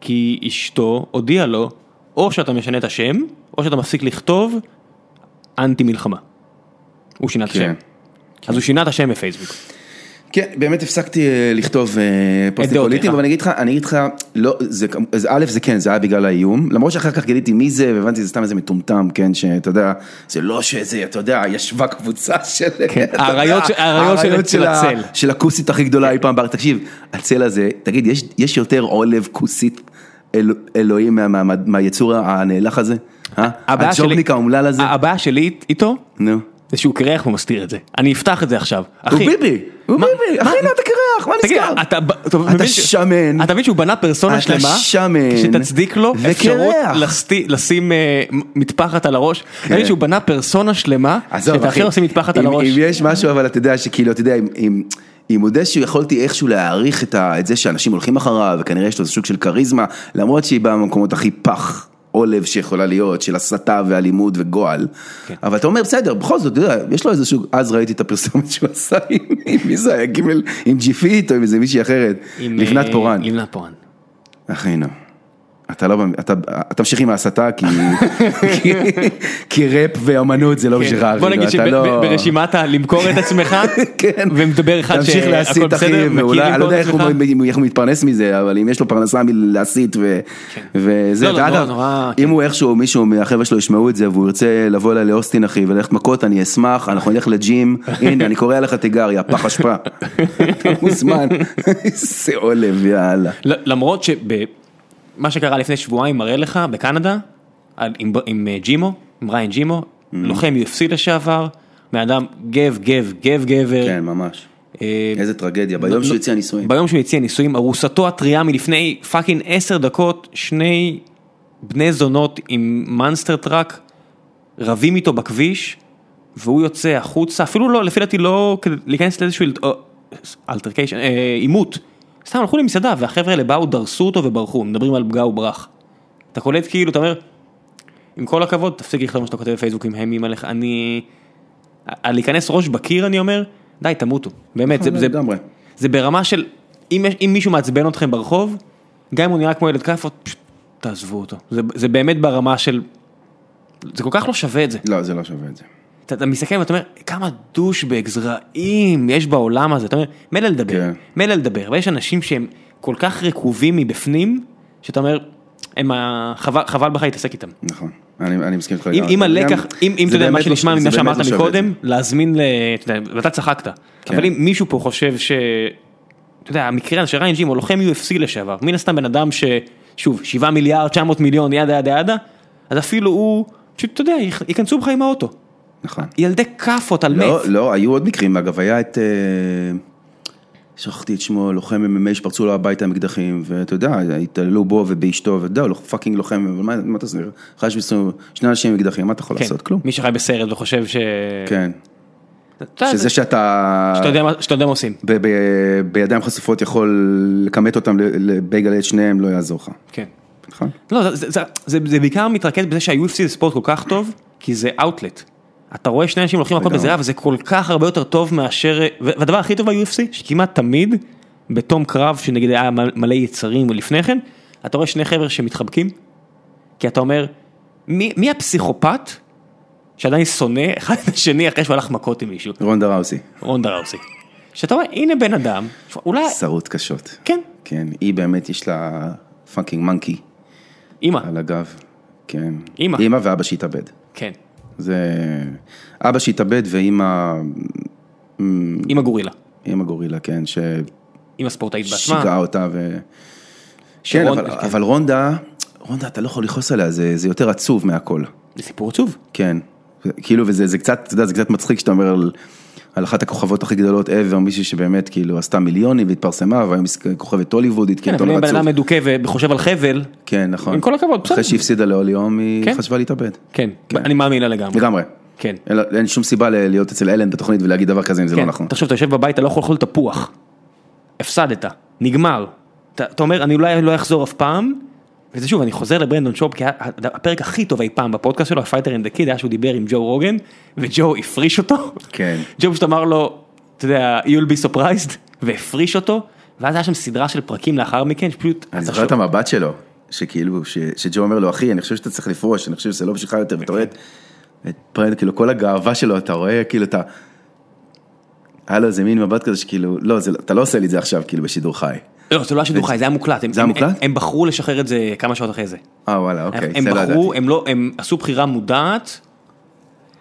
[SPEAKER 3] כי אשתו הודיעה לו, או שאתה משנה את השם, או שאתה מפסיק לכתוב אנטי מלחמה. הוא שינה את השם.
[SPEAKER 2] כן.
[SPEAKER 3] אז הוא שינה את השם בפייסבוק.
[SPEAKER 2] כן, באמת הפסקתי אה, לכתוב אה, פוסטים
[SPEAKER 3] דעותיך.
[SPEAKER 2] פוליטיים, אבל אני אגיד לך, אני אגיד לך, לא, זה, כמ- אז א', זה כן, זה היה בגלל האיום, למרות שאחר כך גיליתי מי זה, והבנתי שזה סתם איזה מטומטם, כן, שאתה יודע, זה לא שזה, אתה יודע, ישבה קבוצה של, אתה יודע,
[SPEAKER 3] כן, האריות ש- האריות של-
[SPEAKER 2] האריות
[SPEAKER 3] של
[SPEAKER 2] ה-
[SPEAKER 3] הצל.
[SPEAKER 2] של הכוסית הכי גדולה אי פעם בארץ, תקשיב, הצל הזה, תגיד, יש, יש יותר עולב כוסית אל, אלוהים מה, מה, מה, מהיצור הנאלח הזה? אה?
[SPEAKER 3] הבעיה שלי-
[SPEAKER 2] הג'ובניק האומלל הזה?
[SPEAKER 3] הבעיה שלי איתו,
[SPEAKER 2] נו.
[SPEAKER 3] זה שהוא קרח ומסתיר את זה. אני אפתח את זה עכשיו.
[SPEAKER 2] הוא
[SPEAKER 3] אחי,
[SPEAKER 2] ביבי, הוא
[SPEAKER 3] מה-
[SPEAKER 2] ביבי, אחי,
[SPEAKER 3] מה-
[SPEAKER 2] לא אתה קרח, מה
[SPEAKER 3] תגיד,
[SPEAKER 2] נזכר?
[SPEAKER 3] אתה, מבין ש-
[SPEAKER 2] שמן.
[SPEAKER 3] אתה מבין שהוא בנה פרסונה
[SPEAKER 2] אתה
[SPEAKER 3] שלמה,
[SPEAKER 2] שמן.
[SPEAKER 3] שתצדיק לו
[SPEAKER 2] וקרח.
[SPEAKER 3] אפשרות לסטי, לשים אה, מטפחת על הראש, אתה מבין שהוא בנה פרסונה שלמה,
[SPEAKER 2] כן. עזוב
[SPEAKER 3] שאת
[SPEAKER 2] אחי,
[SPEAKER 3] האחר עושים מטפחת על
[SPEAKER 2] אם-
[SPEAKER 3] הראש,
[SPEAKER 2] אם יש משהו אבל אתה יודע שכאילו אתה יודע אם- אם אם מודה שיכולתי איכשהו להעריך את ה- את זה שאנשים הולכים אחריו וכנראה יש לו איזה שוק של כריזמה למרות שהיא באה במקומות הכי פח. עולב שיכולה להיות, של הסתה ואלימות וגועל.
[SPEAKER 3] כן.
[SPEAKER 2] אבל אתה אומר, בסדר, בכל זאת, אתה יודע, יש לו איזה שוק, אז ראיתי את הפרסומת שהוא עשה עם, עם מי זה היה, גימל, עם ג'יפית או עם איזה מישהי אחרת,
[SPEAKER 3] עם,
[SPEAKER 2] לבנת
[SPEAKER 3] אה,
[SPEAKER 2] פורן.
[SPEAKER 3] לבנת פורן.
[SPEAKER 2] אחי, נו. אתה לא, במ- אתה, תמשיך עם ההסתה, כי, כי, כי ראפ ואמנות זה לא
[SPEAKER 3] כן.
[SPEAKER 2] בשבילך, אחי,
[SPEAKER 3] בוא נגיד
[SPEAKER 2] אתה לא-
[SPEAKER 3] שברשימת הלמכור את עצמך,
[SPEAKER 2] כן.
[SPEAKER 3] ומדבר אחד
[SPEAKER 2] תמשיך
[SPEAKER 3] שהכל
[SPEAKER 2] להסית, אחי,
[SPEAKER 3] בסדר, מכיר
[SPEAKER 2] ואולי, אני לא
[SPEAKER 3] למכור
[SPEAKER 2] יודע
[SPEAKER 3] את
[SPEAKER 2] איך הוא,
[SPEAKER 3] עצמך.
[SPEAKER 2] אם- איך הוא מתפרנס מזה, אבל אם יש לו פרנסה מלהסית ו... וזה,
[SPEAKER 3] לא, לא,
[SPEAKER 2] ואגב,
[SPEAKER 3] נורא, נורא,
[SPEAKER 2] אם הוא איכשהו, מישהו מהחבר'ה שלו ישמעו את זה, והוא ירצה לבוא אליי לאוסטין, אחי, וללכת מכות, אני אשמח, אנחנו נלך לג'ים, הנה, אני קורא לך תיגריה, פח אשפה. אתה מוזמן, איזה עולב, יאללה.
[SPEAKER 3] ל- למרות שמה שקרה לפני שבועיים מראה לך בקנדה, על- עם ב- עם אה, ג'ימו, עם ריין
[SPEAKER 2] Mm.
[SPEAKER 3] ג'ימו, לוחם UFC לשעבר, בן אדם גב גב גב גבר,
[SPEAKER 2] כן, ממש.
[SPEAKER 3] אה, אה,
[SPEAKER 2] איזה טרגדיה, ביום שהוא הציע נישואים.
[SPEAKER 3] ביום שהוא הציע נישואים, ארוסתו הטריה מלפני פאקינג עשר דקות, שני בני זונות עם מאנסטר טראק, רבים איתו בכביש, והוא יוצא החוצה, אפילו לא, לפי דעתי לא כדי להיכנס לאיזשהו אלטרקיישן, עימות. סתם הלכו למסעדה, והחבר'ה האלה באו, דרסו אותו וברחו, מדברים על פגע וברח. אתה קולט כאילו, אתה אומר, עם כל הכבוד, תפסיק לכתוב מה שאתה כותב בפייסבוק עם האמים עליך, אני... ה- להיכנס ראש בקיר, אני אומר, די, תמותו. באמת, זה, זה,
[SPEAKER 2] נכון, לגמרי.
[SPEAKER 3] זה ברמה של, אם, יש- אם מישהו מעצבן אתכם ברחוב, גם אם הוא נראה כמו ילד כאפות, פשוט תעזבו אותו. זה, זה באמת ברמה של, זה כל כך לא שווה את זה.
[SPEAKER 2] לא, זה לא שווה את זה.
[SPEAKER 3] אתה, אתה מסתכל ואתה אומר, כמה דושבגס רעים יש בעולם הזה. אתה אומר, מילא לדבר,
[SPEAKER 2] כן.
[SPEAKER 3] מילא לדבר, אבל יש אנשים שהם כל כך רקובים מבפנים, שאתה אומר, הם ה... חבל, חבל בך להתעסק איתם.
[SPEAKER 2] נכון, אני, אני מסכים איתך
[SPEAKER 3] אם,
[SPEAKER 2] לגמרי.
[SPEAKER 3] אם
[SPEAKER 2] לא, זה
[SPEAKER 3] הלקח,
[SPEAKER 2] גם-
[SPEAKER 3] אם, אם
[SPEAKER 2] זה
[SPEAKER 3] אתה יודע
[SPEAKER 2] באמת
[SPEAKER 3] מה
[SPEAKER 2] לא-
[SPEAKER 3] שנשמע
[SPEAKER 2] זה
[SPEAKER 3] ממה
[SPEAKER 2] באמת
[SPEAKER 3] שאמרת
[SPEAKER 2] לא שווה את
[SPEAKER 3] מקודם, להזמין, ל- אתה יודע, ואתה צחקת,
[SPEAKER 2] כן.
[SPEAKER 3] אבל אם מישהו פה חושב ש... אתה יודע, המקרה הזה של ריין ג'ים הוא לוחם UFC לשעבר, מן הסתם בן אדם ש... שוב, 7 מיליארד, 900 מיליון, ידה ידה ידה, אז אפילו הוא, פשוט, אתה יודע, יכ- ייכנסו בך עם האוטו.
[SPEAKER 2] זה. נכון.
[SPEAKER 3] ילדי כאפות על מת.
[SPEAKER 2] לא, לא, היו עוד מקרים, אגב, היה את... אה, שכחתי את שמו, לוחם MMA שפרצו לו הביתה עם אקדחים, ואתה יודע, התעללו בו ובאשתו, ואתה יודע, הוא פאקינג לוחם, אבל מה מה אתה עושה? חש מסוים, שני אנשים עם אקדחים, מה אתה יכול
[SPEAKER 3] כן.
[SPEAKER 2] לעשות? כלום.
[SPEAKER 3] מי שחי בסרט וחושב ש...
[SPEAKER 2] כן.
[SPEAKER 3] אתה יודע,
[SPEAKER 2] שזה שאתה
[SPEAKER 3] אה, שאתה יודע מה- שאתה יודע מה עושים.
[SPEAKER 2] ב- ב- בידיים חשופות יכול לכמת אותם ל- לבייגל את שניהם, לא יעזור לך.
[SPEAKER 3] כן.
[SPEAKER 2] נכון?
[SPEAKER 3] לא, זה, זה, זה, זה, זה בעיקר מתרכז בזה שה-UFC זה ספורט כל כך טוב, כי זה אאוטלט. אתה רואה שני אנשים הולכים מכות
[SPEAKER 2] לגמרי.
[SPEAKER 3] בזירה, וזה כל כך הרבה יותר טוב מאשר... ו- והדבר הכי טוב ב-UFC, שכמעט תמיד, בתום קרב, שנגיד היה מ- מלא יצרים ולפני כן, אתה רואה שני חבר'ה שמתחבקים, כי אתה אומר, מי, מי הפסיכופת שעדיין שונא אחד את השני אחרי שהוא הלך מכות עם מישהו?
[SPEAKER 2] רונדה ראוסי,
[SPEAKER 3] רון דראוסי. שאתה אומר, הנה בן אדם, אולי,
[SPEAKER 2] שרוט קשות.
[SPEAKER 3] כן,
[SPEAKER 2] כן, היא באמת, יש לה פאקינג מנקי
[SPEAKER 3] אימא,
[SPEAKER 2] על הגב. כן.
[SPEAKER 3] אמא.
[SPEAKER 2] אמא ואבא שהתאבד.
[SPEAKER 3] כן,
[SPEAKER 2] זה אבא שהתאבד ואימא,
[SPEAKER 3] אימא גורילה,
[SPEAKER 2] אימא גורילה, כן, ששיגעה
[SPEAKER 3] אימא ספורטאית בעצמה,
[SPEAKER 2] אותה ו... כן,
[SPEAKER 3] שרון-
[SPEAKER 2] אבל, אבל רונדה, רונדה אתה לא יכול לכעוס עליה, זה, זה יותר עצוב מהכל,
[SPEAKER 3] זה סיפור עצוב.
[SPEAKER 2] כן. זה- כאילו, וזה זה קצת, אתה יודע, זה קצת מצחיק שאתה אומר על, על אחת הכוכבות הכי גדולות ever, מישהי שבאמת כאילו עשתה מיליונים והתפרסמה, והיום היא כוכבת הוליוודית,
[SPEAKER 3] כן,
[SPEAKER 2] כאילו, אתה
[SPEAKER 3] אבל אם
[SPEAKER 2] אומר
[SPEAKER 3] בן אדם
[SPEAKER 2] עצוב.
[SPEAKER 3] מדוכא וחושב על חבל,
[SPEAKER 2] כן, נכון.
[SPEAKER 3] עם כל הכבוד, בסדר.
[SPEAKER 2] אחרי שהפסידה להוליום, היא
[SPEAKER 3] כן.
[SPEAKER 2] חשבה להתאבד.
[SPEAKER 3] כן, אני מאמין לה לגמרי.
[SPEAKER 2] לגמרי.
[SPEAKER 3] כן.
[SPEAKER 2] אין, לה- אין שום סיבה ל- להיות אצל אלן בתוכנית ולהגיד דבר כזה אם זה
[SPEAKER 3] כן,
[SPEAKER 2] לא נכון.
[SPEAKER 3] תחשוב, אתה יושב בבית, אתה לא יכול לאכול תפוח. הפסדת, נגמר. אתה אתה אומר, אני אולי לא אחזור אף פעם, וזה שוב, אני חוזר לברנדון שופ, כי ה- ה- הפרק הכי טוב אי פעם בפודקאסט שלו, הפייטר אנד הקיד, היה שהוא דיבר עם ג'ו רוגן, וג'ו הפריש אותו.
[SPEAKER 2] כן.
[SPEAKER 3] ג'ו פשוט אמר לו, אתה יודע, you'll be surprised, והפריש אותו, ואז היה שם סדרה של פרקים לאחר מכן, שפשוט...
[SPEAKER 2] אני
[SPEAKER 3] אתה
[SPEAKER 2] זוכר את
[SPEAKER 3] שוב-
[SPEAKER 2] המבט שלו, שכאילו, ש- שג'ו אומר לו, אחי, אני חושב שאתה צריך לפרוש, אני חושב שזה לא בשבילך יותר, ואתה רואה את- את פרד, כאילו, כל הגאווה שלו, אתה רואה, כאילו, אתה... היה לו איזה מין מבט כזה שכאילו, לא, זה לא- אתה לא עושה לי את זה עכשיו, כאילו, בשידור חי.
[SPEAKER 3] לא, זה לא היה שידור חי, זה היה מוקלט. הם-
[SPEAKER 2] זה היה
[SPEAKER 3] הם-
[SPEAKER 2] מוקלט?
[SPEAKER 3] הם בחרו לשחרר את זה כמה שעות אחרי זה.
[SPEAKER 2] אה, וואלה, אוקיי,
[SPEAKER 3] הם
[SPEAKER 2] זה לא ידעתי.
[SPEAKER 3] בחרו, הם לא, הם עשו בחירה מודעת,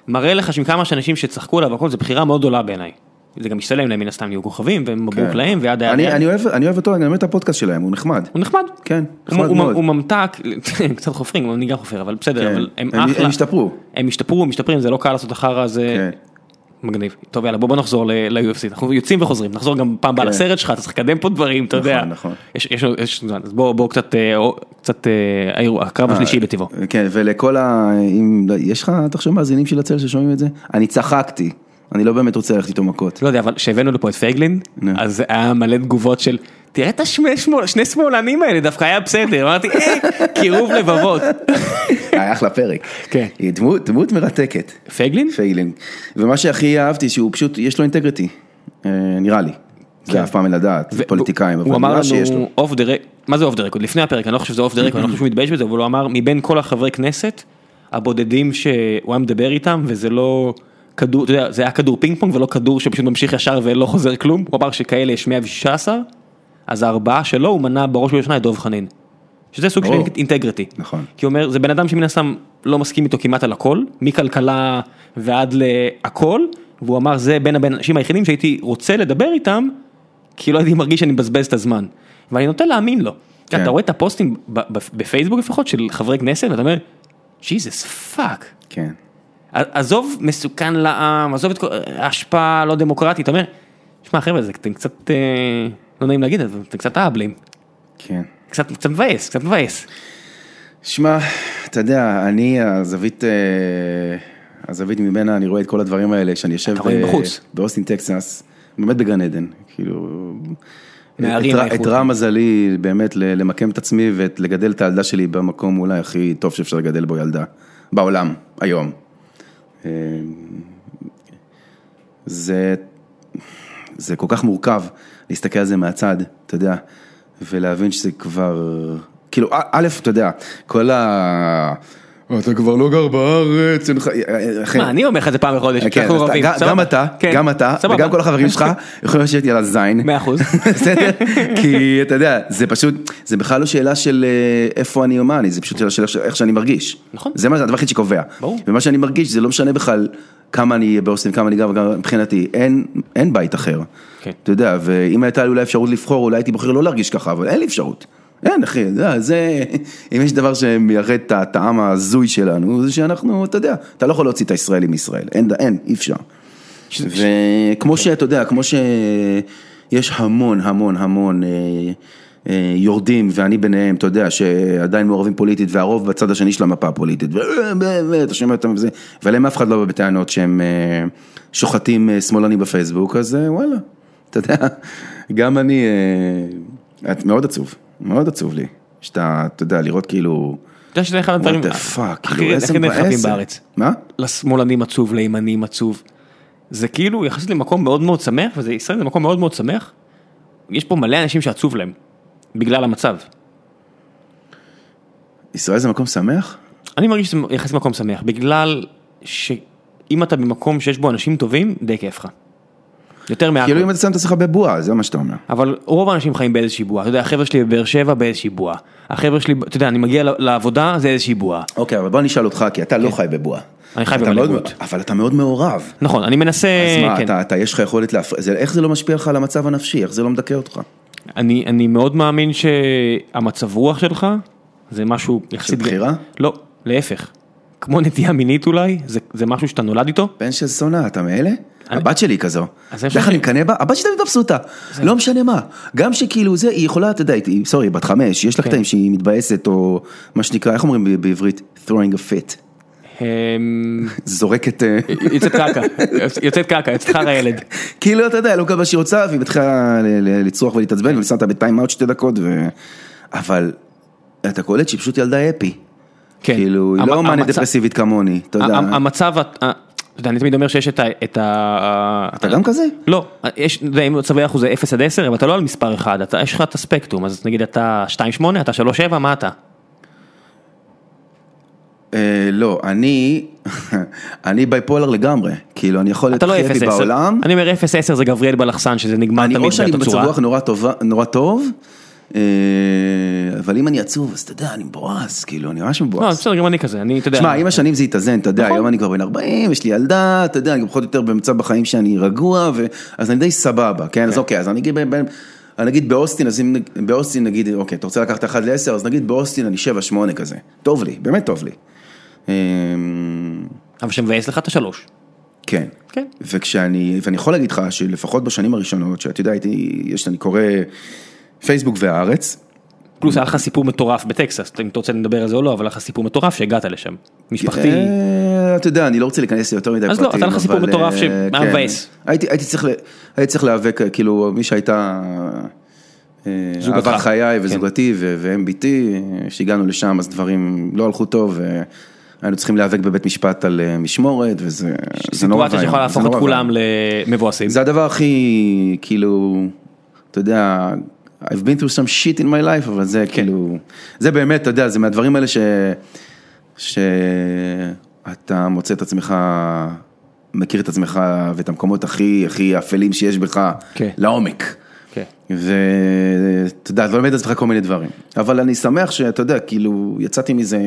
[SPEAKER 3] מראה לך שעם כמה שאנשים שצחקו עליו והכל, זו בחירה מאוד גדולה בעיניי. זה גם משתלם להם מן הסתם, יהיו כוכבים, והם מברוק
[SPEAKER 2] כן.
[SPEAKER 3] להם, ועד
[SPEAKER 2] אני-
[SPEAKER 3] היד.
[SPEAKER 2] אני אוהב- אני אוהב אותו, אני אוהב את הפודקאסט שלהם, הוא נחמד.
[SPEAKER 3] הוא נחמד.
[SPEAKER 2] כן,
[SPEAKER 3] הוא-
[SPEAKER 2] נחמד
[SPEAKER 3] הוא-
[SPEAKER 2] מאוד.
[SPEAKER 3] הוא ממתק, הם קצת חופרים, גם אני גם חופר, אבל בסדר,
[SPEAKER 2] כן.
[SPEAKER 3] אבל הם
[SPEAKER 2] הם-
[SPEAKER 3] אחלה.
[SPEAKER 2] הם השתפרו.
[SPEAKER 3] הם השתפרו, הם משתפרים, זה לא קל לעשות אחרה, זה
[SPEAKER 2] כן.
[SPEAKER 3] מגניב. טוב, יאללה, בוא בוא נחזור ל- ל-UFC, אנחנו יוצאים וחוזרים, נחזור גם פעם הבאה
[SPEAKER 2] כן.
[SPEAKER 3] לסרט שלך, אתה צריך לקדם פה דברים, אתה
[SPEAKER 2] נכון,
[SPEAKER 3] יודע.
[SPEAKER 2] נכון.
[SPEAKER 3] יש- יש לנו- יש זמן, אז בוא בוא קצת, אה, או- קצת, אה, האירוע- הקרב השלישי בטבעו.
[SPEAKER 2] כן, ולכל ה... אם... לא- יש לך, אתה חושב, מאזינים של הצל ששומעים את זה? אני צחקתי, אני לא באמת רוצה ללכת איתו מכות.
[SPEAKER 3] לא יודע, אבל כשהבאנו לפה את פייגלין,
[SPEAKER 2] נו.
[SPEAKER 3] אז היה מלא תגובות של, תראה את השני שמאל- שני שמאלנים האלה, דווקא היה בסדר, אמרתי, היי, קירוב לבבות.
[SPEAKER 2] היה אחלה פרק.
[SPEAKER 3] כן.
[SPEAKER 2] היא דמות, דמות מרתקת,
[SPEAKER 3] פייגלין?
[SPEAKER 2] פיילינג. ומה שהכי אהבתי, שהוא פשוט, יש לו אינטגריטי, אה, נראה לי. זה אף פעם אין לדעת, זה
[SPEAKER 3] כן. ו-
[SPEAKER 2] פוליטיקאים,
[SPEAKER 3] הוא
[SPEAKER 2] אבל
[SPEAKER 3] אמר
[SPEAKER 2] נראה שיש לו.
[SPEAKER 3] לנו, אוף דה רקורד, מה זה אוף דה רקורד? לפני הפרק, אני לא חושב שזה אוף דה רקורד, אני לא חושב שהוא מתבייש בזה, אבל הוא אמר, מבין כל החברי כנסת, הבודדים שהוא היה מדבר איתם, וזה לא כדור, אתה יודע, זה היה כדור פינג פונג ולא כדור שפשוט ממשיך ישר ולא חוזר כלום, הוא אמר שכאלה יש 116, אז הארבעה שלו, הוא מנה בראש ובראשונה את דב חנין. שזה סוג של
[SPEAKER 2] או.
[SPEAKER 3] אינטגריטי.
[SPEAKER 2] נכון.
[SPEAKER 3] כי הוא אומר, זה בן אדם שמן הסתם לא מסכים איתו כמעט על הכל, מכלכלה ועד להכל, והוא אמר, זה בין האנשים היחידים שהייתי רוצה לדבר איתם, כי לא הייתי מרגיש שאני מבזבז את הזמן. ואני נוטה להאמין לו.
[SPEAKER 2] כן.
[SPEAKER 3] אתה רואה את הפוסטים ב- ב- בפייסבוק לפחות של חברי כנסת, ואתה אומר, ג'יזוס פאק.
[SPEAKER 2] כן.
[SPEAKER 3] עזוב מסוכן לעם, עזוב את כל- השפעה לא דמוקרטית, אתה אומר, שמע חבר'ה זה אתם קצת אה, לא נעים להגיד את זה אתם קצת אהבלים
[SPEAKER 2] כן.
[SPEAKER 3] קצת קצת מבאס קצת מבאס.
[SPEAKER 2] שמע, אתה יודע, אני הזווית, אה, הזווית ממנה, אני רואה את כל הדברים האלה, שאני יושב
[SPEAKER 3] אתה רואה
[SPEAKER 2] ב-
[SPEAKER 3] מבחוץ.
[SPEAKER 2] באוסטין, טקסס, באמת בגן עדן, כאילו...
[SPEAKER 3] נערים
[SPEAKER 2] את רע-
[SPEAKER 3] האיכות.
[SPEAKER 2] את רע מזלי באמת ל- למקם את עצמי ולגדל את הילדה שלי במקום אולי הכי טוב שאפשר לגדל בו ילדה, בעולם, היום. אה, זה זה כל כך מורכב להסתכל על זה מהצד, אתה יודע, ולהבין שזה כבר, כאילו, א- א', אתה יודע, כל ה... אתה כבר לא גר בארץ, אין לך... אה, אחי,
[SPEAKER 3] מה, אני אומר לך את זה פעם בחודש.
[SPEAKER 2] כן,
[SPEAKER 3] כשאנחנו
[SPEAKER 2] אז אתה-
[SPEAKER 3] רבים,
[SPEAKER 2] גם-
[SPEAKER 3] סבבה?
[SPEAKER 2] גם אתה,
[SPEAKER 3] כן,
[SPEAKER 2] גם אתה,
[SPEAKER 3] סבבה.
[SPEAKER 2] וגם כל החברים שלך יכולים לשבת לי על הזין.
[SPEAKER 3] מאה אחוז.
[SPEAKER 2] בסדר? כי אתה יודע, זה פשוט, זה בכלל לא שאלה של אה, איפה אני הומני, זה פשוט שאלה של איך- איך שאני מרגיש.
[SPEAKER 3] נכון.
[SPEAKER 2] זה מה זה הדבר היחיד שקובע.
[SPEAKER 3] ברור.
[SPEAKER 2] ומה שאני מרגיש זה לא משנה בכלל כמה אני אהיה באוסטין, כמה אני גר, וגם מבחינתי, אין, אין בית אחר.
[SPEAKER 3] כן.
[SPEAKER 2] אתה יודע, ואם הייתה לי אולי אפשרות לבחור, אולי הייתי בוחר לא להרגיש ככה, אבל אין לי אפשרות. אין אחי, אתה יודע, זה, אם יש דבר שמייחד את הטעם ההזוי שלנו, זה שאנחנו, אתה יודע, אתה לא יכול להוציא את הישראלי מישראל, אין, אין, אי אפשר. וכמו שאתה יודע, כמו שיש המון המון המון אה, אה, יורדים, ואני ביניהם, אתה יודע, שעדיין מעורבים פוליטית, והרוב בצד השני של המפה הפוליטית, ו- ו- ו- אתה שומע אותם וזה, ועליהם אף אחד לא בא בטענות שהם אה, שוחטים אה, שמאלנים בפייסבוק, אז אה, וואלה, אתה יודע, גם אני, אה, את- מאוד עצוב, מאוד עצוב לי, שאתה, אתה יודע, לראות כאילו,
[SPEAKER 3] אתה יודע שזה אחד
[SPEAKER 2] what
[SPEAKER 3] הדברים
[SPEAKER 2] the fuck,
[SPEAKER 3] הכי-
[SPEAKER 2] כאילו, איזה
[SPEAKER 3] הכי נרחבים
[SPEAKER 2] מבאס.
[SPEAKER 3] בארץ.
[SPEAKER 2] מה?
[SPEAKER 3] לשמאלנים עצוב, לימנים עצוב. זה כאילו יחסית למקום מאוד מאוד שמח, וזה ישראל זה מקום מאוד מאוד שמח. יש פה מלא אנשים שעצוב להם, בגלל המצב.
[SPEAKER 2] ישראל זה מקום שמח?
[SPEAKER 3] אני מרגיש שזה יחסית מקום שמח, בגלל שאם אתה במקום שיש בו אנשים טובים, די כיף לך. יותר מהכל.
[SPEAKER 2] כאילו אם אתה שם את עצמך בבועה, זה מה שאתה אומר.
[SPEAKER 3] אבל רוב האנשים חיים באיזושהי בועה, אתה יודע, החבר'ה שלי בבאר שבע באיזושהי בועה. החבר'ה שלי, אתה יודע, אני מגיע ל- לעבודה, זה איזושהי בועה.
[SPEAKER 2] אוקיי, אבל בוא אני אשאל אותך, כי אתה לא חי בבועה.
[SPEAKER 3] כן. אני חי
[SPEAKER 2] אתה
[SPEAKER 3] במלא
[SPEAKER 2] מאוד-
[SPEAKER 3] בועות.
[SPEAKER 2] אבל אתה מאוד מעורב.
[SPEAKER 3] נכון, אני מנסה,
[SPEAKER 2] אז מה,
[SPEAKER 3] כן.
[SPEAKER 2] אתה- אתה, יש לך יכולת להפריע, זה- איך זה לא משפיע לך על המצב הנפשי, איך זה לא מדכא אותך?
[SPEAKER 3] אני, אני מאוד מאמין שהמצב רוח שלך זה משהו יחסית...
[SPEAKER 2] בחירה?
[SPEAKER 3] לא, להפך. כמו נטייה מינית אולי, זה, זה משהו שאתה נולד איתו.
[SPEAKER 2] בן של זונה, אתה מאלה? הבת שלי כזו.
[SPEAKER 3] אז איפה
[SPEAKER 2] איך
[SPEAKER 3] ש-
[SPEAKER 2] אני מקנא בה? הבת שלי תמיד מבסוטה. לא משנה מה. גם שכאילו זה, היא יכולה, אתה יודע, היא, סורי, בת חמש,
[SPEAKER 3] כן.
[SPEAKER 2] יש לה קטעים שהיא מתבאסת, או מה שנקרא, איך אומרים ב- בעברית? throwing a fit.
[SPEAKER 3] אמ,
[SPEAKER 2] זורקת... אה,
[SPEAKER 3] יוצאת קעקע, יוצאת קעקע, יוצאת חרא ילד.
[SPEAKER 2] כאילו אתה יודע, לא מקבל מה שהיא רוצה, והיא מתחילה ל- ל- לצרוח ולהתעצבן, ושמה אותה בטיים אאוט שתי דקות, ו... אבל אתה קולט שהיא פשוט ילדה אפי.
[SPEAKER 3] כן.
[SPEAKER 2] כאילו, היא לא
[SPEAKER 3] המ-
[SPEAKER 2] מאנית
[SPEAKER 3] המצב-
[SPEAKER 2] דפרסיבית כמוני, אתה יודע.
[SPEAKER 3] המ- המצב, ה- ה- אתה יודע, אני תמיד אומר שיש את ה... את ה-
[SPEAKER 2] אתה גם כזה?
[SPEAKER 3] לא, יש, אתה יודע, אם מצבי אחוז זה 0 עד 10, אבל אתה לא על מספר 1, אתה, יש לך את הספקטרום, אז נגיד אתה 2.8, אתה 3.7, מה אתה?
[SPEAKER 2] אה, לא, אני, אני בייפולר לגמרי, כאילו, אני יכול להיות
[SPEAKER 3] אתה לא
[SPEAKER 2] הכי
[SPEAKER 3] 0
[SPEAKER 2] אפי בעולם,
[SPEAKER 3] אני אומר 0 10 זה גבריאל בלחסן, שזה נגמר
[SPEAKER 2] אני
[SPEAKER 3] תמיד
[SPEAKER 2] או שאני
[SPEAKER 3] באותה
[SPEAKER 2] במצב
[SPEAKER 3] צורה.
[SPEAKER 2] רוח נורא טובה- נורא טוב, אה, אבל אם אני עצוב, אז אתה יודע, אני מבואס, כאילו, אני ממש
[SPEAKER 3] לא,
[SPEAKER 2] מבואס.
[SPEAKER 3] בסדר, גם אני כזה, אני, אתה יודע.
[SPEAKER 2] שמע, עם השנים זה התאזן, אתה יודע,
[SPEAKER 3] נכון.
[SPEAKER 2] היום אני כבר בן 40, יש לי ילדה, אתה יודע, אני גם פחות או יותר במצב בחיים שאני רגוע, ו- אז אני די סבבה, כן? אז אוקיי, אז אני אגיד, ב- ב- אני נגיד באוסטין, אז אם נג- באוסטין נגיד, אוקיי, אתה רוצה לקחת 1 ל-10, אז נגיד באוסטין אני 7-8 כזה. טוב לי, באמת טוב לי. אמ,
[SPEAKER 3] אבל שמבאס לך אתה שלוש.
[SPEAKER 2] כן.
[SPEAKER 3] כן.
[SPEAKER 2] וכשאני, ואני יכול להגיד לך שלפחות בשנים הראשונות, שאתה יודע, הייתי, יש, אני קורא פייסבוק והארץ,
[SPEAKER 3] פלוס היה לך סיפור מטורף בטקסס, אם אתה רוצה נדבר על זה או לא, אבל היה לך סיפור מטורף שהגעת לשם. משפחתי.
[SPEAKER 2] אה, אתה יודע, אני לא רוצה להיכנס ליותר מדי
[SPEAKER 3] אז
[SPEAKER 2] פרטים.
[SPEAKER 3] לא, אתה לך סיפור
[SPEAKER 2] אבל,
[SPEAKER 3] מטורף
[SPEAKER 2] אה,
[SPEAKER 3] שהיה
[SPEAKER 2] כן.
[SPEAKER 3] מבאס.
[SPEAKER 2] הייתי הייתי צריך ל- הייתי צריך להיאבק, כאילו, מי שהייתה... אה,
[SPEAKER 3] זוגתך.
[SPEAKER 2] אהבת חיי
[SPEAKER 3] כן.
[SPEAKER 2] וזוגתי ו- ואם ביתי, אה, כשהגענו לשם אז דברים לא הלכו טוב, אה, היינו צריכים להיאבק בבית משפט על אה, משמורת וזה זה נורא
[SPEAKER 3] סיטואציה
[SPEAKER 2] זה
[SPEAKER 3] שיכולה להפוך את
[SPEAKER 2] נורא
[SPEAKER 3] כולם
[SPEAKER 2] ואיום.
[SPEAKER 3] למבואסים.
[SPEAKER 2] זה הדבר הכי, כאילו, אתה יודע, I've been through some shit in my life, אבל זה כאילו, זה באמת, אתה יודע, זה מהדברים האלה ש... שאתה מוצא את עצמך, מכיר את עצמך ואת המקומות הכי, הכי אפלים שיש בך,
[SPEAKER 3] כן.
[SPEAKER 2] לעומק.
[SPEAKER 3] כן.
[SPEAKER 2] ואתה יודע, אתה לומד על עצמך כל מיני דברים. אבל אני שמח שאתה יודע, כאילו, יצאתי מזה,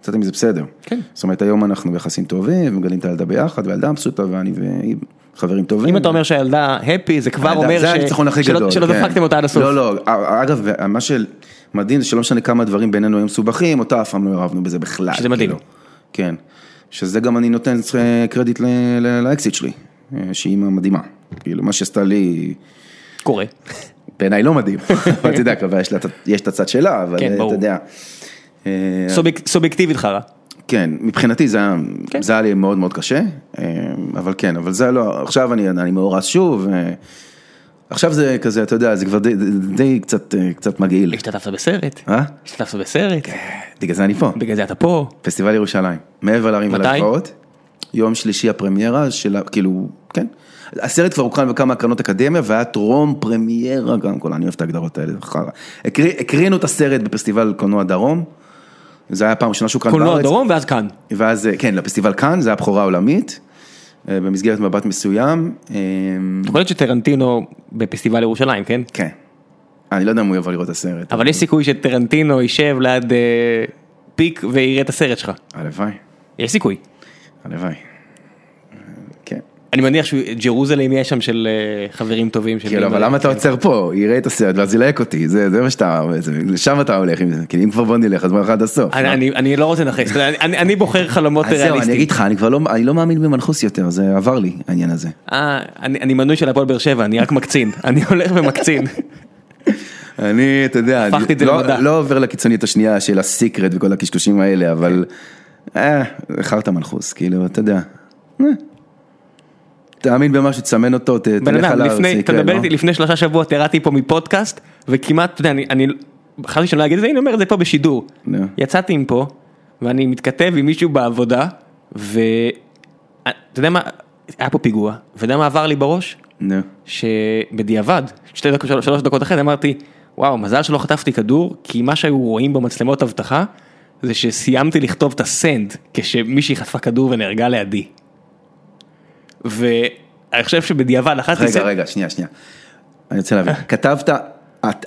[SPEAKER 2] יצאתי מזה בסדר.
[SPEAKER 3] כן.
[SPEAKER 2] זאת אומרת, היום אנחנו ביחסים טובים, ומגלים את הילדה ביחד, והילדה מבסוטה, ואני והיא חברים טובים.
[SPEAKER 3] אם אתה אומר שהילדה הפי, זה כבר
[SPEAKER 2] הילדה-
[SPEAKER 3] אומר
[SPEAKER 2] זה
[SPEAKER 3] ש-
[SPEAKER 2] הניצחון הכי
[SPEAKER 3] שלא-
[SPEAKER 2] גדול.
[SPEAKER 3] שלא
[SPEAKER 2] כן.
[SPEAKER 3] דפקתם אותה עד הסוף.
[SPEAKER 2] לא, לא, אגב, מה שמדהים זה שלא משנה כמה הדברים בינינו היו מסובכים, אותה אף פעם לא ערבנו בזה בכלל.
[SPEAKER 3] שזה מדהים.
[SPEAKER 2] כאילו. כן. שזה גם אני נותן קרדיט ל- ל- לאקסיט שלי, אה, שהיא מדהימה. כאילו, מה שעשתה לי,
[SPEAKER 3] קורה.
[SPEAKER 2] בעיניי לא מדהים, אבל אתה יודע, כבר יש לה את ה- יש את הצד שלה, אבל
[SPEAKER 3] כן,
[SPEAKER 2] אה,
[SPEAKER 3] ברור.
[SPEAKER 2] אתה יודע. אה,
[SPEAKER 3] סוביק- סובייקטיבית חרא.
[SPEAKER 2] כן, מבחינתי זה היה,
[SPEAKER 3] כן.
[SPEAKER 2] זה היה לי מאוד מאוד קשה, אה, אבל כן, אבל זה לא, עכשיו אני, אני מאורס שוב, אה, עכשיו זה כזה, אתה יודע, זה כבר די, די, די קצת, אה, קצת מגעיל.
[SPEAKER 3] השתתפת בסרט?
[SPEAKER 2] אה?
[SPEAKER 3] השתתפת בסרט?
[SPEAKER 2] בגלל זה אני פה,
[SPEAKER 3] בגלל זה אתה פה?
[SPEAKER 2] פסטיבל ירושלים, מעבר להרים
[SPEAKER 3] מתי?
[SPEAKER 2] ולגבעות, יום שלישי הפרמיירה של, ה- כאילו, כן. הסרט כבר הוקרן בכמה הקרנות אקדמיה והיה טרום פרמיירה גם כל, אני אוהב את ההגדרות האלה, חרא. הקריא- הקרינו את הסרט בפסטיבל קולנוע דרום, זה היה הפעם הראשונה שהוקרן בארץ.
[SPEAKER 3] קולנוע דרום ואז כאן.
[SPEAKER 2] ואז, אה, כן, לפסטיבל כאן, זה היה בכורה עולמית, אה, במסגרת מבט מסוים. אה,
[SPEAKER 3] יכול להיות שטרנטינו בפסטיבל ירושלים, כן?
[SPEAKER 2] כן. אני לא יודע אם הוא יבוא לראות את הסרט.
[SPEAKER 3] אבל יש סיכוי שטרנטינו יישב ליד אה, פיק ויראה את הסרט שלך.
[SPEAKER 2] הלוואי,
[SPEAKER 3] יש סיכוי.
[SPEAKER 2] הלוואי. אה, כן.
[SPEAKER 3] אני מניח שג'רוזלם יש שם של אה, חברים טובים. של
[SPEAKER 2] כאילו, אבל
[SPEAKER 3] בימאים.
[SPEAKER 2] למה אתה עוצר פה? יראה את הסרט ואז ילהק אותי, זה זה מה שאתה, זה- לשם אתה הולך, עם זה. כאילו, אם כבר בוא נלך, אז בוא נלך עד הסוף.
[SPEAKER 3] אני-
[SPEAKER 2] מה?
[SPEAKER 3] אני- אני לא רוצה לנחש, אתה יודע, אני- אני בוחר חלומות
[SPEAKER 2] אז זהו, אני
[SPEAKER 3] ריאליסטיים.
[SPEAKER 2] אגיד לך, אני כבר לא, אני לא מאמין במנחוס יותר, זה עבר לי, העניין הזה.
[SPEAKER 3] אה, אני אני מנוי של הפועל באר שבע, אני רק מקצין, אני הולך ומקצין.
[SPEAKER 2] אני, אתה יודע,
[SPEAKER 3] הפכתי את זה
[SPEAKER 2] לא-
[SPEAKER 3] למדע.
[SPEAKER 2] לא עובר לקיצונית השנייה של הסיקרט וכל הקשקושים האלה, אבל... אה, חרטא מנחוס, כאילו, אתה יודע. אה. תאמין במשהו, תסמן אותו, ת-
[SPEAKER 3] בן
[SPEAKER 2] תלך
[SPEAKER 3] אדם,
[SPEAKER 2] עליו, זה
[SPEAKER 3] לפני, אתה
[SPEAKER 2] יקרה,
[SPEAKER 3] מדבר
[SPEAKER 2] לא?
[SPEAKER 3] איתי, לפני שלושה שבועות ירדתי פה מפודקאסט, וכמעט, אתה יודע, אני- אני, חשבתי שאני לא אגיד את זה, אני אומר את זה פה בשידור.
[SPEAKER 2] נו.
[SPEAKER 3] יצאתי מפה, ואני מתכתב עם מישהו בעבודה, ואתה יודע מה, היה פה פיגוע, ואתה יודע מה עבר לי בראש?
[SPEAKER 2] נו.
[SPEAKER 3] שבדיעבד, שתי דקות, שלוש, שלוש דקות אחרי, אמרתי, וואו, מזל שלא חטפתי כדור, כי מה שהיו רואים במצלמות אבטחה, זה שסיימתי לכתוב את הסנד, כשמישהי חטפה כדור ונהרגה לידי. ואני חושב שבדיעבד אחת
[SPEAKER 2] רגע, רגע, שנייה, שנייה. אני רוצה להבין. כתבת, את-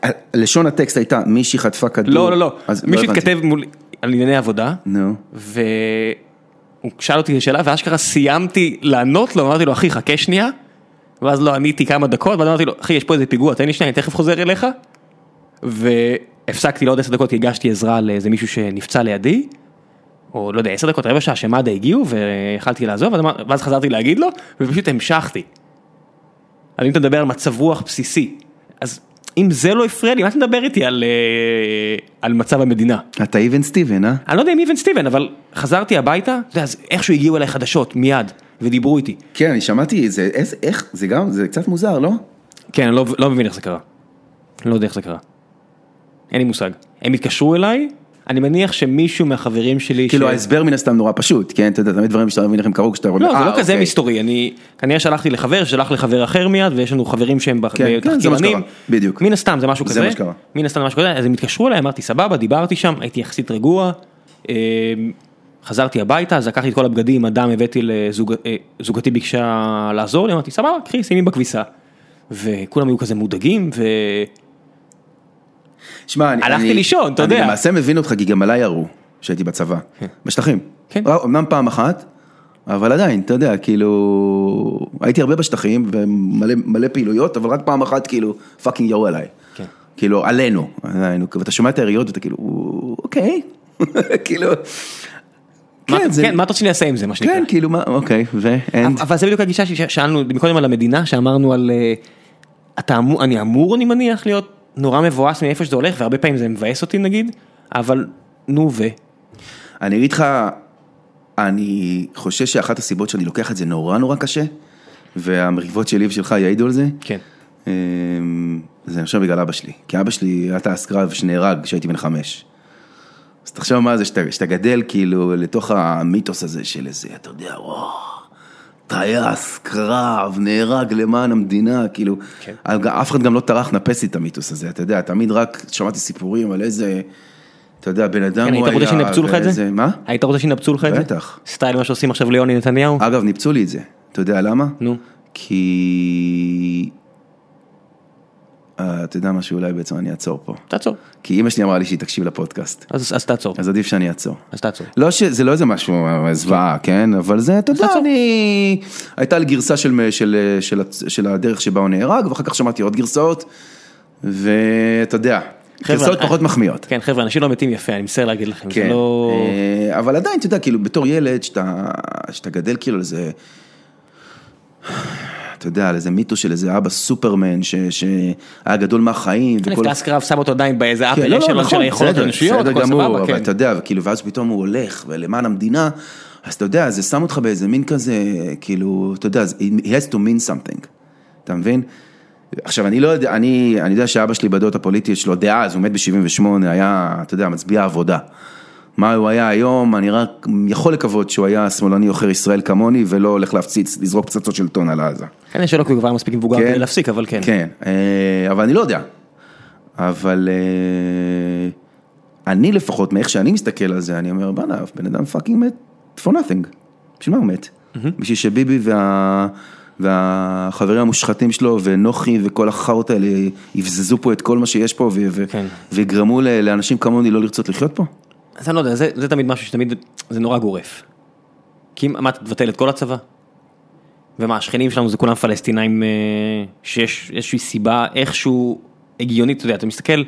[SPEAKER 2] את- לשון הטקסט הייתה, מישהי חטפה כדור.
[SPEAKER 3] לא, לא, לא,
[SPEAKER 2] אז
[SPEAKER 3] מישהו
[SPEAKER 2] הבנתי.
[SPEAKER 3] התכתב מול, על ענייני עבודה,
[SPEAKER 2] נו.
[SPEAKER 3] והוא שאל אותי שאלה, ואשכרה סיימתי לענות לו, אמרתי לו, אחי, חכה שנייה, ואז לא עניתי כמה דקות, ואז אמרתי לו, אחי, יש פה איזה פיגוע, תן לי שנייה, אני תכף חוזר אליך. והפסקתי לעוד עשר דקות, כי הגשתי עזרה לאיזה מישהו שנפצע לידי, או לא יודע, עשר דקות, רבע שעה שמד"א הגיעו, ויכלתי לעזוב, ואז אמר- ואז חזרתי להגיד לו, ופשוט המשכתי. אבל אם אתה מדבר על מצב רוח בסיסי, אז אם זה לא הפריע לי, מה אתה מדבר איתי על, אה, על מצב המדינה?
[SPEAKER 2] אתה איבן סטיבן, אה?
[SPEAKER 3] אני לא יודע אם איבן סטיבן, אבל חזרתי הביתה, אתה יודע, אז איכשהו הגיעו אליי חדשות, מיד, ודיברו איתי.
[SPEAKER 2] כן, אני שמעתי, זה איזה- איך, זה גם, זה קצת מוזר, לא?
[SPEAKER 3] כן, אני לא, לא מבין איך זה קרה. אני לא יודע איך זה קרה. אין לי מושג. הם התקשרו אליי, אני מניח שמישהו מהחברים שלי...
[SPEAKER 2] כאילו
[SPEAKER 3] ש-
[SPEAKER 2] ההסבר מן הסתם נורא פשוט, כן, אתה יודע, תמיד דברים שאתה לא מבין איך הם קרו כשאתה...
[SPEAKER 3] לא, זה
[SPEAKER 2] אה,
[SPEAKER 3] לא כזה
[SPEAKER 2] אוקיי.
[SPEAKER 3] מסתורי, אני כנראה שלחתי לחבר, שלח לחבר אחר מיד, ויש לנו חברים שהם בח-
[SPEAKER 2] כן, כן, זה מה
[SPEAKER 3] בתחקירנים.
[SPEAKER 2] שקרה, בדיוק.
[SPEAKER 3] מן הסתם זה משהו
[SPEAKER 2] זה
[SPEAKER 3] כזה.
[SPEAKER 2] מה שקרה.
[SPEAKER 3] מן הסתם זה משהו כזה, אז הם התקשרו אליי, אמרתי סבבה, דיברתי שם, הייתי יחסית רגוע. אה, חזרתי הביתה, אז לקחתי את כל הבגדים, אדם הבאתי לזוג, אה, זוגתי ביקשה לעזור לי, אמרתי סבבה, קחי, שימי בכביסה. וכולם היו כזה מודאגים, ו...
[SPEAKER 2] שמע, אני...
[SPEAKER 3] הלכתי
[SPEAKER 2] אני-
[SPEAKER 3] לישון, אתה יודע.
[SPEAKER 2] אני למעשה מבין אותך, כי גם עליי ירו, כשהייתי בצבא, בשטחים.
[SPEAKER 3] כן.
[SPEAKER 2] ראו, אמנם פעם אחת, אבל עדיין, אתה יודע, כאילו... הייתי הרבה בשטחים, ומלא מלא פעילויות, אבל רק פעם אחת, כאילו, פאקינג ירו עליי.
[SPEAKER 3] כן.
[SPEAKER 2] כאילו, עלינו, עלינו, ואתה שומע את היריות, ואתה כאילו, אוקיי, כאילו...
[SPEAKER 3] מה-
[SPEAKER 2] כן, זה...
[SPEAKER 3] כן, מה אתה רוצה שאני אעשה עם זה, מה שנקרא?
[SPEAKER 2] כן, כאילו, מה, אוקיי, ו... and-
[SPEAKER 3] אבל זה בדיוק הגישה ששאלנו מקודם על המדינה, שאמרנו על... אה, אתה אמור, אני אמור, אני מניח, להיות נורא מבואס מאיפה שזה הולך, והרבה פעמים זה מבאס אותי נגיד, אבל נו ו...
[SPEAKER 2] אני אגיד לך, אני חושש שאחת הסיבות שאני לוקח את זה נורא נורא קשה, והמריבות שלי ושלך יעידו על זה,
[SPEAKER 3] כן.
[SPEAKER 2] אמ, זה עכשיו בגלל אבא שלי. כי אבא שלי היה טייס קרב שנהרג כשהייתי בן חמש. אז תחשוב מה זה שאתה, שאתה גדל כאילו לתוך המיתוס הזה של איזה, אתה יודע, וואו, טייס קרב, נהרג למען המדינה, כאילו,
[SPEAKER 3] כן.
[SPEAKER 2] אף אחד גם לא טרח לנפס לי את המיתוס הזה, אתה יודע, תמיד רק שמעתי סיפורים על איזה, אתה יודע, בן אדם
[SPEAKER 3] כן,
[SPEAKER 2] הוא
[SPEAKER 3] היית
[SPEAKER 2] היה,
[SPEAKER 3] רוצה שינפצו לך את זה? לא
[SPEAKER 2] ואיזה- מה?
[SPEAKER 3] היית רוצה שינפצו לך את זה?
[SPEAKER 2] בטח. אה.
[SPEAKER 3] סטייל מה שעושים עכשיו ליוני נתניהו?
[SPEAKER 2] אגב, ניפצו לי את זה. אתה יודע למה?
[SPEAKER 3] נו.
[SPEAKER 2] כי... אה, אתה יודע מה שאולי בעצם אני אעצור פה.
[SPEAKER 3] תעצור.
[SPEAKER 2] כי אימא שלי אמרה לי שהיא תקשיב לפודקאסט.
[SPEAKER 3] אז אז תעצור.
[SPEAKER 2] אז עדיף שאני אעצור.
[SPEAKER 3] אז תעצור.
[SPEAKER 2] לא ש... זה לא איזה משהו, אה, זוועה, כן? אבל זה, אתה יודע,
[SPEAKER 3] תעצור.
[SPEAKER 2] אני... הייתה לי גרסה של, של, של, של הדרך שבה הוא נהרג, ואחר כך שמעתי עוד גרסאות, ואתה יודע,
[SPEAKER 3] חבר'ה,
[SPEAKER 2] גרסאות
[SPEAKER 3] אה,
[SPEAKER 2] פחות מחמיאות.
[SPEAKER 3] כן חבר'ה אנשים לא מתים יפה אני מצטער להגיד לכם זה
[SPEAKER 2] כן,
[SPEAKER 3] לא
[SPEAKER 2] אה, אבל עדיין, אתה יודע, כאילו, בתור ילד, שאתה, שאתה גדל כאילו לזה, אתה אתה יודע, על איזה מיתוס של איזה אבא סופרמן, ש- שהיה גדול מהחיים.
[SPEAKER 3] כן,
[SPEAKER 2] וכל-
[SPEAKER 3] פלס קרב שם אותו עדיין באיזה
[SPEAKER 2] כן,
[SPEAKER 3] אפל שלו של היכולות
[SPEAKER 2] בסדר,
[SPEAKER 3] האנושיות,
[SPEAKER 2] בסדר
[SPEAKER 3] הכל
[SPEAKER 2] גמור,
[SPEAKER 3] סבבה,
[SPEAKER 2] אבל
[SPEAKER 3] כן.
[SPEAKER 2] אתה יודע, כאילו, ואז פתאום הוא הולך, ולמען המדינה, אז אתה יודע, זה שם אותך באיזה מין כזה, כאילו, אתה יודע, זה- it has to mean something, אתה מבין? עכשיו, אני לא יודע, אני, אני יודע שאבא שלי בדעות הפוליטיות שלו, דאז, הוא מת ב-78, היה, אתה יודע, מצביע עבודה. מה הוא היה היום, אני רק יכול לקוות שהוא היה שמאלני עוכר ישראל כמוני, ולא הולך להפציץ, לזרוק פצצות של טון על עזה.
[SPEAKER 3] כנראה כן, שלא כי הוא כבר מספיק מבוגר כדי להפסיק, אבל כן.
[SPEAKER 2] כן, אה, אבל אני לא יודע. אבל אה, אני לפחות, מאיך שאני מסתכל על זה, אני אומר, בואנה, בן אדם פאקינג מת for nothing. בשביל מה הוא מת? בשביל שביבי וה... והחברים המושחתים שלו ונוחי וכל החארות האלה יבזזו פה את כל מה שיש פה ו- ו-
[SPEAKER 3] כן.
[SPEAKER 2] ויגרמו ל- לאנשים כמוני לא לרצות לחיות פה?
[SPEAKER 3] אז אני לא יודע, זה, זה תמיד משהו שתמיד, זה נורא גורף. כי אם מה, אתה תבטל את כל הצבא? ומה, השכנים שלנו זה כולם פלסטינאים אה, שיש איזושהי סיבה איכשהו הגיונית, אתה יודע, אתה מסתכל,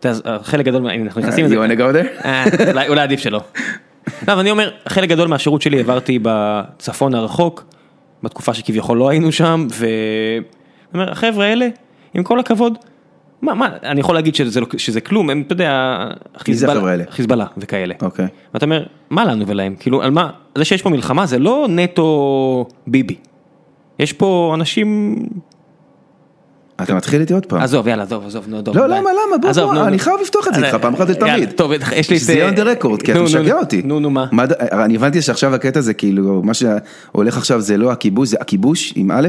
[SPEAKER 3] אתה יודע, אה, חלק גדול, מה- הנה, אנחנו נכנסים לזה,
[SPEAKER 2] יואנה גאודה?
[SPEAKER 3] אה, אולי- אולי עדיף שלא. לא, אבל אני אומר, חלק גדול מהשירות שלי העברתי בצפון הרחוק, בתקופה שכביכול לא היינו שם, ו... אני אומר, החבר'ה האלה, עם כל הכבוד, מה, מה, אני יכול להגיד שזה, לא- שזה כלום, הם, אתה יודע,
[SPEAKER 2] החבר'ה האלה?
[SPEAKER 3] חיזבאללה וכאלה.
[SPEAKER 2] אוקיי.
[SPEAKER 3] ואתה אומר, מה לנו ולהם? כאילו, על מה, זה שיש פה מלחמה זה לא נטו ביבי. יש פה אנשים,
[SPEAKER 2] אתה מתחיל איתי עוד פעם.
[SPEAKER 3] עזוב, יאללה, עזוב, עזוב, נו, עזוב.
[SPEAKER 2] לא,
[SPEAKER 3] די.
[SPEAKER 2] למה, למה? בוא,
[SPEAKER 3] עזוב,
[SPEAKER 2] בוא,
[SPEAKER 3] נו,
[SPEAKER 2] אני
[SPEAKER 3] נו.
[SPEAKER 2] חייב לפתוח את זה
[SPEAKER 3] אז-
[SPEAKER 2] איתך פעם אחת
[SPEAKER 3] יאללה,
[SPEAKER 2] ולתמיד.
[SPEAKER 3] טוב, יש לי את...
[SPEAKER 2] שזה יהיה on the record, כי אתה
[SPEAKER 3] נו, נו,
[SPEAKER 2] משגע
[SPEAKER 3] נו.
[SPEAKER 2] אותי.
[SPEAKER 3] נו, נו, מה?
[SPEAKER 2] ד- אני הבנתי שעכשיו הקטע זה כאילו, מה שהולך עכשיו זה לא הכיבוש, זה הכיבוש עם א',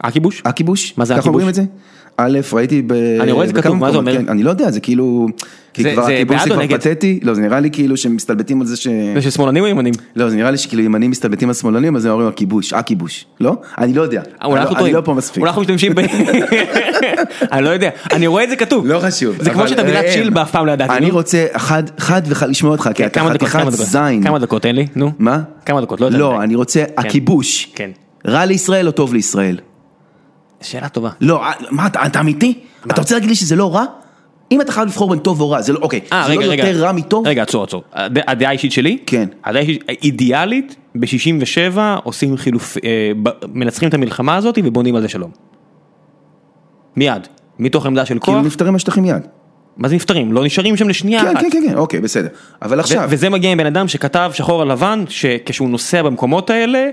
[SPEAKER 3] הכיבוש?
[SPEAKER 2] הכיבוש.
[SPEAKER 3] מה זה
[SPEAKER 2] ככה אומרים את
[SPEAKER 3] הכיבוש?
[SPEAKER 2] זה? א', ראיתי ב...
[SPEAKER 3] אני רואה את זה
[SPEAKER 2] בכמה
[SPEAKER 3] כתוב, מה זה
[SPEAKER 2] מקומות,
[SPEAKER 3] אומר?
[SPEAKER 2] כן, אני לא יודע, זה כאילו... כי
[SPEAKER 3] זה-
[SPEAKER 2] כבר
[SPEAKER 3] זה
[SPEAKER 2] הכיבוש
[SPEAKER 3] בעד
[SPEAKER 2] זה
[SPEAKER 3] או
[SPEAKER 2] כבר
[SPEAKER 3] נגד?
[SPEAKER 2] פתטי, לא, זה נראה לי כאילו שמסתלבטים על זה ש...
[SPEAKER 3] זה של שמאלנים או ימנים?
[SPEAKER 2] לא, זה נראה לי שכאילו ימנים מסתלבטים על שמאלנים, אז הם אומרים הכיבוש, הכיבוש, לא? אני לא יודע.
[SPEAKER 3] אה,
[SPEAKER 2] אני
[SPEAKER 3] אולי אנחנו
[SPEAKER 2] לא- אני
[SPEAKER 3] טועים.
[SPEAKER 2] לא פה מספיק.
[SPEAKER 3] אולי אנחנו משתמשים ב... אני לא יודע, אני רואה את זה כתוב.
[SPEAKER 2] לא חשוב.
[SPEAKER 3] זה כמו
[SPEAKER 2] אבל
[SPEAKER 3] שאת המילה
[SPEAKER 2] ראם,
[SPEAKER 3] צ'ילבה אף פעם לא ידעתי.
[SPEAKER 2] אני
[SPEAKER 3] נו. כן,
[SPEAKER 2] רוצה חד, חד וחד לשמוע אותך, כי אתה
[SPEAKER 3] כמה דקות,
[SPEAKER 2] חתיכת
[SPEAKER 3] כמה דקות.
[SPEAKER 2] זין.
[SPEAKER 3] כמה דקות, תן לי, נו.
[SPEAKER 2] מה?
[SPEAKER 3] כמה דקות, לא יודע.
[SPEAKER 2] לא,
[SPEAKER 3] מתי.
[SPEAKER 2] אני רוצה, הכיבוש.
[SPEAKER 3] כן.
[SPEAKER 2] רע לישראל או טוב לישראל?
[SPEAKER 3] שאלה טובה.
[SPEAKER 2] לא, אה, מה, אתה אתה אמיתי? אתה רוצה להגיד לי שזה לא רע? אם אתה חייב לבחור בין טוב או רע, זה לא, אוקיי.
[SPEAKER 3] אה,
[SPEAKER 2] זה
[SPEAKER 3] רגע,
[SPEAKER 2] לא
[SPEAKER 3] רגע.
[SPEAKER 2] יותר רע מטוב?
[SPEAKER 3] רגע, עצור, עצור. הד- הדעה האישית שלי?
[SPEAKER 2] כן.
[SPEAKER 3] הדעה האישית, אידיאלית, ב-67 עושים חילוף, אה, ב- מנצחים את המלחמה הזאת ובונים על זה שלום. מיד. מתוך עמדה של
[SPEAKER 2] כאילו
[SPEAKER 3] כוח.
[SPEAKER 2] נפטרים מהשטחים מיד.
[SPEAKER 3] מה זה נפטרים? לא נשארים שם לשנייה
[SPEAKER 2] כן,
[SPEAKER 3] אחת.
[SPEAKER 2] כן, כן, כן, אוקיי, בסדר. אבל עכשיו,
[SPEAKER 3] ו- וזה מגיע עם בן אדם שכתב שחור על לבן, שכשהוא נוסע במקומות האלה,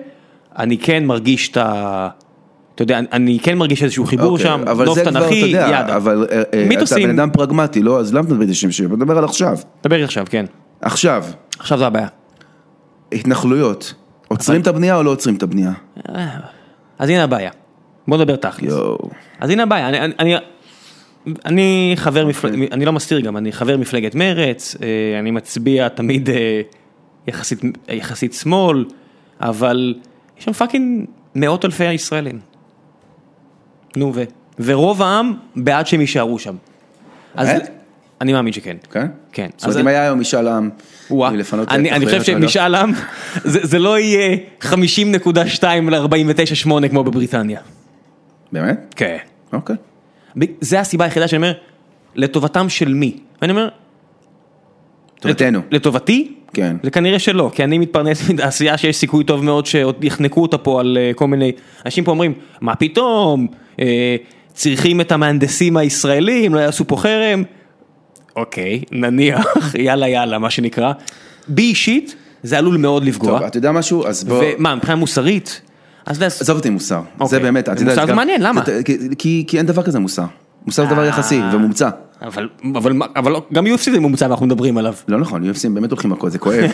[SPEAKER 3] אני כן מרגיש את ה... אתה יודע, אני- אני כן מרגיש איזשהו חיבור
[SPEAKER 2] אוקיי,
[SPEAKER 3] שם,
[SPEAKER 2] אבל
[SPEAKER 3] נוף
[SPEAKER 2] זה כבר, אתה
[SPEAKER 3] תנכי,
[SPEAKER 2] יודע,
[SPEAKER 3] ידה.
[SPEAKER 2] אבל אה, אה, אתה
[SPEAKER 3] מיתוסים.
[SPEAKER 2] בן אדם פרגמטי, לא? אז למה אתה מדבר איתי בוא נדבר על עכשיו.
[SPEAKER 3] דבר איתי עכשיו, כן.
[SPEAKER 2] עכשיו,
[SPEAKER 3] עכשיו זו הבעיה.
[SPEAKER 2] התנחלויות. עוצרים את הבנייה או לא עוצרים את הבנייה?
[SPEAKER 3] אז הנה הבעיה. בוא נדבר תכלס.
[SPEAKER 2] יואו.
[SPEAKER 3] אז הנה הבעיה, אני, אני, אני, אני
[SPEAKER 2] אוקיי.
[SPEAKER 3] חבר מפלגת, אני לא מסתיר גם, אני חבר מפלגת מרץ, אה, אני מצביע תמיד אה, יחסית, יחסית שמאל, אבל יש שם פאקינג מאות אלפי הישראלים. נו ו... ורוב העם בעד שהם יישארו שם. אז
[SPEAKER 2] באמת?
[SPEAKER 3] אני מאמין שכן.
[SPEAKER 2] כן?
[SPEAKER 3] כן.
[SPEAKER 2] זאת אומרת,
[SPEAKER 3] אז-
[SPEAKER 2] אם היה היום משאל עם,
[SPEAKER 3] וואה,
[SPEAKER 2] לפנות את
[SPEAKER 3] אני, אני חושב
[SPEAKER 2] ההתנחלויות, לא?
[SPEAKER 3] שמשאל עם, זה, זה לא יהיה 50.2 ל-49.8 כמו בבריטניה.
[SPEAKER 2] באמת?
[SPEAKER 3] כן.
[SPEAKER 2] אוקיי.
[SPEAKER 3] ב- זה הסיבה היחידה שאני אומר, לטובתם של מי? ואני אומר,
[SPEAKER 2] טובתנו.
[SPEAKER 3] לט- לטובתי?
[SPEAKER 2] כן.
[SPEAKER 3] זה כנראה שלא, כי אני מתפרנס מתעשייה שיש סיכוי טוב מאוד שעוד יחנקו אותה פה על אה, כל מיני... אנשים פה אומרים, מה פתאום, אה, צריכים את המהנדסים הישראלים, לא יעשו פה חרם. אוקיי, נניח, יאללה יאללה, מה שנקרא. בי אישית, זה עלול מאוד לפגוע.
[SPEAKER 2] טוב, אתה יודע משהו? אז בוא...
[SPEAKER 3] ומה, מבחינה מוסרית? אז אתה יודע,
[SPEAKER 2] עזוב אותי מוסר, זה
[SPEAKER 3] אוקיי.
[SPEAKER 2] באמת, אתה יודע,
[SPEAKER 3] מוסר זה
[SPEAKER 2] גם-
[SPEAKER 3] מעניין, למה? אה.
[SPEAKER 2] כי- כי כי אין דבר כזה מוסר, מוסר זה דבר יחסי ומומצא.
[SPEAKER 3] אבל, אבל, מה- אבל לא- גם UFC זה ממוצע ואנחנו מדברים עליו.
[SPEAKER 2] לא נכון, UFC באמת הולכים מכות, זה כואב.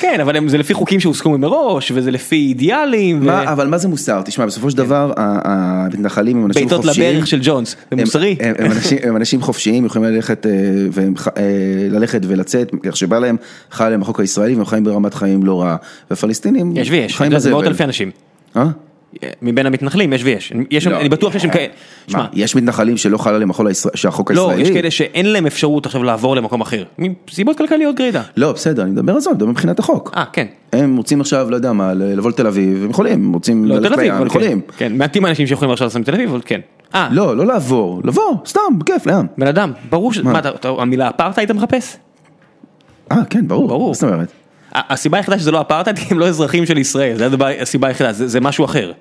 [SPEAKER 3] כן, אבל הם- זה לפי חוקים שהוסכמו מראש, וזה לפי אידיאלים, ו-
[SPEAKER 2] מה- אבל מה זה מוסר? תשמע, בסופו של דבר, ה- ה- המתנחלים הם אנשים
[SPEAKER 3] כן. בעיטות
[SPEAKER 2] חופשיים.
[SPEAKER 3] לברך של ג'ונס, זה
[SPEAKER 2] הם-
[SPEAKER 3] מוסרי.
[SPEAKER 2] הם- הם אנשים- הם אנשים חופשיים, יכולים ללכת אה, והם ח- אה, ללכת ולצאת, איך שבא להם, חל עליהם החוק הישראלי, והם חיים ברמת חיים לא רעה. והפלסטינים
[SPEAKER 3] יש ויש,
[SPEAKER 2] חיים
[SPEAKER 3] אתה יודע, זה מאות
[SPEAKER 2] בזבל.
[SPEAKER 3] אלפי אנשים.
[SPEAKER 2] אה?
[SPEAKER 3] מבין המתנחלים, יש ויש. יש שם-
[SPEAKER 2] לא.
[SPEAKER 3] אני בטוח שיש שם כאלה, שמע,
[SPEAKER 2] מה, יש מתנחלים שלא חל עליהם החול הישראל- שהחוק
[SPEAKER 3] לא,
[SPEAKER 2] הישראלי?
[SPEAKER 3] יש כאלה שאין להם אפשרות עכשיו לעבור למקום אחר. מסיבות כלכליות גרידא.
[SPEAKER 2] לא, בסדר, אני מדבר על זה, אני מדבר מבחינת החוק.
[SPEAKER 3] אה, כן.
[SPEAKER 2] הם רוצים עכשיו, לא יודע מה, ל- לבוא לתל אביב, הם יכולים, הם רוצים
[SPEAKER 3] לא,
[SPEAKER 2] ללכת לים,
[SPEAKER 3] תל אביב,
[SPEAKER 2] הם
[SPEAKER 3] אבל
[SPEAKER 2] יכולים.
[SPEAKER 3] כן. כן, מעטים האנשים שיכולים עכשיו לעשות מתל אביב, אבל כן. אה,
[SPEAKER 2] לא, לא לעבור, לבוא, סתם, בכיף, לים.
[SPEAKER 3] בן אדם, ברור ש... מה, אתה- אתה- המילה אפרטהייד אתה מחפש?
[SPEAKER 2] אה, כן, ברור.
[SPEAKER 3] ברור.
[SPEAKER 2] מה זאת אומרת?
[SPEAKER 3] ה- הסיבה היחידה שזה לא אפרטהייד, כי הם לא אזרחים של ישראל, זה הדבר- הסיבה היחידה, זה זה משהו אחר.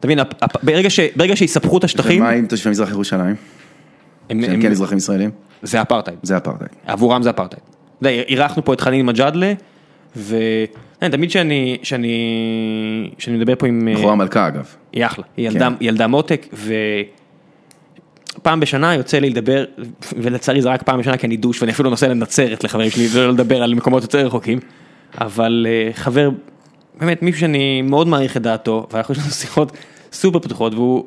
[SPEAKER 3] אתה מבין, הפ- הפ- ברגע ש- ברגע שיספחו את השטחים,
[SPEAKER 2] ומה עם תושבי מזרח ירושלים?
[SPEAKER 3] הם-
[SPEAKER 2] שהם
[SPEAKER 3] הם- אה.
[SPEAKER 2] כן אזרחים ישראלים?
[SPEAKER 3] זה אפרטהייד.
[SPEAKER 2] זה אפרטהייד.
[SPEAKER 3] עבורם זה אפרטהייד. אתה יודע, אירחנו פה את חנין מג'אדלה, ותמיד שאני, שאני, שאני מדבר פה עם... אה,
[SPEAKER 2] בחורה מלכה אגב.
[SPEAKER 3] היא אחלה, היא ילדה,
[SPEAKER 2] כן.
[SPEAKER 3] היא ילדה מותק, ופעם בשנה יוצא לי לדבר, ולצערי זה רק פעם בשנה כי אני דוש ואני אפילו נוסע לנצרת לחברים שלי, ולא לדבר על מקומות יותר רחוקים, אבל אה, חבר, באמת מישהו שאני מאוד מעריך את דעתו, ואנחנו יש לנו שיחות סופר פתוחות, והוא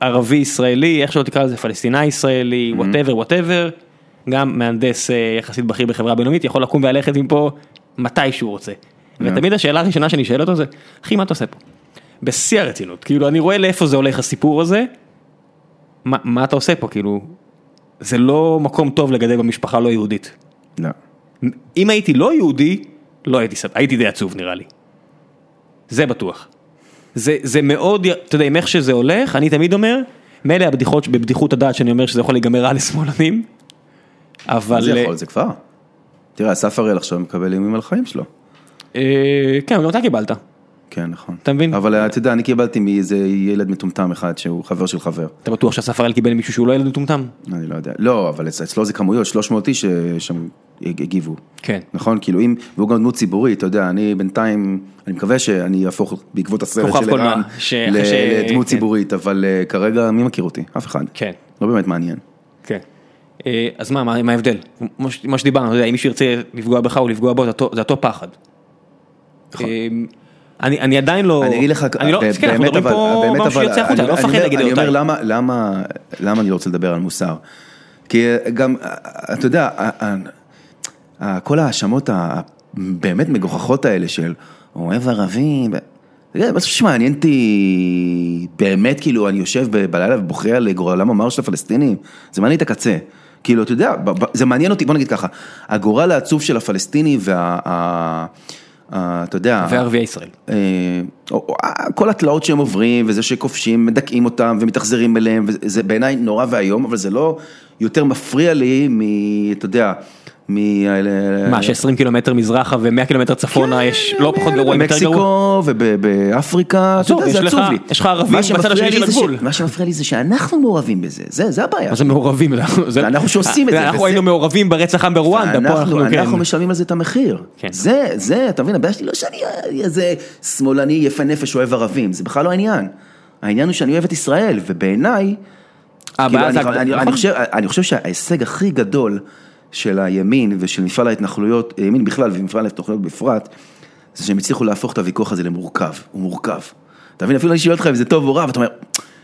[SPEAKER 3] ערבי ישראלי, איך שלא תקרא לזה, פלסטיני ישראלי, וואטאבר וואטאבר, גם מהנדס אה, יחסית בכיר בחברה בינלאומית, יכול לקום וללכת מפה מתי שהוא רוצה. ותמיד השאלה הראשונה שאני שואל אותו זה, אחי מה אתה עושה פה? בשיא הרצינות, כאילו אני רואה לאיפה זה הולך הסיפור הזה, מה, מה אתה עושה פה, כאילו, זה לא מקום טוב לגדל במשפחה לא יהודית.
[SPEAKER 2] לא.
[SPEAKER 3] אם הייתי לא יהודי, לא הייתי, סב- הייתי די עצוב נראה לי. זה בטוח. זה, זה מאוד, י- אתה יודע, עם איך שזה הולך, אני תמיד אומר, מילא הבדיחות, בבדיחות הדעת שאני אומר שזה יכול להיגמר רע לשמאלנים, אבל...
[SPEAKER 2] זה יכול, זה כבר. תראה, אסף הראל עכשיו מקבל איומים על החיים שלו.
[SPEAKER 3] אה, כן, גם אתה קיבלת.
[SPEAKER 2] כן, נכון.
[SPEAKER 3] אתה מבין?
[SPEAKER 2] אבל אה, אתה יודע, אני קיבלתי מאיזה ילד מטומטם אחד שהוא חבר של חבר.
[SPEAKER 3] אתה בטוח שאסף הראל קיבל מישהו שהוא לא ילד מטומטם?
[SPEAKER 2] אני לא יודע. לא, אבל אצ- אצלו זה כמויות, 300 איש אה, שם הג- הגיבו.
[SPEAKER 3] כן.
[SPEAKER 2] נכון? כאילו אם, והוא גם דמות ציבורית, אתה יודע, אני בינתיים, אני מקווה שאני אהפוך בעקבות הסרט
[SPEAKER 3] כוכב
[SPEAKER 2] של
[SPEAKER 3] קולנוע,
[SPEAKER 2] ערן
[SPEAKER 3] ש-
[SPEAKER 2] ל-
[SPEAKER 3] ש-
[SPEAKER 2] לדמות
[SPEAKER 3] כן.
[SPEAKER 2] ציבורית, אבל אה, כרגע מי מכיר אותי? אף אחד.
[SPEAKER 3] כן.
[SPEAKER 2] לא באמת מעניין.
[SPEAKER 3] כן. אה, אז מה, מה, מה ההבדל? כמו ש- מה שדיברנו, אתה יודע, אם מישהו ירצה לפגוע בך או לפגוע בו, זה אותו- זה אותו פחד. אה, אני, אני עדיין לא,
[SPEAKER 2] נכון. אני אגיד לך,
[SPEAKER 3] אני לא,
[SPEAKER 2] ב-
[SPEAKER 3] כן, אנחנו מדברים פה
[SPEAKER 2] באמת,
[SPEAKER 3] משהו שיוצא החוצה, אני לא
[SPEAKER 2] אני
[SPEAKER 3] מפחד
[SPEAKER 2] אומר-
[SPEAKER 3] להגיד
[SPEAKER 2] אני אומר
[SPEAKER 3] אותה.
[SPEAKER 2] למה, למה, למה אני לא רוצה לדבר על מוסר? כי אה, גם, אה, אתה יודע, אה, אה, אה, כל ההאשמות הבאמת מגוחכות האלה של אוהב ערבים, ו- אתה יודע, בסוף שמעניין אותי באמת, כאילו, אני יושב ב- בלילה ובוכה על גורלם המר של הפלסטינים, זה מעניין את הקצה. כאילו, אתה יודע, ב- ב- זה מעניין אותי, בוא נגיד ככה, הגורל העצוב של הפלסטיני וה... ה- ה- אתה יודע,
[SPEAKER 3] וערביי ישראל.
[SPEAKER 2] אה, או- או- אה, כל התלאות שהם עוברים, וזה שכובשים, מדכאים אותם ומתאכזרים אליהם, וזה בעיניי נורא ואיום, אבל זה לא יותר מפריע לי מ... אתה יודע, מ... אה,
[SPEAKER 3] מה, ש-20 קילומטר מזרחה ו-100 קילומטר צפונה
[SPEAKER 2] כן,
[SPEAKER 3] יש לא פחות גרוע, יותר גרוע?
[SPEAKER 2] במקסיקו ובאפריקה, אתה
[SPEAKER 3] עזוב,
[SPEAKER 2] יודע,
[SPEAKER 3] יש
[SPEAKER 2] זה
[SPEAKER 3] לך-
[SPEAKER 2] עצוב לי.
[SPEAKER 3] יש לך ערבים
[SPEAKER 2] מה
[SPEAKER 3] בצד
[SPEAKER 2] שמפריע
[SPEAKER 3] השני
[SPEAKER 2] לי
[SPEAKER 3] של
[SPEAKER 2] זה ש-
[SPEAKER 3] הגבול.
[SPEAKER 2] מה שמפריע לי זה שאנחנו מעורבים בזה, זה זה הבעיה.
[SPEAKER 3] אז הם מעורבים, לא, זה-
[SPEAKER 2] ואנחנו שעושים את זה,
[SPEAKER 3] אנחנו
[SPEAKER 2] וזה-
[SPEAKER 3] היינו מעורבים ברצח עם ברואנדה, פה אנחנו,
[SPEAKER 2] אנחנו,
[SPEAKER 3] כן.
[SPEAKER 2] אנחנו משלמים על זה את המחיר.
[SPEAKER 3] כן.
[SPEAKER 2] זה, זה, אתה מבין, הבעיה שלי לא שאני איזה שמאלני יפה נפש אוהב ערבים, זה בכלל לא העניין. העניין הוא שאני אוהב את ישראל, ובעיניי, כאילו,
[SPEAKER 3] הבעיה
[SPEAKER 2] אני,
[SPEAKER 3] זה
[SPEAKER 2] אני, אני,
[SPEAKER 3] הגדול,
[SPEAKER 2] אני,
[SPEAKER 3] נכון.
[SPEAKER 2] חושב, אני חושב שההישג הכי גדול של הימין ושל מפעל ההתנחלויות, הימין בכלל ומפעל ההתנחלויות בפרט, זה שהם הצליחו להפוך את הוויכוח הזה למורכב, הוא מורכב. אתה מבין, אפילו אני שואל אותך אם זה טוב או רע, ואתה אומר,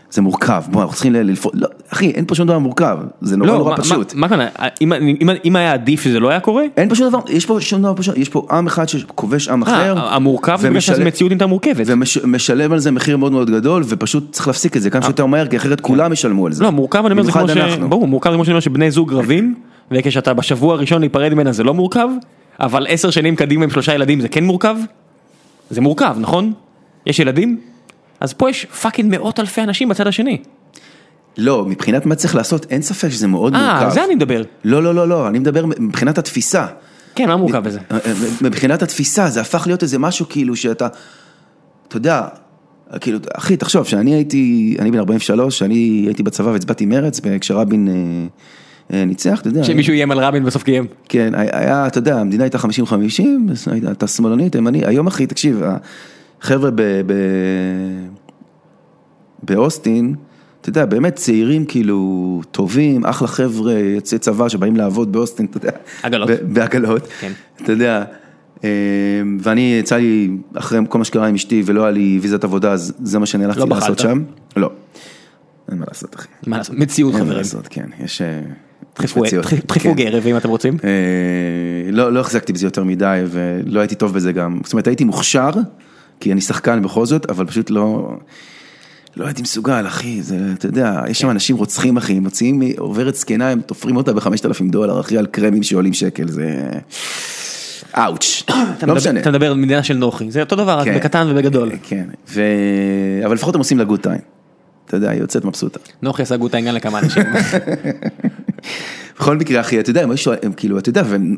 [SPEAKER 2] זה מורכב, בוא, אנחנו צריכים לפעול, לא, אחי, אין פה שום דבר מורכב, זה נורא
[SPEAKER 3] לא,
[SPEAKER 2] נורא
[SPEAKER 3] מה- מה-
[SPEAKER 2] פשוט.
[SPEAKER 3] מה הכוונה, אם- אם- אם היה עדיף שזה לא היה קורה?
[SPEAKER 2] אין פה שום דבר, יש פה שום דבר פשוט, יש פה עם אחד שכובש עם אחר.
[SPEAKER 3] אה, המורכב זה בגלל
[SPEAKER 2] ומשלם-
[SPEAKER 3] שהמציאות הייתה מורכבת.
[SPEAKER 2] ומשלם על זה מחיר מאוד מאוד גדול, ופשוט צריך להפסיק את זה כמה שיותר מהר, כי אחרת כולם ישלמו על זה.
[SPEAKER 3] אה. לא, מורכב אני אומר זה כמו ש...
[SPEAKER 2] במיוחד אנחנו.
[SPEAKER 3] ברור, מורכב זה כמו שאני אומר שבני זוג רבים, וכשאתה בשבוע הראשון להיפרד ממנה זה לא מורכב, אבל עשר שנים קדימה עם שלושה ילדים זה כן מורכב? זה מורכב, נכון? יש ילדים? אז פה יש פאקינג מאות אלפי אנשים בצד השני. אה,
[SPEAKER 2] לא, מבחינת מה צריך לעשות, אין ספק שזה מאוד מורכב.
[SPEAKER 3] אה, על זה אני מדבר.
[SPEAKER 2] לא, לא, לא, לא, אני מדבר מבחינת התפיסה. אה,
[SPEAKER 3] כן, מה מורכב בזה?
[SPEAKER 2] מבחינת התפיסה, זה הפך להיות איזה משהו כאילו שאתה, אתה יודע, כאילו, אחי, תחשוב, שאני הייתי, אני בן 43, שאני הייתי בצבא והצבעתי מרץ, כשרבין אה, אה, ניצח, אתה יודע.
[SPEAKER 3] שמישהו איים על רבין בסוף קיים.
[SPEAKER 2] כן, היה, אתה יודע, המדינה הייתה 50-50, אז היית- אתה שמאלני, תימני, היום אחי, תקשיב, החבר'ה ב... ב... באוסטין, אתה יודע, באמת צעירים כאילו טובים, אחלה חבר'ה, יוצאי צבא שבאים לעבוד באוסטין, אתה יודע.
[SPEAKER 3] עגלות.
[SPEAKER 2] ב- בעגלות.
[SPEAKER 3] כן.
[SPEAKER 2] אתה יודע, אה, ואני, יצא לי, אחרי כל מה שקרה עם אשתי ולא היה לי ויזת עבודה, אז זה מה שנאלצתי
[SPEAKER 3] לא
[SPEAKER 2] לעשות
[SPEAKER 3] בחלת?
[SPEAKER 2] שם. לא. אין מה לעשות, אחי.
[SPEAKER 3] מה לעשות, מציאות
[SPEAKER 2] אין מה
[SPEAKER 3] חברים.
[SPEAKER 2] לעשות, כן, יש... אה,
[SPEAKER 3] דחפו-
[SPEAKER 2] מציאות,
[SPEAKER 3] דחפו- דחפו
[SPEAKER 2] כן.
[SPEAKER 3] גרב אם אתם רוצים.
[SPEAKER 2] אה, לא, לא החזקתי בזה יותר מדי ולא הייתי טוב בזה גם, זאת אומרת הייתי מוכשר, כי אני שחקן בכל זאת, אבל פשוט לא, לא הייתי מסוגל אחי, זה, אתה יודע, יש שם
[SPEAKER 3] כן.
[SPEAKER 2] אנשים רוצחים אחי, מוציאים מ- עוברת זקנה, הם תופרים אותה בחמשת אלפים דולר אחי על קרמים שעולים שקל, זה אאוץ',
[SPEAKER 3] אתה
[SPEAKER 2] לא
[SPEAKER 3] מדבר-
[SPEAKER 2] משנה.
[SPEAKER 3] אתה מדבר על מדינה של נוחי, זה אותו דבר, רק
[SPEAKER 2] כן.
[SPEAKER 3] בקטן ובגדול.
[SPEAKER 2] כן, ו... אבל לפחות הם עושים לה גוד טיים, אתה יודע, היא יוצאת מבסוטה.
[SPEAKER 3] נוחי עשה גוטה עניין לכמה אנשים.
[SPEAKER 2] בכל מקרה, אחי, אתה יודע, הם, היו, הם כאילו, אתה יודע, והם,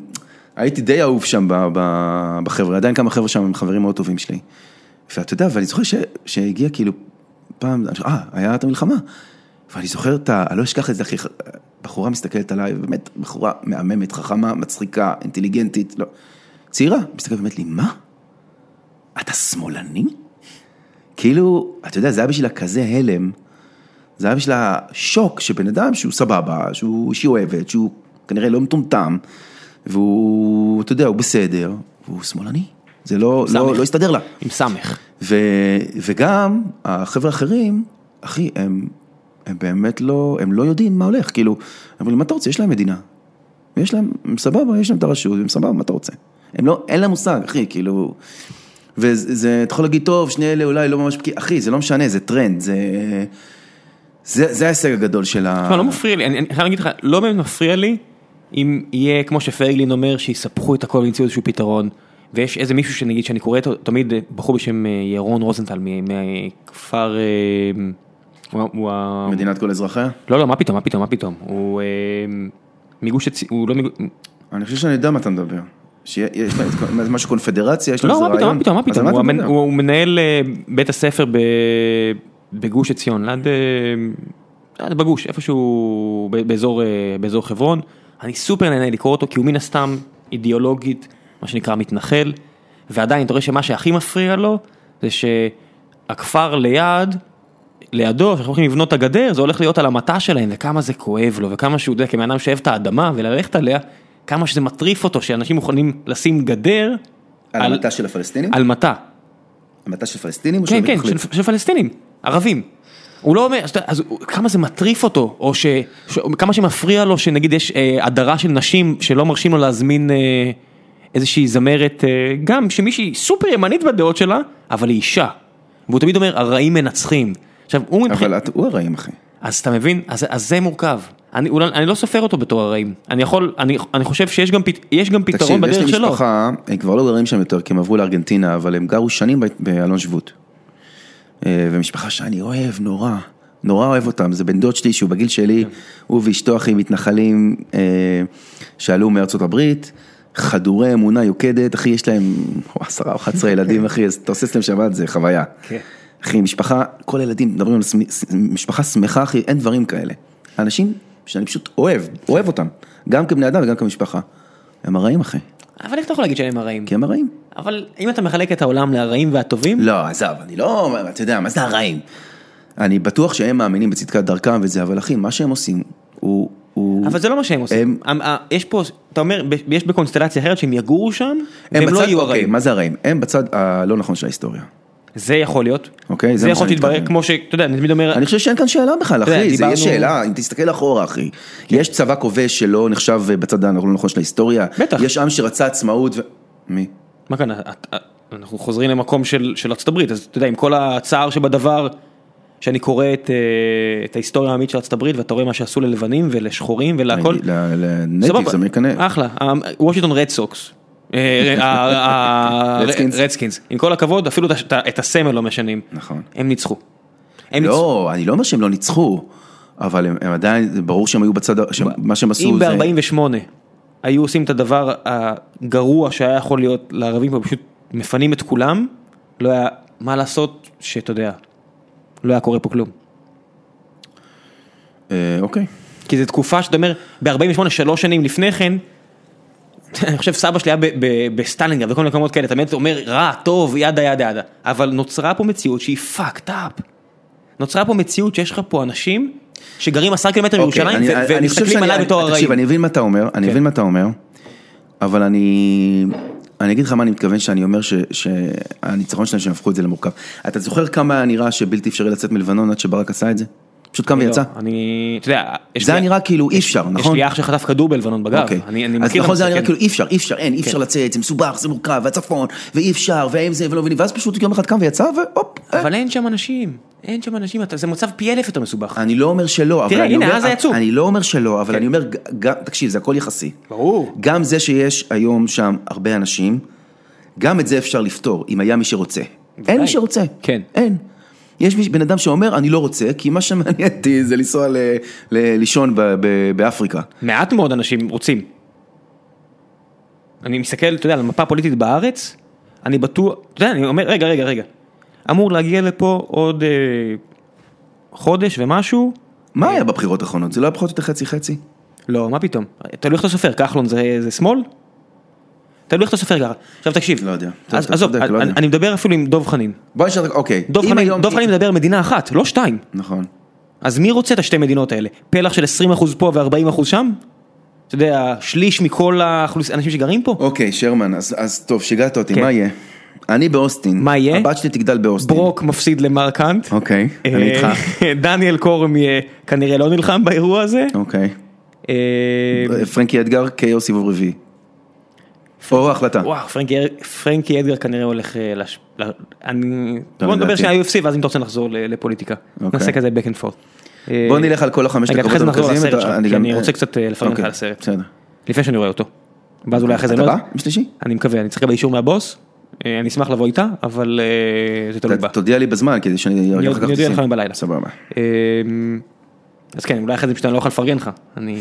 [SPEAKER 2] הייתי די אהוב שם ב, ב, בחבר'ה, עדיין כמה חבר'ה שם הם חברים מאוד טובים שלי. ואתה יודע, ואני זוכר ש, שהגיע כאילו, פעם, אה, היה את המלחמה. ואני זוכר את ה... אני לא אשכח את זה, אחי. בחורה מסתכלת עליי, באמת, בחורה מהממת, חכמה, מצחיקה, אינטליגנטית, לא. צעירה, מסתכלת ואומרת לי, מה? אתה שמאלני? כאילו, אתה יודע, זה היה בשבילה כזה הלם, זה היה בשבילה שוק שבן אדם שהוא סבבה, שהוא, שהיא אוהבת, שהוא כנראה לא מטומטם, והוא, אתה יודע, הוא בסדר, והוא שמאלני. זה לא, לא,
[SPEAKER 3] סמך.
[SPEAKER 2] לא הסתדר לה.
[SPEAKER 3] עם סמך.
[SPEAKER 2] ו, וגם החבר'ה האחרים, אחי, הם, הם באמת לא, הם לא יודעים מה הולך, כאילו, אבל מה אתה רוצה? יש להם מדינה. יש להם, הם סבבה, יש להם את הרשות, הם סבבה, מה אתה רוצה? הם לא, אין להם מושג, אחי, כאילו... וזה, זה- אתה יכול להגיד, טוב, שני אלה אולי לא ממש בקיאים, אחי, זה לא משנה, זה טרנד, זה... זה, זה ההישג הגדול של ה...
[SPEAKER 3] תשמע, לא מפריע לי, אני אני חייב להגיד לך, לא באמת מפריע לי אם יהיה, כמו שפייגלין אומר, שיספחו את הכל וימצאו איזשהו פתרון, ויש איזה מישהו שנגיד, שאני קורא אותו, תמיד אה, בחור בשם אה, ירון רוזנטל מ- מהכפר... אה, הוא ה- הוא ה-
[SPEAKER 2] מדינת כל אזרחיה?
[SPEAKER 3] לא, לא, מה פתאום, מה פתאום, מה פתאום. הוא אה, מגוש עצי... הוא לא מגוש...
[SPEAKER 2] אני חושב שאני יודע מה אתה מדבר. שיש להם את כל- משהו קונפדרציה, יש להם
[SPEAKER 3] לא,
[SPEAKER 2] איזה
[SPEAKER 3] מה פתאום,
[SPEAKER 2] רעיון.
[SPEAKER 3] מה פתאום, מה
[SPEAKER 2] אז על
[SPEAKER 3] פתאום. הוא
[SPEAKER 2] אתה
[SPEAKER 3] המנ-
[SPEAKER 2] מדבר?
[SPEAKER 3] הוא הוא מנהל אה, בית הספר ב- בגוש עציון, ליד... אה, ליד בגוש, איפשהו ב- באזור, אה, באזור חברון. אני סופר נהנה לקרוא אותו, כי הוא מן הסתם אידיאולוגית, מה שנקרא מתנחל, ועדיין אתה רואה שמה שהכי מפריע לו, זה שהכפר ליד, לידו, שאנחנו הולכים לבנות את הגדר, זה הולך להיות על המטע שלהם, וכמה זה כואב לו, וכמה שהוא, אתה יודע, כבן אדם שאוהב את האדמה וללכת עליה, כמה שזה מטריף אותו, שאנשים מוכנים לשים גדר
[SPEAKER 2] על המטע של הפלסטינים?
[SPEAKER 3] על מטע.
[SPEAKER 2] המטע של פלסטינים? או של
[SPEAKER 3] כן, כן,
[SPEAKER 2] המתנחלים?
[SPEAKER 3] של, של פלסטינים, ערבים. הוא לא אומר, אז, אתה- אז הוא- כמה זה מטריף אותו, או ש, ש, כמה שמפריע לו שנגיד יש אה, הדרה של נשים שלא מרשים לו להזמין אה, איזושהי זמרת, אה, גם שמישהי סופר ימנית בדעות שלה, אבל היא אישה. והוא תמיד אומר, הרעים מנצחים. עכשיו, הוא מבחינת...
[SPEAKER 2] אבל את- הוא הרעים, אחי.
[SPEAKER 3] אז אתה מבין? אז, אז זה מורכב. אני, אולי, אני לא סופר אותו בתור הרעים. אני יכול, אני, אני חושב שיש גם, פת, יש גם פתרון
[SPEAKER 2] תקשיב, יש
[SPEAKER 3] בדרך
[SPEAKER 2] לי
[SPEAKER 3] שלו.
[SPEAKER 2] משפחה, הם כבר לא גרים שם יותר, כי הם עברו לארגנטינה, אבל הם גרו שנים ב- באלון שבות. אה, ומשפחה שאני אוהב נורא, נורא אוהב אותם, זה בן דוד שלי שהוא בגיל שלי, הוא ואשתו אחי מתנחלים אה, שעלו מארצות הברית, חדורי אמונה יוקדת, אחי יש להם וואו, עשרה או 11 ילדים אחי, אז אתה עושה אצלם שבת זה חוויה. אחי משפחה, כל הילדים מדברים על שמ- ס- משפחה שמחה אחי, אין דברים כאלה. אנשים שאני פשוט אוהב, אוהב אותם, גם כבני אדם וגם כמשפחה. הם הרעים אחי,
[SPEAKER 3] אבל איך אתה יכול להגיד שהם הרעים?
[SPEAKER 2] כי הם הרעים.
[SPEAKER 3] אבל אם אתה מחלק את העולם לרעים והטובים,
[SPEAKER 2] לא, עזב, אני לא, אתה יודע, מה זה הרעים? אני בטוח שהם מאמינים בצדקת דרכם וזה, אבל אחי, מה שהם עושים הוא... הוא...
[SPEAKER 3] אבל זה לא מה שהם עושים. הם... יש פה, אתה אומר, ב- יש בקונסטלציה אחרת שהם יגורו שם, והם
[SPEAKER 2] בצד-
[SPEAKER 3] לא יהיו
[SPEAKER 2] אוקיי,
[SPEAKER 3] הרעים. אה.
[SPEAKER 2] מה זה הרעים? הם בצד הלא נכון של ההיסטוריה.
[SPEAKER 3] זה יכול להיות.
[SPEAKER 2] אוקיי, זה
[SPEAKER 3] זה
[SPEAKER 2] מה
[SPEAKER 3] יכול
[SPEAKER 2] שאני
[SPEAKER 3] להתברר
[SPEAKER 2] מתכוון.
[SPEAKER 3] כמו שאתה יודע, אני תמיד אומר,
[SPEAKER 2] אני חושב שאין כאן שאלה בכלל,
[SPEAKER 3] יודע,
[SPEAKER 2] אחי, זה
[SPEAKER 3] דיברנו- כן.
[SPEAKER 2] יש שאלה, אם תסתכל אחורה, אחי. יש צבא כובש שלא נחשב בצד הלא נכון של ההיסטוריה.
[SPEAKER 3] בטח.
[SPEAKER 2] יש עם שרצה עצמאות ו... מי?
[SPEAKER 3] מה כאן, את- את- אנחנו חוזרים למקום של של ארצות הברית, אז אתה יודע, עם כל הצער שבדבר, שאני קורא את, אה, את ההיסטוריה העמית של ארצות הברית, ואתה רואה מה שעשו ללבנים ולשחורים ולהכל. סבבה, אה.
[SPEAKER 2] לנייטיבס אמריקני.
[SPEAKER 3] אחלה, וושינגטון רד סוקס. אה,
[SPEAKER 2] Redskins.
[SPEAKER 3] רדסקינס, עם כל הכבוד אפילו את הש- את הסמל לא משנים,
[SPEAKER 2] נכון.
[SPEAKER 3] הם ניצחו. הם ניצחו.
[SPEAKER 2] לא, אני לא אומר שהם לא ניצחו, אבל הם הם עדיין, זה ברור שהם היו בצד, ה- שהם- מה שהם עשו
[SPEAKER 3] אם
[SPEAKER 2] זה...
[SPEAKER 3] ב-48 היו עושים את הדבר הגרוע שהיה יכול להיות לערבים פה, פשוט מפנים את כולם, לא היה מה לעשות שאתה יודע, לא היה קורה פה כלום.
[SPEAKER 2] אה, אוקיי.
[SPEAKER 3] כי זו תקופה שאתה אומר, ב-48, שלוש שנים לפני כן, אני חושב סבא שלי היה ב- ב- בסטלינגרד וכל מיני מקומות כאלה, אתה באמת אומר רע, טוב, ידה ידה ידה, אבל נוצרה פה מציאות שהיא fucked up. נוצרה פה מציאות שיש לך פה אנשים שגרים עשרה קילומטר
[SPEAKER 2] אוקיי,
[SPEAKER 3] מירושלים ו-
[SPEAKER 2] אני- אני חושב
[SPEAKER 3] ומסתכלים
[SPEAKER 2] שאני-
[SPEAKER 3] עליי בתור כן. הרעים.
[SPEAKER 2] תקשיב, אני מבין מה אתה אומר, אני מבין מה אתה אומר, אבל אני... אני אגיד לך מה אני מתכוון שאני אומר ש- שהניצחון שלהם שהם הפכו את זה למורכב. אתה זוכר כמה היה נראה שבלתי אפשרי לצאת מלבנון עד שברק עשה את זה? פשוט קם
[SPEAKER 3] לא,
[SPEAKER 2] ויצא.
[SPEAKER 3] אני, אתה יודע, יש
[SPEAKER 2] זה
[SPEAKER 3] לי-
[SPEAKER 2] היה נראה כאילו אי אפשר,
[SPEAKER 3] יש
[SPEAKER 2] נכון?
[SPEAKER 3] לי אח שחטף כדור בלבנון בגב,
[SPEAKER 2] אוקיי.
[SPEAKER 3] אני אני מכיר
[SPEAKER 2] אז נכון
[SPEAKER 3] את
[SPEAKER 2] זה היה נראה
[SPEAKER 3] הנושא, כן.
[SPEAKER 2] כאילו אי אפשר, אי אפשר, אין, אי אפשר לצאת, זה מסובך, זה מורכב, והצפון, ואי אפשר, והאם זה, ולא מבינים, ואז פשוט יום אחד קם ויצא, והופ. אה.
[SPEAKER 3] אבל אין שם אנשים, אין שם אנשים, אתה- זה מצב פי אלף יותר מסובך.
[SPEAKER 2] אני לא אומר שלא, אבל
[SPEAKER 3] תראה,
[SPEAKER 2] אני
[SPEAKER 3] הנה,
[SPEAKER 2] אומר,
[SPEAKER 3] אז היה צוק.
[SPEAKER 2] אני לא אומר שלא, אבל
[SPEAKER 3] כן.
[SPEAKER 2] אני אומר, ג- גם, תקשיב, זה הכל יחסי.
[SPEAKER 3] ברור.
[SPEAKER 2] גם זה שיש היום שם הרבה אנשים, גם את זה אפשר לפתור, אם היה מי שרוצה. אין מי שרוצה.
[SPEAKER 3] כן.
[SPEAKER 2] אין. יש מי- בן אדם שאומר, אני לא רוצה, כי מה שמעניין אותי זה לנסוע ל- ל- לישון ב- ב- באפריקה.
[SPEAKER 3] מעט מאוד אנשים רוצים. אני מסתכל, אתה יודע, על המפה הפוליטית בארץ, אני בטוח, אתה יודע, אני אומר, רגע, רגע, רגע. אמור להגיע לפה עוד אה, חודש ומשהו,
[SPEAKER 2] מה היה בבחירות האחרונות? זה לא היה פחות או יותר חצי חצי?
[SPEAKER 3] לא, מה פתאום, תלוי איך אתה סופר, כחלון זה, זה שמאל? תלוי איך אתה סופר ככה, עכשיו תקשיב,
[SPEAKER 2] לא יודע. אתה-
[SPEAKER 3] אז,
[SPEAKER 2] אתה
[SPEAKER 3] עזוב,
[SPEAKER 2] צודק, לא
[SPEAKER 3] אני,
[SPEAKER 2] יודע.
[SPEAKER 3] אני מדבר אפילו עם דב חנין,
[SPEAKER 2] בוא נשאל, אוקיי.
[SPEAKER 3] דב
[SPEAKER 2] אם
[SPEAKER 3] חנין,
[SPEAKER 2] היום-
[SPEAKER 3] דב חנין מדבר מדינה אחת, לא שתיים,
[SPEAKER 2] נכון.
[SPEAKER 3] אז מי רוצה את השתי מדינות האלה? פלח של 20% פה ו-40% שם? אתה יודע, שליש מכל האנשים שגרים פה?
[SPEAKER 2] אוקיי, שרמן, אז- אז טוב, שיגעת אותי,
[SPEAKER 3] כן.
[SPEAKER 2] מה יהיה? אני באוסטין.
[SPEAKER 3] מה יהיה?
[SPEAKER 2] הבת שלי תגדל באוסטין.
[SPEAKER 3] ברוק מפסיד למר קאנט.
[SPEAKER 2] אוקיי, אני איתך.
[SPEAKER 3] אה, דניאל קורם אה, כנראה לא נלחם באירוע הזה.
[SPEAKER 2] אוקיי.
[SPEAKER 3] אה,
[SPEAKER 2] פרנקי אדגר, KO סיבוב רביעי. או החלטה.
[SPEAKER 3] וואו, פרנקי- פרנקי אדגר כנראה הולך אה, לש... ל- אני...
[SPEAKER 2] לא
[SPEAKER 3] בוא נדבר
[SPEAKER 2] לדעתי.
[SPEAKER 3] שנייה UFC ואז אם אתה רוצה נחזור ל- לפוליטיקה.
[SPEAKER 2] אוקיי.
[SPEAKER 3] נעשה כזה back and forth. אה,
[SPEAKER 2] בוא נלך על כל החמש
[SPEAKER 3] רגע, אחרי זה נחזור לסרט
[SPEAKER 2] אתה-
[SPEAKER 3] שלך, כי אני רוצה קצת, אה, לפרגן לך
[SPEAKER 2] אוקיי,
[SPEAKER 3] על הסרט.
[SPEAKER 2] בסדר.
[SPEAKER 3] לפני שאני רואה אותו. ואז אולי אחרי זה...
[SPEAKER 2] אתה
[SPEAKER 3] אני לא-
[SPEAKER 2] בא? יום שלישי?
[SPEAKER 3] אני מקווה, אני צריך לקבל אישור מהבוס, אה, אני אשמח לבוא איתה, אבל אה, זה תלוי
[SPEAKER 2] ת-
[SPEAKER 3] בה.
[SPEAKER 2] תודיע לי בזמן כדי שאני
[SPEAKER 3] אני
[SPEAKER 2] ארגן
[SPEAKER 3] אני אודיע לך היום בלילה.
[SPEAKER 2] סבבה.
[SPEAKER 3] אמ, אז כן, אולי אחרי זה פשוט אני לא יכול לפרגן לך, אני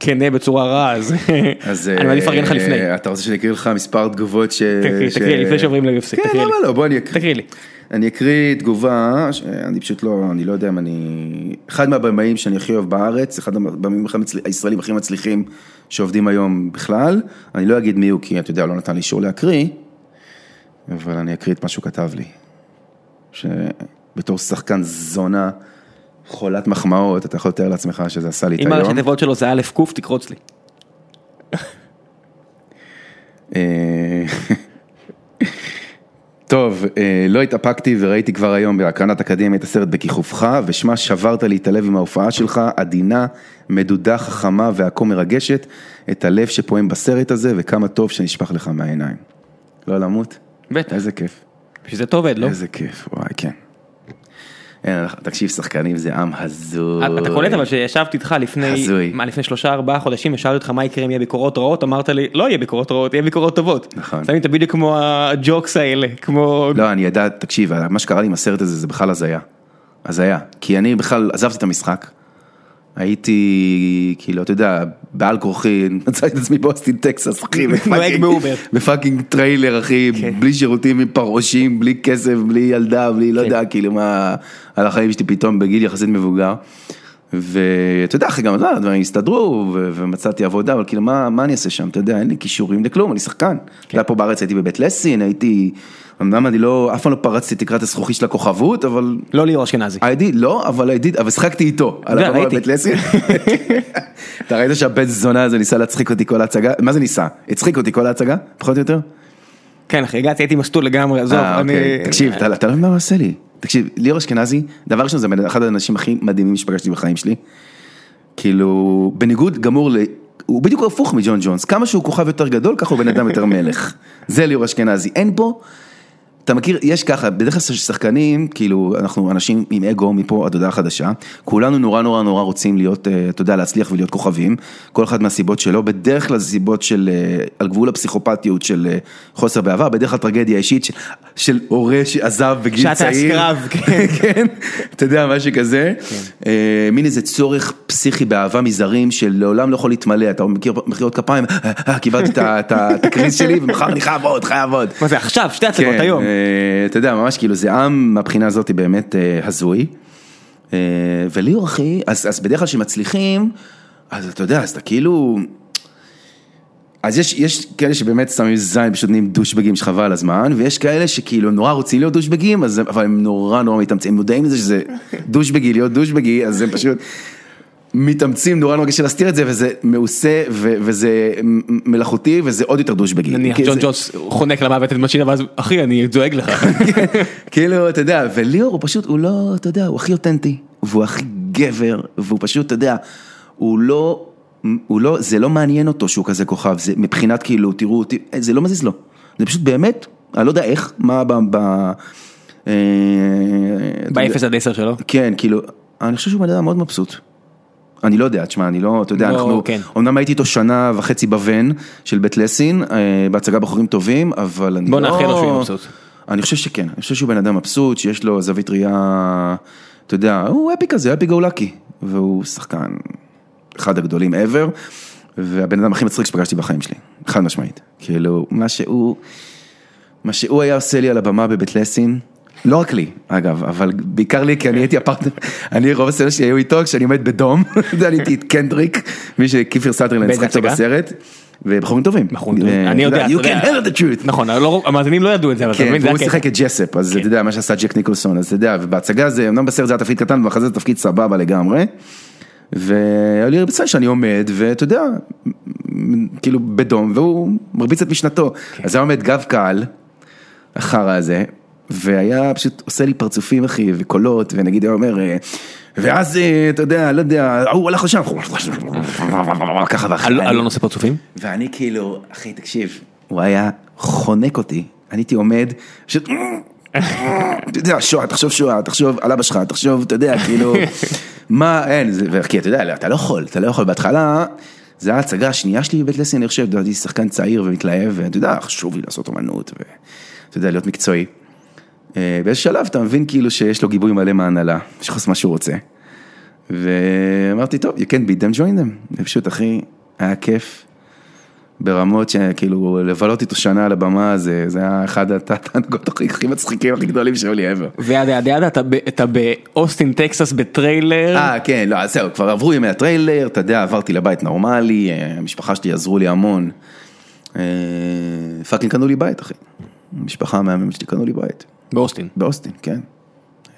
[SPEAKER 3] כנה בצורה רעה, אז
[SPEAKER 2] אז
[SPEAKER 3] אני מעדיף לפרגן לך
[SPEAKER 2] אה,
[SPEAKER 3] לפני.
[SPEAKER 2] אתה רוצה שאני אקריא לך מספר תגובות ש...
[SPEAKER 3] תקריא,
[SPEAKER 2] ש-
[SPEAKER 3] תקריא לי, לפני שעוברים ל-UFC,
[SPEAKER 2] כן,
[SPEAKER 3] תקריא לי.
[SPEAKER 2] למה לא, בוא אני אקריא.
[SPEAKER 3] תקריא לי.
[SPEAKER 2] אני אקריא תגובה, ש- אני פשוט לא, אני לא יודע אם אני... אחד מהבמאים שאני הכי אוהב בארץ, אחד הבמאים הכי מצל- הישראלים הכי מצליחים שעובדים היום בכלל, אני לא אגיד מי הוא, כי אתה יודע, לא נתן לי אישור להקריא, אבל אני אקריא את מה שהוא כתב לי. שבתור שחקן זונה, חולת מחמאות, אתה יכול לתאר לעצמך שזה עשה לי את
[SPEAKER 3] אם
[SPEAKER 2] היום.
[SPEAKER 3] הראשי תיבות שלו זה א' ק', תקרוץ לי.
[SPEAKER 2] אה, טוב, אה, לא התאפקתי וראיתי כבר היום בהקרנת אקדמיה את הסרט בכיכובך, ושמע שברת לי את הלב עם ההופעה שלך, עדינה, מדודה, חכמה והכה מרגשת, את הלב שפועם בסרט הזה, וכמה טוב שנשפך לך מהעיניים. לא למות?
[SPEAKER 3] בטח.
[SPEAKER 2] איזה כיף.
[SPEAKER 3] בשביל זה אתה עובד, לא?
[SPEAKER 2] איזה כיף, וואי, כן. אין, תקשיב, שחקנים זה עם הזוי.
[SPEAKER 3] אתה קולט אבל שישבתי איתך לפני,
[SPEAKER 2] הזוי.
[SPEAKER 3] מה, לפני שלושה ארבעה חודשים, ושאלתי אותך מה יקרה אם יהיה ביקורות רעות, אמרת לי, לא יהיה ביקורות רעות, יהיה ביקורות טובות.
[SPEAKER 2] נכון.
[SPEAKER 3] אתה מבין, אתה בדיוק כמו הג'וקס האלה, כמו...
[SPEAKER 2] לא, אני יודע, תקשיב, מה שקרה לי עם הסרט הזה זה בכלל הזיה. הזיה. כי אני בכלל עזבתי את המשחק. הייתי, כאילו, אתה יודע, בעל כורחי, מצאתי את עצמי באוסטין טקסס, אחי, בפאקינג-
[SPEAKER 3] באובר.
[SPEAKER 2] בפאקינג טריילר, אחי, בלי שירותים, עם פרעושים, בלי כסף, בלי ילדה, בלי לא יודע, כאילו, מה, על החיים שלי פתאום בגיל יחסית מבוגר. ואתה יודע, אחי, גם לא, הדברים הסתדרו, ו- ומצאתי עבודה, אבל כאילו, מה, מה אני אעשה שם? אתה יודע, אין לי כישורים לכלום, אני שחקן. אתה יודע, פה בארץ הייתי בבית לסין, הייתי, אמנם אני לא, אף פעם לא פרצתי את תקרת הזכוכית של הכוכבות, אבל
[SPEAKER 3] לא ליאור אשכנזי.
[SPEAKER 2] הייתי, לא, אבל הייתי, אבל שחקתי איתו. על
[SPEAKER 3] יודע,
[SPEAKER 2] הבמה
[SPEAKER 3] אה, ראיתי.
[SPEAKER 2] בבית לסין. אתה ראית שהבן זונה הזה ניסה להצחיק אותי כל ההצגה? מה זה ניסה? הצחיק אותי כל ההצגה? פחות או יותר?
[SPEAKER 3] כן אחי, הגעתי, הייתי מסטול לגמרי, עזוב,
[SPEAKER 2] אה,
[SPEAKER 3] אני...
[SPEAKER 2] אוקיי. תקשיב, אתה אתה לא מבין מה הוא עושה לי. תקשיב, ליאור אשכנזי, דבר ראשון זה אחד האנשים הכי מדהימים שפגשתי בחיים שלי. כאילו, בניגוד גמור ל... הוא בדיוק הפוך מג'ון ג'ונס, כמה שהוא כוכב יותר גדול, ככה הוא בן אדם יותר מלך. זה ליאור אשכנזי, אין בו... אתה מכיר, יש ככה, בדרך כלל שחקנים, כאילו, אנחנו אנשים עם אגו מפה עד הודעה חדשה, כולנו נורא נורא נורא רוצים להיות, אה, אתה יודע, להצליח ולהיות כוכבים, כל אחד מהסיבות שלו, בדרך כלל זה סיבות של, אה, על גבול הפסיכופתיות של אה, חוסר בעבר, בדרך כלל טרגדיה אישית של, של הורה שעזב בגיל
[SPEAKER 3] שעת
[SPEAKER 2] צעיר.
[SPEAKER 3] הקרב,
[SPEAKER 2] כן, כן, אתה יודע, משהו כזה, אה, מין איזה צורך פסיכי באהבה מזרים שלעולם לא יכול להתמלא, אתה מכיר מחיאות כפיים, "אה, אה, קיבלתי את ה- את ה- את הקריז שלי ומחר אני חייב עוד, חייב עוד.
[SPEAKER 3] מה זה עכשיו, שתי הצגות
[SPEAKER 2] כן,
[SPEAKER 3] היום.
[SPEAKER 2] אה, אתה יודע, ממש כאילו זה עם מהבחינה הזאת באמת אה, הזוי. אה, וליאור אחי, אז, אז בדרך כלל כשמצליחים, אז אתה יודע, אז אתה כאילו... אז יש, יש כאלה שבאמת שמים זין, פשוט נהיים דושבגים שחבל על הזמן, ויש כאלה שכאילו הם נורא רוצים להיות דושבגים, אז, הם- אבל הם נורא נורא מתאמצים, הם מודעים לזה שזה דושבגי להיות דושבגי, אז הם פשוט מתאמצים נורא נורא קשה להסתיר את זה, וזה מעושה, ו, וזה מ- מלאכותי, וזה עוד יותר דושבגי.
[SPEAKER 3] נניח
[SPEAKER 2] כי
[SPEAKER 3] ג'ון
[SPEAKER 2] זה-
[SPEAKER 3] ג'ונס חונק למוות את מצ'ינה ואז אחי אני דואג לך.
[SPEAKER 2] כאילו, אתה יודע, וליאור הוא פשוט, הוא לא, אתה יודע, הוא הכי אותנטי, והוא הכי גבר, והוא פשוט, אתה יודע, הוא לא, הוא לא, זה לא מעניין אותו שהוא כזה כוכב, זה מבחינת כאילו, תראו אותי, זה לא מזיז לו. זה פשוט באמת, אני לא יודע איך, מה ב... ב... אה,
[SPEAKER 3] באפס עד עשר שלו.
[SPEAKER 2] כן, כאילו, אני חושב שהוא בן אדם מאוד מבסוט. אני לא יודע, תשמע, אני לא, אתה יודע,
[SPEAKER 3] לא,
[SPEAKER 2] אנחנו,
[SPEAKER 3] כן.
[SPEAKER 2] אמנם הייתי איתו שנה וחצי בוון של בית לסין, אה, בהצגה בחורים טובים, אבל אני
[SPEAKER 3] בוא
[SPEAKER 2] לא...
[SPEAKER 3] נאחל לו שהוא יהיה מבסוט.
[SPEAKER 2] אני חושב שכן, אני חושב שהוא בן אדם מבסוט, שיש לו זווית ראייה, אתה יודע, הוא אפי כזה, אפי גאולקי, והוא שחקן אחד הגדולים ever, והבן אדם הכי מצחיק שפגשתי בחיים שלי, חד משמעית. כאילו, מה שהוא, מה שהוא היה עושה לי על הבמה בבית לסין, לא רק לי, אגב, אבל בעיקר לי, כי אני הייתי הפרטנר, אני רוב הסצנה שלי היו איתו, כשאני עומד בדום, זה אני הייתי את קנדריק, מי שכיפר סטרלנד
[SPEAKER 3] באיזה
[SPEAKER 2] שחק אותו
[SPEAKER 3] הצגה?
[SPEAKER 2] בסרט, ובחורים טובים.
[SPEAKER 3] בחורים טובים.
[SPEAKER 2] אה,
[SPEAKER 3] אני יודע,
[SPEAKER 2] אתה
[SPEAKER 3] אתה יודע.
[SPEAKER 2] You can handle the truth.
[SPEAKER 3] נכון, אבל לא- המאזינים לא ידעו את זה, אבל אתה
[SPEAKER 2] כן,
[SPEAKER 3] מבין, זה
[SPEAKER 2] והוא
[SPEAKER 3] הקטע. כן.
[SPEAKER 2] שיחק את ג'ספ, אז אתה יודע, מה שעשה ג'ק ניקולסון, אז אתה יודע, ובהצגה זה, אמנם בסרט זה היה תפקיד קטן, ואחרי זה תפקיד סבבה לגמרי. והיה לי בסדר שאני עומד, ואתה יודע, מ- כאילו בדום, והוא מרביץ את משנתו.
[SPEAKER 3] כן.
[SPEAKER 2] אז היה עומד גב קהל, החרא הזה, והיה פשוט עושה לי פרצופים, אחי, וקולות, ונגיד היה אומר, אה, ואז, אה, אתה יודע, לא יודע, ההוא הלך לשם, ככה ואחר.
[SPEAKER 3] אל- אלון עושה פרצופים?
[SPEAKER 2] ואני כאילו, אחי, תקשיב, הוא היה חונק אותי, אני הייתי עומד, פשוט, אתה יודע, שואה, תחשוב שואה, תחשוב על אבא שלך, תחשוב, אתה יודע, כאילו, מה, אין, זה- ו- כי אתה יודע, לא, אתה לא יכול, אתה לא יכול, בהתחלה, זה היה ההצגה השנייה שלי בבית לסין, אני חושב, אתה יודע, הייתי שחקן צעיר ומתלהב, ואתה יודע, חשוב לי לעשות אומנות, ואתה יודע, להיות מקצועי. אה, באיזשהו שלב אתה מבין כאילו שיש לו גיבוי מלא מההנהלה, יש לך מה שהוא רוצה. ואמרתי, טוב, you can beat them, join them. ופשוט, אחי, היה כיף. ברמות שכאילו לבלות איתו שנה על הבמה זה, זה היה אחד התענוגות הכי הכי מצחיקים הכי גדולים שהיו לי ever.
[SPEAKER 3] וידה ידה ידה, אתה ב- אתה באוסטין טקסס בטריילר.
[SPEAKER 2] אה כן, לא, אז זהו, כבר עברו ימי הטריילר, אתה יודע, עברתי לבית נורמלי, אה, המשפחה שלי עזרו לי המון. אה, פאקינג קנו לי בית אחי. המשפחה המהממת שלי קנו לי בית,
[SPEAKER 3] באוסטין.
[SPEAKER 2] באוסטין, כן.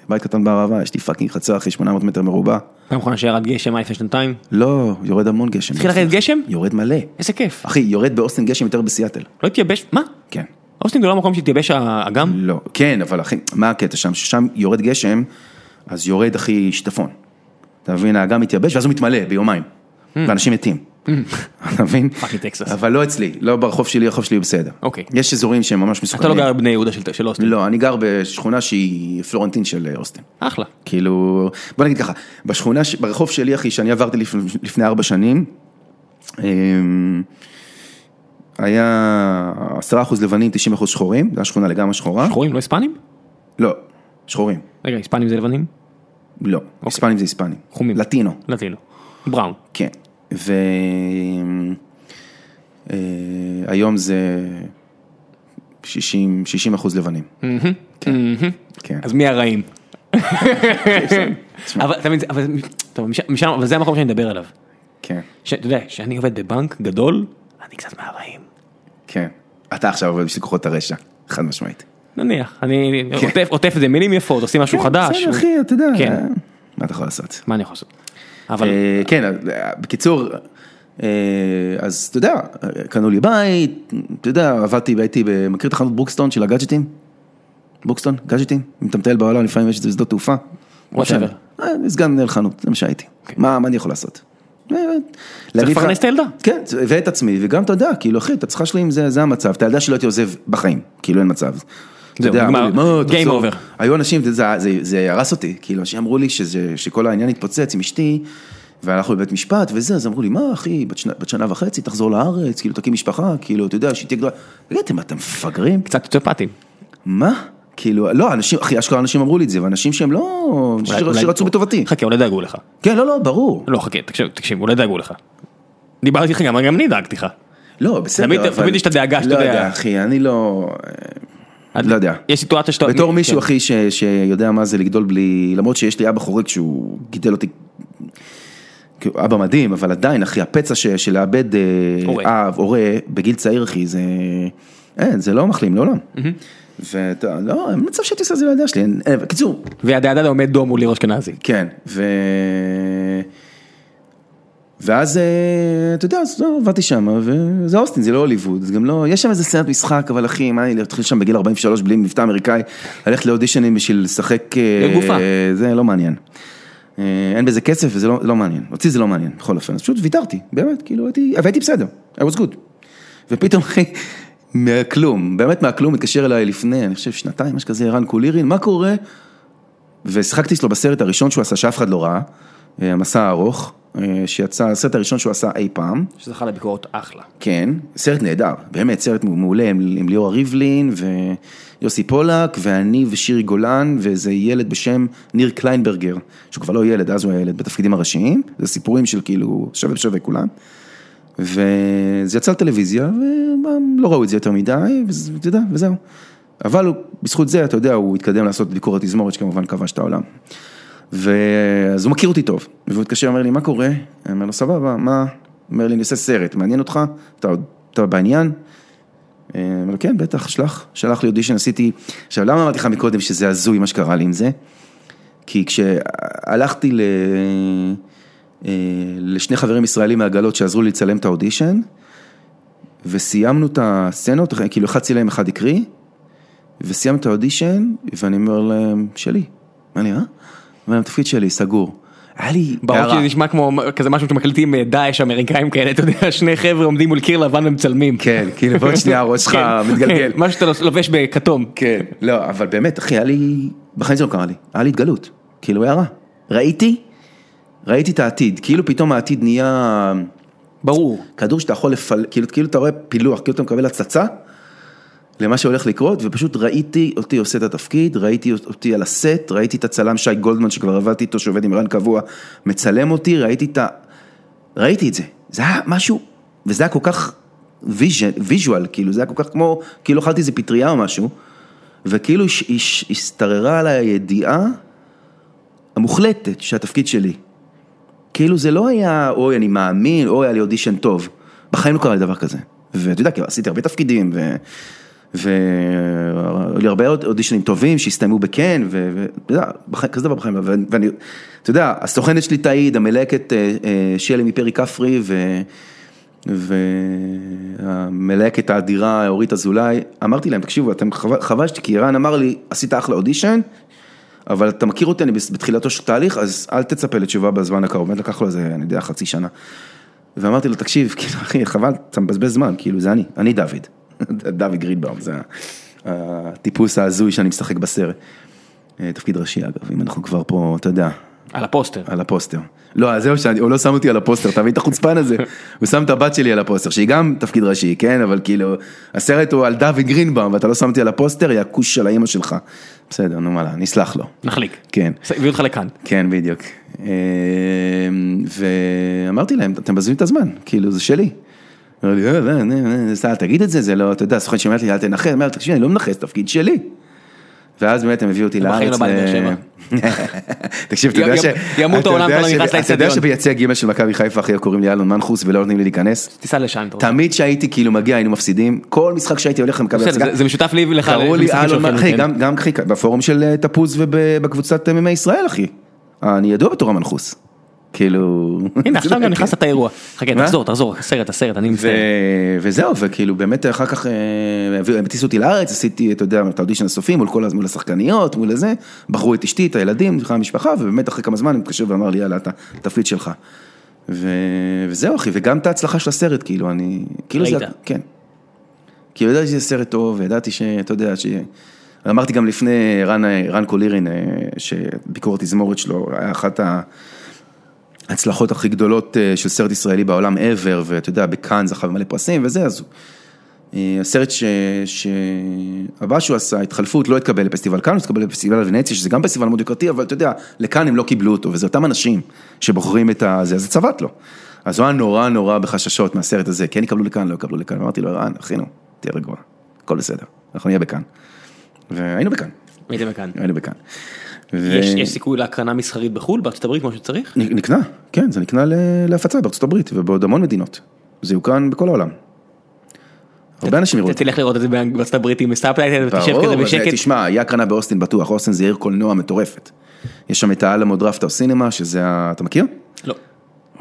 [SPEAKER 2] בית קטן בערבה, יש לי פאקינג חצר אחי 800 מטר מרובע.
[SPEAKER 3] פעם אחרונה שירד גשם היה לפני שנתיים.
[SPEAKER 2] לא, יורד המון גשם.
[SPEAKER 3] התחיל לרדת גשם?
[SPEAKER 2] יורד מלא.
[SPEAKER 3] איזה כיף.
[SPEAKER 2] אחי, יורד באוסטין גשם יותר בסיאטל.
[SPEAKER 3] לא התייבש, מה?
[SPEAKER 2] כן.
[SPEAKER 3] אוסטין זה לא המקום שהתייבש האגם?
[SPEAKER 2] לא, כן, אבל אחי, מה הקטע שם? ששם יורד גשם, אז יורד אחי שיטפון. אתה מבין, האגם מתייבש ואז הוא מתמלא ביומיים.
[SPEAKER 3] Mm.
[SPEAKER 2] ואנשים מתים. אתה מבין?
[SPEAKER 3] פאקינג טקסס.
[SPEAKER 2] אבל לא אצלי, לא ברחוב שלי, הרחוב שלי הוא בסדר.
[SPEAKER 3] אוקיי.
[SPEAKER 2] יש אזורים שהם ממש מסוכנים.
[SPEAKER 3] אתה לא גר בבני יהודה של- של אוסטין.
[SPEAKER 2] לא, אני גר בשכונה שהיא פלורנטין של אה, אוסטין.
[SPEAKER 3] אחלה.
[SPEAKER 2] כאילו, בוא נגיד ככה, בשכונה, ש- ברחוב שלי, אחי, שאני עברתי לפני, לפני ארבע שנים, אמ, היה עשרה אחוז לבנים, תשעים אחוז שחורים, זו הייתה שכונה לגמרי שחורה.
[SPEAKER 3] שחורים לא היספנים?
[SPEAKER 2] לא, שחורים,
[SPEAKER 3] רגע, היספנים זה לבנים?
[SPEAKER 2] לא, היספנים זה היספנים.
[SPEAKER 3] אוקיי. חומים.
[SPEAKER 2] לטינו,
[SPEAKER 3] לטינו. לא. בראון.
[SPEAKER 2] כן. ו... אה, היום זה 60, 60 אחוז לבנים. כן, כן.
[SPEAKER 3] אז מי הרעים? אבל אתה מבין, אבל טוב, משם- משם, אבל זה המקום שאני מדבר עליו.
[SPEAKER 2] כן,
[SPEAKER 3] ש- אתה יודע, כשאני עובד בבנק גדול, אני קצת מהרעים.
[SPEAKER 2] כן. אתה עכשיו עובד בשביל כוחות הרשע, חד משמעית.
[SPEAKER 3] נניח, אני עוטף- עוטף את זה מילים יפות, עושים משהו חדש.
[SPEAKER 2] כן. בסדר, אחי, אתה יודע.
[SPEAKER 3] כן.
[SPEAKER 2] מה אתה יכול לעשות?
[SPEAKER 3] מה אני יכול לעשות? אבל
[SPEAKER 2] אה, כן, אה, בקיצור, אה, אז אתה יודע, אה, קנו לי בית, אתה יודע, עבדתי, הייתי, ב- מכיר את החנות ברוקסטון של הגאדג'טים? ברוקסטון, גאדג'טים? אם אתה מטייל בעולם, לפעמים יש את זה בשדות תעופה.
[SPEAKER 3] Whatever. אוקיי.
[SPEAKER 2] אה, סגן מנהל חנות, זה מה שהייתי. מה מה אני יכול לעשות? אה, להגיד לך-
[SPEAKER 3] לפרנס את הילדה.
[SPEAKER 2] כן, ואת עצמי, וגם אתה יודע, כאילו, אחי, את צריכה שלי אם זה זה המצב, את הילדה שלי לא הייתי עוזב בחיים, כאילו אין מצב. אתה יודע,
[SPEAKER 3] נגמר.
[SPEAKER 2] אמרו לי, "מה,
[SPEAKER 3] Game
[SPEAKER 2] תחזור."
[SPEAKER 3] over.
[SPEAKER 2] היו אנשים, זה, זה, זה הרס אותי, כאילו, אנשים אמרו לי שזה, שכל העניין התפוצץ עם אשתי, והלכנו לבית משפט וזה, אז אמרו לי, מה אחי, בת שנה, בת שנה וחצי, תחזור לארץ, כאילו, תקים משפחה, כאילו, אתה יודע, שתהיה גדולה. תגיד, אתם, אתם מפגרים?
[SPEAKER 3] קצת סוציופטים.
[SPEAKER 2] מה? כאילו, לא, אנשים, אחי, אשכרה אנשים אמרו לי את זה, ואנשים שהם לא, ש-
[SPEAKER 3] אולי-
[SPEAKER 2] שרצו בטובתי.
[SPEAKER 3] חכה, אולי דאגו לך.
[SPEAKER 2] כן, לא, לא, ברור.
[SPEAKER 3] לא, חכה, תקשיב, תקשיב, אולי דאגו לך. דיברתי איתך גם, גם אני דאגתי לך.
[SPEAKER 2] לא, בסדר,
[SPEAKER 3] תמיד-
[SPEAKER 2] אבל...
[SPEAKER 3] תמיד יש את הדאגה שאתה
[SPEAKER 2] לא
[SPEAKER 3] יודע.
[SPEAKER 2] לא יודע, אחי, אני לא...
[SPEAKER 3] את-
[SPEAKER 2] לא יודע.
[SPEAKER 3] יש סיטואציה שאתה...
[SPEAKER 2] בתור
[SPEAKER 3] כן.
[SPEAKER 2] מישהו, אחי, ש- שיודע מה זה לגדול בלי... למרות שיש לי אבא חורג שהוא גידל אותי... כאילו, אבא מדהים, אבל עדיין, אחי, הפצע ש- של לאבד אה,
[SPEAKER 3] הורה.
[SPEAKER 2] אב, הורה, בגיל צעיר, אחי, זה... אין, זה לא מחלים לעולם. ואתה, לא, אין מצב שהייתי עושה את זה לילדה שלי. אין- אין- בקיצור,
[SPEAKER 3] והדאדה כן. עומד דום מול ליאור אשכנזי.
[SPEAKER 2] כן, ו... ואז, אה, אתה יודע, אז לא, עבדתי שם, וזה אוסטין, זה לא הוליווד, זה גם לא, יש שם איזה סרט משחק, אבל אחי, מה, אני להתחיל שם בגיל 43 בלי מבטא אמריקאי, ללכת לאודישנים בשביל לשחק, אה,
[SPEAKER 3] לגופה.
[SPEAKER 2] אה, זה לא מעניין. אה, אין בזה כסף וזה לא, לא מעניין, אותי זה לא מעניין, בכל אופן, אז פשוט ויתרתי, באמת, כאילו הייתי, והייתי בסדר, I was good. ופתאום אחי, מהכלום, באמת מהכלום, התקשר אליי לפני, אני חושב שנתיים, משהו כזה, ערן קולירין, מה קורה? ושיחקתי אצלו בסרט הראשון שהוא עשה, שאף אחד לא ראה, אה, המסע הארוך, אה, שיצא, הסרט הראשון שהוא עשה אי פעם,
[SPEAKER 3] שזכה לביקורות אחלה.
[SPEAKER 2] כן, סרט נהדר, באמת סרט מעולה עם, עם ליאורה ריבלין ויוסי פולק ואני ושירי גולן ואיזה ילד בשם ניר קליינברגר, שהוא כבר לא ילד, אז הוא היה ילד בתפקידים הראשיים, זה סיפורים של כאילו שווה בשווה כולם. לא וזה יצא לטלוויזיה ולא ראו את זה יותר מדי, וזה- אתה יודע, וזהו. אבל הוא, בזכות זה, אתה יודע, הוא התקדם לעשות ביקורת תזמורת, שכמובן כבש את העולם. ואז הוא מכיר אותי טוב, והוא התקשר, אומר לי, מה קורה? אני אומר לו, סבבה, מה? הוא אומר לי, אני עושה סרט, מעניין אותך? אתה, עוד- אתה בעניין? אה, אומר לו, כן, בטח, שלח. שלח לי אודישן, עשיתי... עכשיו, למה אמרתי לך מקודם שזה הזוי מה שקרה לי עם זה? כי כשהלכתי ל... אה, לשני חברים ישראלים מהגלות שעזרו לי לצלם את האודישן, וסיימנו את הסצנות, כאילו אחד צילם, אחד הקריא, וסיימנו את האודישן, ואני אומר להם, שלי. מה נראה? ואני התפקיד שלי, סגור. היה לי
[SPEAKER 3] ברור שזה נשמע כמו כזה משהו שמקליטים אה, דאעש אמריקאים כאלה, אתה יודע, שני חבר'ה עומדים מול קיר לבן ומצלמים.
[SPEAKER 2] כן, כאילו, ועוד שנייה הראש שלך
[SPEAKER 3] כן,
[SPEAKER 2] מתגלגל.
[SPEAKER 3] כן, מה שאתה לובש בכתום.
[SPEAKER 2] כן, לא, אבל באמת, אחי, היה לי, בחיים זה לא קרה לי, היה לי התגלות, כאילו הערה. ראיתי, ראיתי את העתיד, כאילו פתאום העתיד נהיה
[SPEAKER 3] ברור.
[SPEAKER 2] כדור שאתה יכול לפל... כאילו, כאילו אתה רואה פילוח, כאילו אתה מקבל הצצה למה שהולך לקרות, ופשוט ראיתי אותי עושה את התפקיד, ראיתי אותי על הסט, ראיתי את הצלם שי גולדמן שכבר עבדתי איתו, שעובד עם רן קבוע, מצלם אותי, ראיתי את ה... ראיתי את זה, זה היה משהו, וזה היה כל כך ויז'ן, ויז'ואל, כאילו, זה היה כל כך כמו, כאילו אכלתי איזה פטריה או משהו, וכאילו הש- הש- השתררה עליי הידיעה המוחלטת שהתפקיד שלי. כאילו זה לא היה, אוי, אני מאמין, אוי, היה לי אודישן טוב. בחיים לא קרה לי דבר כזה. ואתה יודע, כי עשיתי הרבה תפקידים, ו... והיו לי הרבה עוד- אודישנים טובים שהסתיימו בכן, ו- ו- אתה יודע, בחיים- כזה דבר בחיים, ו- ואני, אתה יודע, הסוכנת שלי תעיד, המלהקת אה, אה, שלי מפרי כפרי, ו... והמלהקת האדירה אורית אזולאי, אמרתי להם, תקשיבו, אתם חבל, חבל שת- כי רן אמר לי, עשית אחלה אודישן, אבל אתה מכיר אותי, אני בס- בתחילתו של תהליך, אז אל תצפה לתשובה בזמן הקרוב, באמת לקח לו איזה, אני יודע, חצי שנה. ואמרתי לו, תקשיב, כאילו, אחי, חבל, אתה מבזבז זמן, כאילו, זה אני, אני דוד, דוד גרינבאום, זה הטיפוס ההזוי שאני משחק בסרט. אה, תפקיד ראשי, אגב, אם אנחנו כבר פה, אתה יודע,
[SPEAKER 3] על הפוסטר.
[SPEAKER 2] על הפוסטר. לא, אז זהו, שאני- הוא לא שם אותי על הפוסטר, אתה מבין את החוצפן הזה? הוא שם את הבת שלי על הפוסטר, שהיא גם תפקיד ראשי, כן? אבל כאילו, הסרט הוא על דוד גרינבאום, ואתה לא שם אותי על הפוסטר, יא הכוש של האימא שלך. בסדר, נו מה, נסלח לו.
[SPEAKER 3] נחליק.
[SPEAKER 2] כן.
[SPEAKER 3] הביאו אותך לכאן.
[SPEAKER 2] כן, בדיוק. אה, ואמרתי להם, אתם מבזבזים את הזמן, כאילו, זה שלי. אמר לי, "אה, לא, לא, לא, סע, תגיד את זה, זה לא, אתה יודע, הסוכן שאומרת לי, אל תנכס, אמרתי, תקשיבי, אני לא מנכס, תפקיד שלי. ואז באמת הם הביאו אותי
[SPEAKER 3] בחיים לא
[SPEAKER 2] לארץ.
[SPEAKER 3] בא לבאר
[SPEAKER 2] ל-
[SPEAKER 3] שבע.
[SPEAKER 2] תקשיב, אתה
[SPEAKER 3] י-
[SPEAKER 2] יודע ש...
[SPEAKER 3] י- ימות
[SPEAKER 2] אתה
[SPEAKER 3] העולם,
[SPEAKER 2] יודע
[SPEAKER 3] אתה
[SPEAKER 2] ש-
[SPEAKER 3] לא נכנס
[SPEAKER 2] אתה יודע
[SPEAKER 3] לאצטדיון.
[SPEAKER 2] שביציע ג' של מכבי חיפה, אחי, קוראים לי אלון מנחוס ולא נותנים לי להיכנס.
[SPEAKER 3] תיסע לשם. אתה רוצה.
[SPEAKER 2] תמיד שהייתי כאילו מגיע, היינו מפסידים. כל משחק שהייתי הולך למכבי
[SPEAKER 3] בסדר,
[SPEAKER 2] הצגה,
[SPEAKER 3] זה- זה משותף לי ולך. אה,
[SPEAKER 2] קראו לי
[SPEAKER 3] למשחקים
[SPEAKER 2] אלון,
[SPEAKER 3] שלכם,
[SPEAKER 2] אחי,
[SPEAKER 3] כן.
[SPEAKER 2] גם, גם אחי, בפורום של אה, תפוז ובקבוצת MMA ישראל, אחי. אני ידוע בתור המנחוס. כאילו...
[SPEAKER 3] הנה עכשיו גם נכנסת את האירוע. חכה
[SPEAKER 2] מה?
[SPEAKER 3] תחזור תחזור הסרט הסרט אני
[SPEAKER 2] ו...
[SPEAKER 3] מצטער.
[SPEAKER 2] וזהו, וכאילו באמת אחר כך אה, הביאו- הם הטיסו אותי לארץ, עשיתי, אתה יודע, את האודישן הסופי מול כל הז- מול השחקניות, מול הזה, בחרו את אשתי, את הילדים, את המשפחה, ובאמת אחרי כמה זמן הם התקשרו ואמר לי, יאללה, אתה, התפקיד שלך. ו... וזהו אחי, וגם את ההצלחה של הסרט, כאילו, אני... כאילו זה...
[SPEAKER 3] ראית.
[SPEAKER 2] כן. כאילו ידעתי שזה סרט טוב, וידעתי שאתה יודע, ש... אמרתי גם לפני רן, רן קולירין, אה, שביקורת תזמורת שלו, היה אחת ה... ההצלחות הכי גדולות אה, של סרט ישראלי בעולם ever, ואתה יודע, בכאן זכה במלא פרסים וזה, אז הוא- אה, הסרט ש... שהבא שהוא עשה, התחלפות, לא התקבל לפסטיבל כאן, הוא התקבל לפסטיבל ונציה, שזה גם פסטיבל מאוד יוקרתי, אבל אתה יודע, לכאן הם לא קיבלו אותו, וזה אותם אנשים שבוחרים את הזה, אז זה צבט לו. אז הוא היה נורא נורא בחששות מהסרט הזה, כן יקבלו לכאן, לא יקבלו לכאן, אמרתי לו, ערן, אחינו, תהיה רגוע, הכל בסדר, אנחנו נהיה בכאן. והיינו בכאן,
[SPEAKER 3] הייתם כאן.
[SPEAKER 2] היינו בכאן. ו-
[SPEAKER 3] יש יש סיכוי להקרנה מסחרית בחו"ל בארצות הברית כמו שצריך?
[SPEAKER 2] נ- נקנה, כן, זה נקנה ל- להפצה בארצות הברית ובעוד המון מדינות. זה יוקרן בכל העולם. הרבה אנשים יראו את זה.
[SPEAKER 3] תלך לראות את זה בארצות הברית עם סאפלייטר ותשב
[SPEAKER 2] ברור,
[SPEAKER 3] כזה
[SPEAKER 2] אבל
[SPEAKER 3] בשקט.
[SPEAKER 2] תשמע, היה הקרנה באוסטין בטוח, אוסטין זה עיר קולנוע מטורפת. יש שם את האלמו דרפטר סינמה, שזה ה... אתה מכיר?
[SPEAKER 3] לא.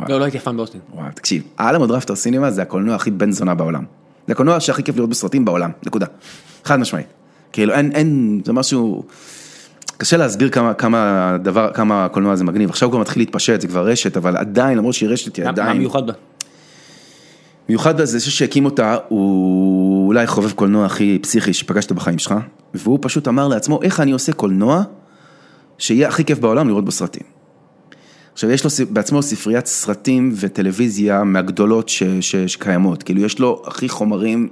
[SPEAKER 3] לא, לא הייתי אף פעם באוסטין.
[SPEAKER 2] וואו, תקשיב, האלמו דרפטר סינמה זה הקולנוע הכי בן זונה בעולם. זה הקולנוע שהכי כיף לראות בסרטים בעולם, נקודה. חד משמעית. כאילו, אין, אין, זה משהו... קשה להסביר כמה, כמה הדבר, כמה הקולנוע הזה מגניב. עכשיו הוא כבר מתחיל להתפשט, זה כבר רשת, אבל עדיין, למרות שהיא רשת, היא
[SPEAKER 3] מה מה
[SPEAKER 2] עדיין...
[SPEAKER 3] מיוחד בה?
[SPEAKER 2] מיוחד בזה שהקים אותה, הוא אולי חובב קולנוע הכי פסיכי שפגשת בחיים שלך, והוא פשוט אמר לעצמו, איך אני עושה קולנוע שיהיה הכי כיף בעולם לראות בו סרטים. עכשיו, יש לו ס- בעצמו ספריית סרטים וטלוויזיה מהגדולות ש, ש, שקיימות, כאילו, יש לו הכי חומרים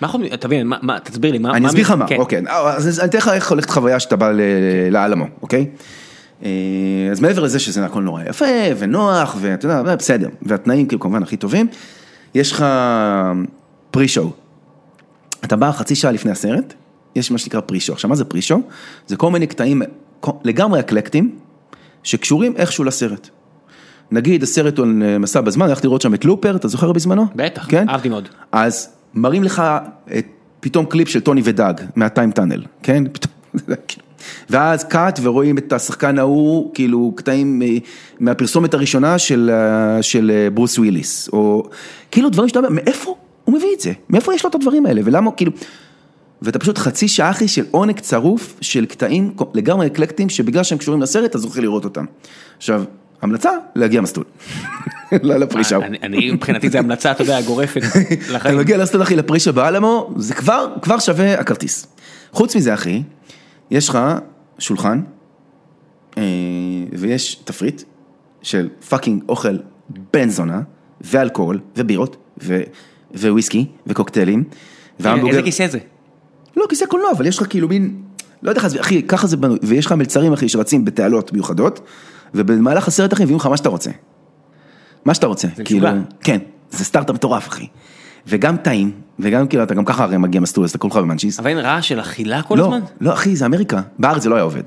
[SPEAKER 3] מה חומרים? אה, תבין, מה- מה- תסביר לי. מה-
[SPEAKER 2] אני אסביר לך מה,
[SPEAKER 3] כן.
[SPEAKER 2] אוקיי, אז אז אני אתן לך איך הולכת חוויה שאתה בא ל- לאלמו, אוקיי? אה, אז מעבר לזה שזה הכל נורא יפה ונוח ואתה יודע, אה, בסדר, והתנאים כאילו כמובן הכי טובים, אה, יש לך פרי-שואו. אתה בא חצי שעה לפני הסרט, יש מה שנקרא פרישו. עכשיו, מה זה פרישו? זה כל מיני קטעים כל- לגמרי אקלקטיים, שקשורים איכשהו לסרט. נגיד, הסרט הוא על אה, מסע בזמן, הלכתי לראות שם את לופר, אתה זוכר בזמנו?
[SPEAKER 3] בטח,
[SPEAKER 2] כן?
[SPEAKER 3] אהבתי מאוד.
[SPEAKER 2] אז מראים לך את, פתאום קליפ של טוני ודאג, מהטיים טאנל, כן? פתאום, כאילו. ואז קאט ורואים את השחקן ההוא, כאילו קטעים מ- מהפרסומת הראשונה של, אה, של אה, ברוס וויליס, או כאילו דברים שאתה אומר, מאיפה הוא מביא את זה? מאיפה יש לו את הדברים האלה? ולמה, כאילו... ואתה פשוט חצי שעה אחי של עונג צרוף של קטעים לגמרי אקלקטיים שבגלל שהם קשורים לסרט אז זוכה לראות אותם. עכשיו, המלצה, להגיע מסלול. לא לפרישה.
[SPEAKER 3] אה, אני- אני מבחינתי זה המלצה, אתה יודע, גורפת
[SPEAKER 2] אתה
[SPEAKER 3] לחיים.
[SPEAKER 2] מגיע לאסטרוד אחי לפרישה באלמו, זה כבר, כבר שווה הכרטיס. חוץ מזה אחי, יש לך שולחן, אה, ויש תפריט של פאקינג אוכל בן זונה, ואלכוהול, ובירות, ו- וויסקי, וקוקטיילים, והמבורגר.
[SPEAKER 3] איזה כיסא זה?
[SPEAKER 2] לא, כיסא קולנוע, אבל יש לך כאילו מין, לא יודע איך, זה- אחי, ככה זה בנוי, ויש לך מלצרים, אחי, שרצים בתעלות מיוחדות, ובמהלך הסרט, אחי, מביאים לך מה שאתה רוצה. מה שאתה רוצה. זה
[SPEAKER 3] משוגע.
[SPEAKER 2] כן, זה סטארט-אפ מטורף, אחי. וגם טעים, וגם כאילו, אתה גם ככה הרי מגיע מסטול, אז אתה כולך במנצ'יס.
[SPEAKER 3] אבל אין רעש של אכילה כל
[SPEAKER 2] לא,
[SPEAKER 3] הזמן?
[SPEAKER 2] לא, אחי, זה אמריקה. בארץ זה לא היה עובד.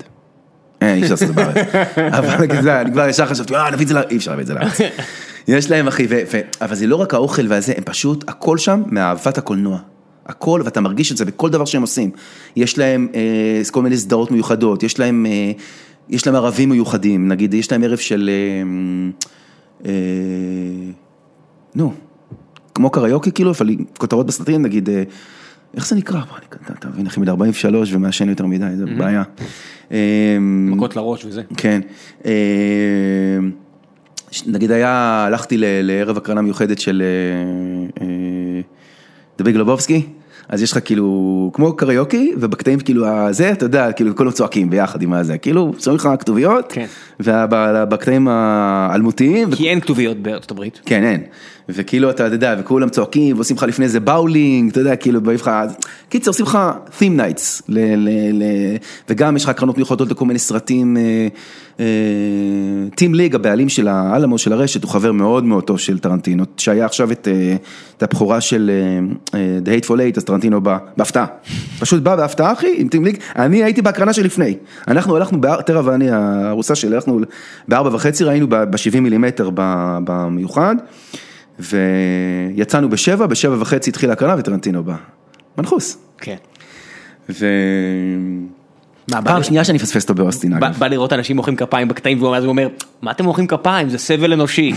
[SPEAKER 2] אה, אי אפשר לעשות את זה בארץ. אבל זה, אני כבר ישר חשבתי, אה, נביא את זה לארץ. אי אפשר להביא את זה לארץ. יש להם, אחי, ו- ו- אבל זה לא רק האוכל והזה, הם פשוט, הכל שם מאהבת הקולנוע. הכל, ואתה מרגיש את זה בכל דבר שהם עושים. יש להם אה, כל מיני סדרות מיוחדות, יש להם, אה, יש להם ערבים מיוחדים, נגיד, יש להם ערב של... אה, אה, נו, כמו קריוקי כאילו, אבל עם כותרות בסרטים, נגיד, אה, איך זה נקרא? בוא, אני, אתה- אתה מבין, אחי, מדי 43 ומעשן יותר מדי, זה בעיה. אה,
[SPEAKER 3] מכות לראש וזה.
[SPEAKER 2] כן. אה, ש- נגיד היה, הלכתי ל- לערב הקרנה מיוחדת של אה, אה, דביג לובובסקי, אז יש לך כאילו, כמו קריוקי, ובקטעים כאילו הזה, אתה יודע, כאילו כולם צועקים ביחד עם הזה, כאילו שמים לך כתוביות,
[SPEAKER 3] כן.
[SPEAKER 2] ובקטעים האלמותיים,
[SPEAKER 3] כי אין כתוביות בארצות הברית.
[SPEAKER 2] כן, אין. וכאילו, אתה יודע, וכולם צועקים, ועושים לך לפני זה באולינג, אתה יודע, כאילו, בעיף לך... קיצר, עושים לך Theme Nights, ל, ל, ל... וגם יש לך הקרנות מיוחדות לכל מיני סרטים. אה, אה, טים ליג, הבעלים של האלמו, של הרשת, הוא חבר מאוד מאוד טוב של טרנטינו, שהיה עכשיו את, אה, את הבכורה של אה, אה, The Hateful Eight, אז טרנטינו בא, בהפתעה. פשוט בא בהפתעה, אחי, עם טים ליג. אני הייתי בהקרנה שלפני. אנחנו הלכנו, באר- טרה ואני, הרוסה שלי, הלכנו בארבע וחצי, ראינו ב-70 מילימטר ב- במיוחד. ויצאנו בשבע, בשבע וחצי התחילה הקרנה וטרנטינו בא. מנחוס.
[SPEAKER 3] כן.
[SPEAKER 2] ו...
[SPEAKER 3] מה, בא-
[SPEAKER 2] פעם שנייה שאני מפספס אותו באוסטין
[SPEAKER 3] בא-
[SPEAKER 2] אגב.
[SPEAKER 3] בא לראות אנשים מוחאים כפיים בקטעים, והוא הוא אומר, מה אתם מוחאים כפיים? זה סבל אנושי.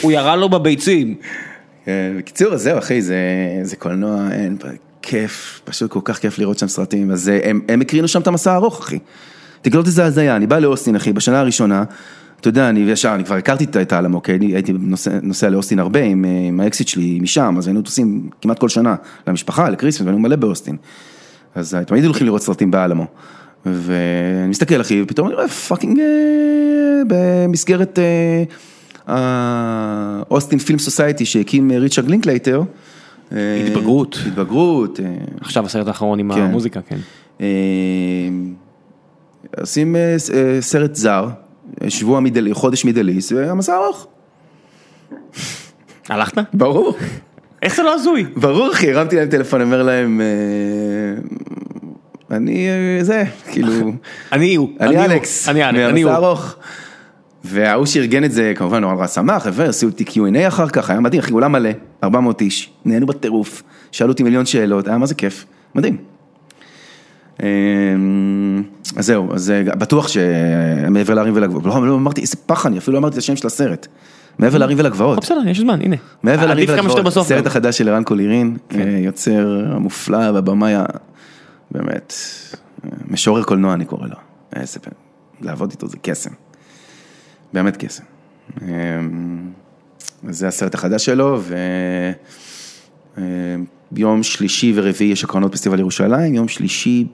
[SPEAKER 3] הוא ירה לו בביצים.
[SPEAKER 2] אה, בקיצור, אז זהו אחי, זה, זה קולנוע, אין, פ- כיף, פשוט כל כך כיף לראות שם סרטים, אז אה, הם, הם הקרינו שם את המסע הארוך אחי. תקלוט איזה הזיה, אני בא לאוסטין אחי, בשנה הראשונה, אתה יודע, אני ישר, אני כבר הכרתי את- את העלם, אוקיי, אני הייתי נוסע, נוסע לאוסטין הרבה עם, אה, עם האקסיט שלי משם, אז היינו טוסים כמעט כל שנה למשפחה, לקריסמס, והיינו מלא באוסטין. אז אה, תמיד הולכים לראות סרטים באלמו. ואני מסתכל אחי, ופתאום אני רואה פאקינג אה, במסגרת אה, האוסטין פילם סוסייטי שהקים אה, ריצ'רד לינקלייטר. אה,
[SPEAKER 3] התבגרות.
[SPEAKER 2] התבגרות. אה,
[SPEAKER 3] עכשיו הסרט האחרון עם
[SPEAKER 2] כן.
[SPEAKER 3] המוזיקה, כן.
[SPEAKER 2] אה, עושים אה, ס- אה, סרט זר, אה, שבוע מידלי, חודש מידליס, והמסע ארוך.
[SPEAKER 3] הלכת?
[SPEAKER 2] ברור.
[SPEAKER 3] איך זה לא הזוי?
[SPEAKER 2] ברור אחי, הרמתי להם טלפון, אומר להם, אה, אני אה, זה, כאילו,
[SPEAKER 3] אני הוא.
[SPEAKER 2] אני
[SPEAKER 3] הוא.
[SPEAKER 2] אלכס,
[SPEAKER 3] אני אלכס. אני הוא.
[SPEAKER 2] מהמסע ארוך. וההוא שארגן את זה כמובן נורא נורא שמח, חבר'ה, עשו אותי Q&A אחר כך, היה מדהים, אחי, אולם מלא, 400 איש, נהנו בטירוף, שאלו אותי מיליון שאלות, היה מה זה כיף, מדהים. אמ, אז זהו, אז אה, בטוח שמעבר להרים ולגבעות, לא, לא אמרתי, איזה פח אני, אפילו לא אמרתי את השם של הסרט, מעבר להרים
[SPEAKER 3] לא,
[SPEAKER 2] ולגבעות.
[SPEAKER 3] בסדר, יש זמן, הנה.
[SPEAKER 2] מעבר לריב
[SPEAKER 3] עדיף כמה שיותר
[SPEAKER 2] לגבעות,
[SPEAKER 3] בסוף.
[SPEAKER 2] הסרט
[SPEAKER 3] גם. כן.
[SPEAKER 2] החדש של ערן קולירין, אה, יוצר המופלא והבמאי, ה- באמת, אה, משורר קולנוע אני קורא לו, איזה פ... לעבוד איתו זה קסם, באמת קסם. אה, אז זה הסרט החדש שלו, ו... אה, יום שלישי ורביעי יש הקרנות פסטיבל ירושלים, יום שלישי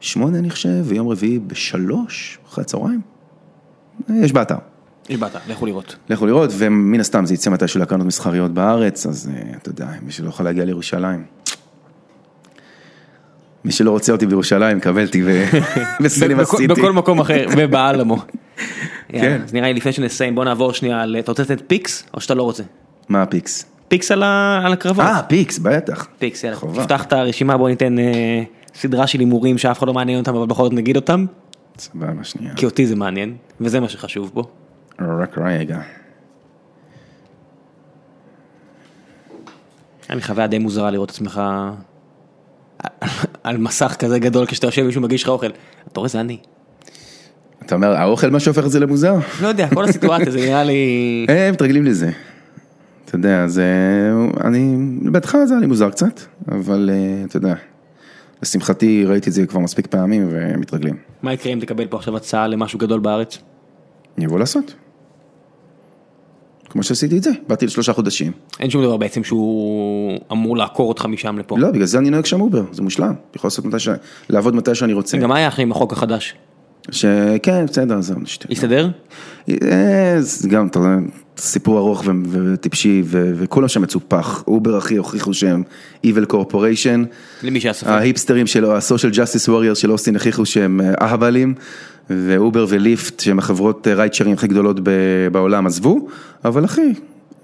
[SPEAKER 2] בשמונה אני חושב, ויום רביעי בשלוש, אחרי הצהריים. אה, יש באתר.
[SPEAKER 3] יש באת, לכו לראות.
[SPEAKER 2] לכו לראות, ומן הסתם זה יצא מתישהו להקרנות מסחריות בארץ, אז אה, אתה יודע, מי שלא יכול להגיע לירושלים. מי שלא רוצה אותי בירושלים, קבל אותי ב- בסינמה
[SPEAKER 3] בכל-
[SPEAKER 2] סיטי.
[SPEAKER 3] בכל מקום אחר, ובאלמו.
[SPEAKER 2] כן.
[SPEAKER 3] אז נראה לי לפני שנסיים, בוא נעבור שנייה, ל- אתה רוצה לתת פיקס, או שאתה לא רוצה?
[SPEAKER 2] מה הפיקס?
[SPEAKER 3] פיקס על ה- על הקרבות.
[SPEAKER 2] אה, פיקס, בטח.
[SPEAKER 3] פיקס, יאללה,
[SPEAKER 2] חובה.
[SPEAKER 3] נפתח את הרשימה, בוא ניתן אה, סדרה של הימורים שאף אחד לא מעניין אותם, אבל בכל זאת נגיד אותם,
[SPEAKER 2] סבבה, שנייה.
[SPEAKER 3] כי אותי זה מעניין, וזה מה שחשוב פה. כן.
[SPEAKER 2] רק רגע.
[SPEAKER 3] היה לי חוויה די מוזרה לראות את עצמך על מסך כזה גדול, כשאתה יושב מישהו מגיש לך אוכל, אתה רואה זה אני.
[SPEAKER 2] אתה אומר, האוכל מה שהופך את זה למוזר?
[SPEAKER 3] לא יודע, כל הסיטואציה זה נראה לי...
[SPEAKER 2] אה, מתרגלים לזה. אתה יודע, זה... אני... בהתחלה זה היה לי מוזר קצת, אבל אה, אתה יודע. לשמחתי ראיתי את זה כבר מספיק פעמים ומתרגלים.
[SPEAKER 3] מה יקרה אם תקבל פה עכשיו הצעה למשהו גדול בארץ?
[SPEAKER 2] אני אבוא לעשות. כמו שעשיתי את זה, באתי לשלושה חודשים.
[SPEAKER 3] אין שום דבר בעצם שהוא אמור לעקור אותך משם לפה.
[SPEAKER 2] לא, בגלל זה אני נוהג שם אובר, זה מושלם. אני יכול לעשות מתי ש... לעבוד מתי שאני רוצה.
[SPEAKER 3] גם מה היה אחרי עם החוק החדש?
[SPEAKER 2] שכן, בסדר, זהו, נשתה.
[SPEAKER 3] הסתדר?
[SPEAKER 2] אה, זה גם, אתה יודע, סיפור ארוך ו- ו- וטיפשי, ו- וכולם שם מצופח. אובר אחי הוכיחו שהם Evil Corporation.
[SPEAKER 3] למי שהיה
[SPEAKER 2] אה.
[SPEAKER 3] ספק.
[SPEAKER 2] ההיפסטרים שלו, ה-social justice warriors של אוסטין הוכיחו שהם אה, אהבלים, ואובר וליפט, שהם החברות אה, רייצ'רים הכי גדולות ב- בעולם, עזבו, אבל אחי,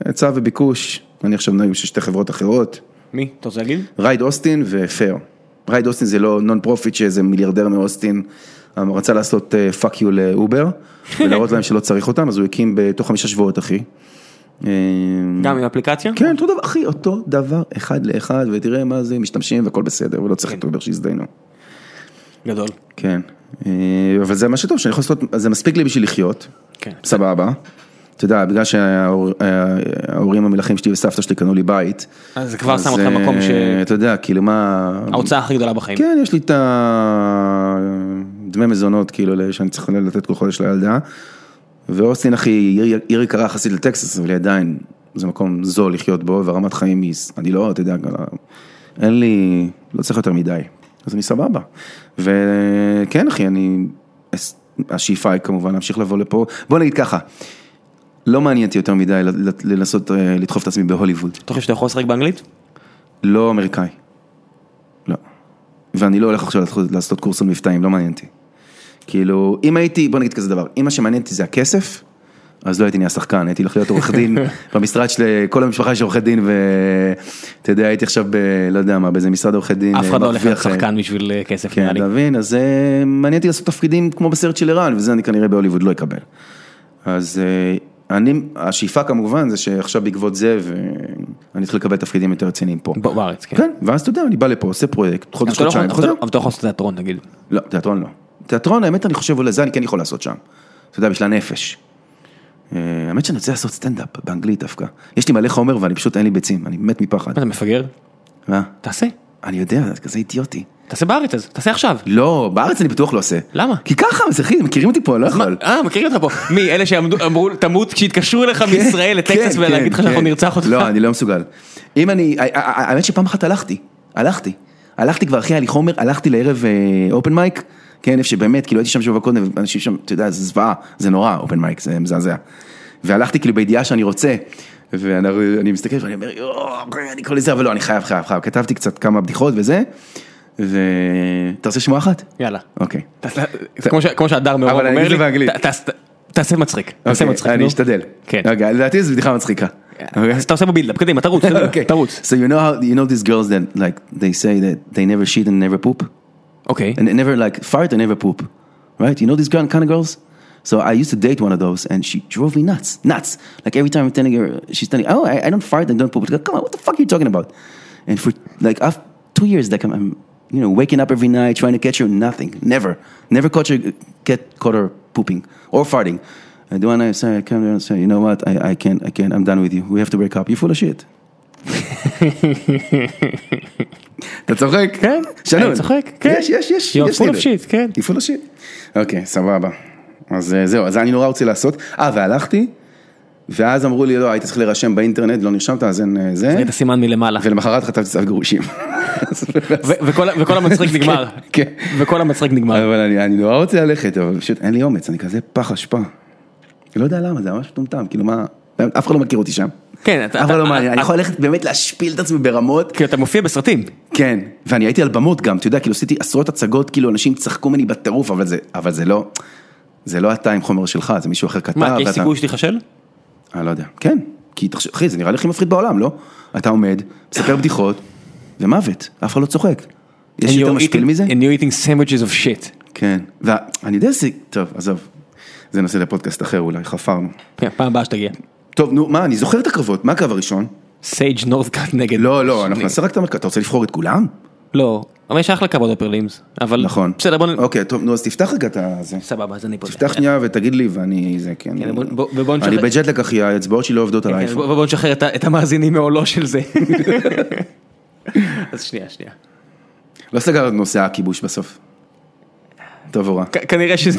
[SPEAKER 2] היצע וביקוש, אני עכשיו נוהג של שתי חברות אחרות,
[SPEAKER 3] מי? אתה רוצה להגיד?
[SPEAKER 2] רייד אוסטין ופייר. רייד אוסטין זה לא נון פרופיט שאיזה מיליארדר מאוסטין אמר, רצה לעשות פאק יו לאובר, ולהראות להם שלא צריך אותם, אז הוא הקים בתוך חמישה שבועות, אחי. אה,
[SPEAKER 3] גם עם אפליקציה?
[SPEAKER 2] כן, אותו דבר, אחי, אותו דבר אחד לאחד, ותראה מה זה, משתמשים והכל בסדר, ולא
[SPEAKER 3] כן.
[SPEAKER 2] צריך את אובר שיזדיינו.
[SPEAKER 3] גדול.
[SPEAKER 2] כן, אה, אבל זה מה שטוב, שאני יכול לעשות, זה מספיק לי בשביל לחיות,
[SPEAKER 3] כן.
[SPEAKER 2] סבבה. אתה יודע, בגלל שההורים המלכים שלי וסבתא שלי קנו לי בית.
[SPEAKER 3] אז זה כבר
[SPEAKER 2] אז,
[SPEAKER 3] שם אותך
[SPEAKER 2] אה,
[SPEAKER 3] במקום ש...
[SPEAKER 2] אתה יודע, כאילו מה...
[SPEAKER 3] ההוצאה הכי גדולה בחיים.
[SPEAKER 2] כן, יש לי את הדמי מזונות, כאילו, ל- שאני צריך לתת כל חודש לילדה. ואוסטין, אחי, עיר- עיר יקרה יחסית לטקסס, אבל היא עדיין, זה מקום זול לחיות בו, והרמת חיים היא, אני לא, אתה יודע, אין לי, לא צריך יותר מדי, אז אני סבבה. וכן, אחי, אני, השאיפה היא כמובן להמשיך לבוא לפה, בוא נגיד ככה, לא מעניין אותי יותר מדי ל- ל- לנסות אה, לדחוף את עצמי בהוליווד,
[SPEAKER 3] אתה חושב שאתה יכול לשחק באנגלית?
[SPEAKER 2] לא אמריקאי. לא. ואני לא הולך עכשיו לעשות, לעשות קורס על מבטאים, לא מעניין אותי. כאילו, אם הייתי, בוא נגיד כזה דבר, אם מה שמעניין אותי זה הכסף, אז לא הייתי נהיה שחקן, הייתי הולך להיות עורך דין במשרד של כל המשפחה יש עורכי דין, ואתה יודע, הייתי עכשיו ב... לא יודע מה, באיזה משרד עורכי דין.
[SPEAKER 3] אף אחד לא הולך להיות
[SPEAKER 2] מרוויח, אה,
[SPEAKER 3] שחקן בשביל אה, כסף נראה
[SPEAKER 2] כן,
[SPEAKER 3] לי.
[SPEAKER 2] אתה מבין? אז אה, מעניין אותי לעשות תפקידים כמו בסרט של ערן, וזה אני כנראה בהוליווד לא אקבל. אז אה, אני, השאיפה כמובן זה שעכשיו בעקבות זה, ואני אתחיל לקבל תפקידים יותר רציניים פה.
[SPEAKER 3] ב- בארץ, כן.
[SPEAKER 2] כן, ואז אתה יודע, אני בא לפה, עושה פרויקט,
[SPEAKER 3] אבל
[SPEAKER 2] חודש,
[SPEAKER 3] אתה לא יכול-
[SPEAKER 2] חודשיים,
[SPEAKER 3] אבל אתה
[SPEAKER 2] חוזר.
[SPEAKER 3] לא- אבל אתה לא יכול לעשות תיאטרון נגיד.
[SPEAKER 2] לא, תיאטרון לא. תיאטרון, האמת, אני חושב, אולי זה אני כן יכול לעשות שם. אתה יודע, בשביל הנפש. אה, האמת שאני רוצה לעשות סטנדאפ באנגלית דווקא. יש לי מלא חומר ואני פשוט אין לי ביצים, אני מת מפחד.
[SPEAKER 3] מה, אתה מפגר?
[SPEAKER 2] מה?
[SPEAKER 3] תעשה.
[SPEAKER 2] אני יודע, זה כזה אידיוטי.
[SPEAKER 3] תעשה בארץ אז, תעשה עכשיו.
[SPEAKER 2] לא, בארץ אני בטוח לא עושה.
[SPEAKER 3] למה?
[SPEAKER 2] כי ככה, אז אחי, מכירים אותי פה, אני לא
[SPEAKER 3] מה-
[SPEAKER 2] יכול.
[SPEAKER 3] אה, מכירים אותך פה. מי, אלה שאמרו, תמות כשהתקשרו אליך מישראל לטקסס
[SPEAKER 2] כן,
[SPEAKER 3] ולהגיד לך
[SPEAKER 2] כן,
[SPEAKER 3] שאנחנו
[SPEAKER 2] כן.
[SPEAKER 3] נרצח אותך?
[SPEAKER 2] לא, אני לא מסוגל. אם אני, ה- ה- ה- האמת שפעם אחת הלכתי, הלכתי. הלכתי כבר, אחי, היה לי חומר, הלכתי לערב אופן מייק, כן, איפה שבאמת, כאילו הייתי שם שבוע קודם, אנשים שם, אתה יודע, זה זוועה, זה נורא, אופן מייק, זה מזעזע. והלכתי כאילו בידיעה שאני רוצה, ואני מסתכל ואני אומר, יואו, אני כל זה, אבל לא, אני חייב, חייב, חייב. כתבתי קצת כמה בדיחות וזה, ואתה רוצה שמוע אחת?
[SPEAKER 3] יאללה.
[SPEAKER 2] אוקיי.
[SPEAKER 3] תעשה- כמו ש- כמו שהדר מאור
[SPEAKER 2] אבל אני
[SPEAKER 3] אומר
[SPEAKER 2] אגיד את זה
[SPEAKER 3] לי,
[SPEAKER 2] באנגלית.
[SPEAKER 3] ת- תעשה- תעשה מצחיק. תעשה
[SPEAKER 2] אוקיי,
[SPEAKER 3] מצחיק.
[SPEAKER 2] אני
[SPEAKER 3] נו.
[SPEAKER 2] אשתדל.
[SPEAKER 3] כן.
[SPEAKER 2] אוקיי, לדעתי זו בדיחה מצחיקה. אוקיי?
[SPEAKER 3] אז אתה עושה בבילדאפ, קדימה, תרוץ,
[SPEAKER 2] Okay.
[SPEAKER 3] תרוץ.
[SPEAKER 2] So you know how you know these girls that like they say that they never cheat and never poop,
[SPEAKER 3] אוקיי.
[SPEAKER 2] and they never like fart and never poop, right? You know these kind of girls. So I used to date one of those, and she drove me nuts, nuts. Like every time I'm telling her, she's telling, oh, I, I don't fart and don't poop. Like, Come on, what the fuck are you talking about? And for like after two years, like I'm, I'm, you know, waking up every night trying to catch her, nothing, never, never caught her, get caught her pooping or farting. And the one I say, I come there and say, you know what? I, I can't, I can't. I'm done with you. We have to break up. You're full of shit. אתה צוחק? כן. שנון.
[SPEAKER 3] אני צוחק, כן.
[SPEAKER 2] יש, יש, יש.
[SPEAKER 3] You're
[SPEAKER 2] יש
[SPEAKER 3] full
[SPEAKER 2] לי
[SPEAKER 3] of
[SPEAKER 2] את
[SPEAKER 3] shit,
[SPEAKER 2] זה.
[SPEAKER 3] כן.
[SPEAKER 2] You're full of shit. אוקיי, סבבה. אז אה, זהו, אז אני נורא רוצה לעשות. אה, והלכתי, ואז אמרו לי, לא, היית צריך להירשם באינטרנט, לא נרשמת, אז אין אה, זה.
[SPEAKER 3] ראית סימן מלמעלה.
[SPEAKER 2] ולמחרת חטפתי צו גירושים. אז-
[SPEAKER 3] ו- וכל- וכל המצחיק נגמר.
[SPEAKER 2] כן.
[SPEAKER 3] וכל המצחיק נגמר.
[SPEAKER 2] אבל אני אני נורא רוצה ללכת, אבל פשוט אין לי אומץ, אני כזה פח אשפה. לא יודע למה, זה ממש מטומטם, כאילו מה, באמת, אף אחד לא מכיר אותי שם.
[SPEAKER 3] כן, אתה-
[SPEAKER 2] אף אחד
[SPEAKER 3] אתה-
[SPEAKER 2] לא מעניין, אני
[SPEAKER 3] אתה-
[SPEAKER 2] יכול ללכת באמת להשפיל את עצמי ברמות,
[SPEAKER 3] כי אתה מופיע בסרטים.
[SPEAKER 2] כן, ואני הייתי על במות גם, אתה יודע, כאילו עשיתי עשרות הצגות, כאילו אנשים צחקו ממני בטירוף, אבל זה, אבל זה לא, זה לא אתה עם חומר שלך, זה מישהו אחר כתב.
[SPEAKER 3] מה, כי יש
[SPEAKER 2] ואתה-
[SPEAKER 3] סיכוי שתיכשל?
[SPEAKER 2] אני לא יודע, כן, כי תחשוב, אחי, זה נראה לי הכי מפחיד בעולם, לא? אתה עומד, מספר בדיחות, ומוות, אף אחד לא צוחק. יש
[SPEAKER 3] And
[SPEAKER 2] יותר
[SPEAKER 3] you're
[SPEAKER 2] משפיל
[SPEAKER 3] eating-
[SPEAKER 2] מזה?
[SPEAKER 3] And you're eating sandwiches of shit.
[SPEAKER 2] כן. ואני יודע ש... טוב, עזוב. זה נושא לפודקאסט אחר אולי, חפרנו.
[SPEAKER 3] כן, פעם הבאה שתגיע.
[SPEAKER 2] טוב, נו, מה, אני זוכר את הקרבות, מה הקרב הראשון?
[SPEAKER 3] סייג' נורדקאט נגד...
[SPEAKER 2] לא, לא, אנחנו נעשה רק את המרכז, אתה רוצה לבחור את כולם?
[SPEAKER 3] לא, אבל יש אחלה כבוד בפרלימס. אבל...
[SPEAKER 2] נכון.
[SPEAKER 3] בסדר, בוא... נ-
[SPEAKER 2] אוקיי, טוב, נו, אז תפתח רגע את הזה.
[SPEAKER 3] סבבה, אז אני פה.
[SPEAKER 2] תפתח שנייה ותגיד לי ואני זה, כן.
[SPEAKER 3] כן, בוא- בוא- ובוא נשחרר-
[SPEAKER 2] אני בג'טלק אחי, האצבעות שלי לא עובדות על
[SPEAKER 3] כן,
[SPEAKER 2] האייפון.
[SPEAKER 3] בוא בוא נשחרר את ה- את המאזינים מעולו של זה. אז שנייה, שנייה.
[SPEAKER 2] לא סגרנו את נושא הכיבוש בסוף. טוב או רע.
[SPEAKER 3] כ- כנראה שזה,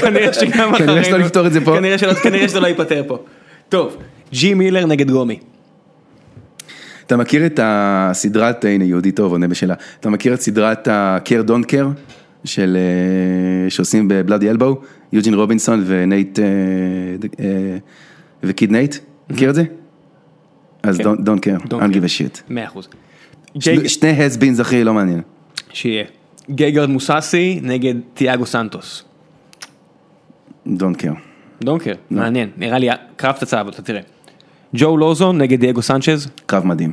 [SPEAKER 3] כנראה שגם אחרינו,
[SPEAKER 2] כנראה שלא נפתור את זה פה.
[SPEAKER 3] כנראה שלא- כנראה שזה לא ייפתר פה. טוב, ג'י מילר נגד גומי.
[SPEAKER 2] אתה מכיר את הסדרת, הנה יהודי טוב עונה בשאלה, אתה מכיר את סדרת ה-Care Don't Care של, אה, שעושים בבלאדי אלבו, יוג'ין רובינסון ונייט אה, ד- אה, וקיד נייט, מכיר את זה? אז Don't Don't Care, I
[SPEAKER 3] כן. Don't
[SPEAKER 2] don't give a shit.
[SPEAKER 3] מאה אחוז.
[SPEAKER 2] שני- שני הסבינס אחי, לא מעניין.
[SPEAKER 3] שיהיה. גייגרד מוססי נגד תיאגו סנטוס.
[SPEAKER 2] Don't care.
[SPEAKER 3] דונקר, לא. מעניין, נראה לי קרב תצא, אבל אתה תראה. ג'ו לוזון נגד דייגו סנצ'ז.
[SPEAKER 2] קרב מדהים.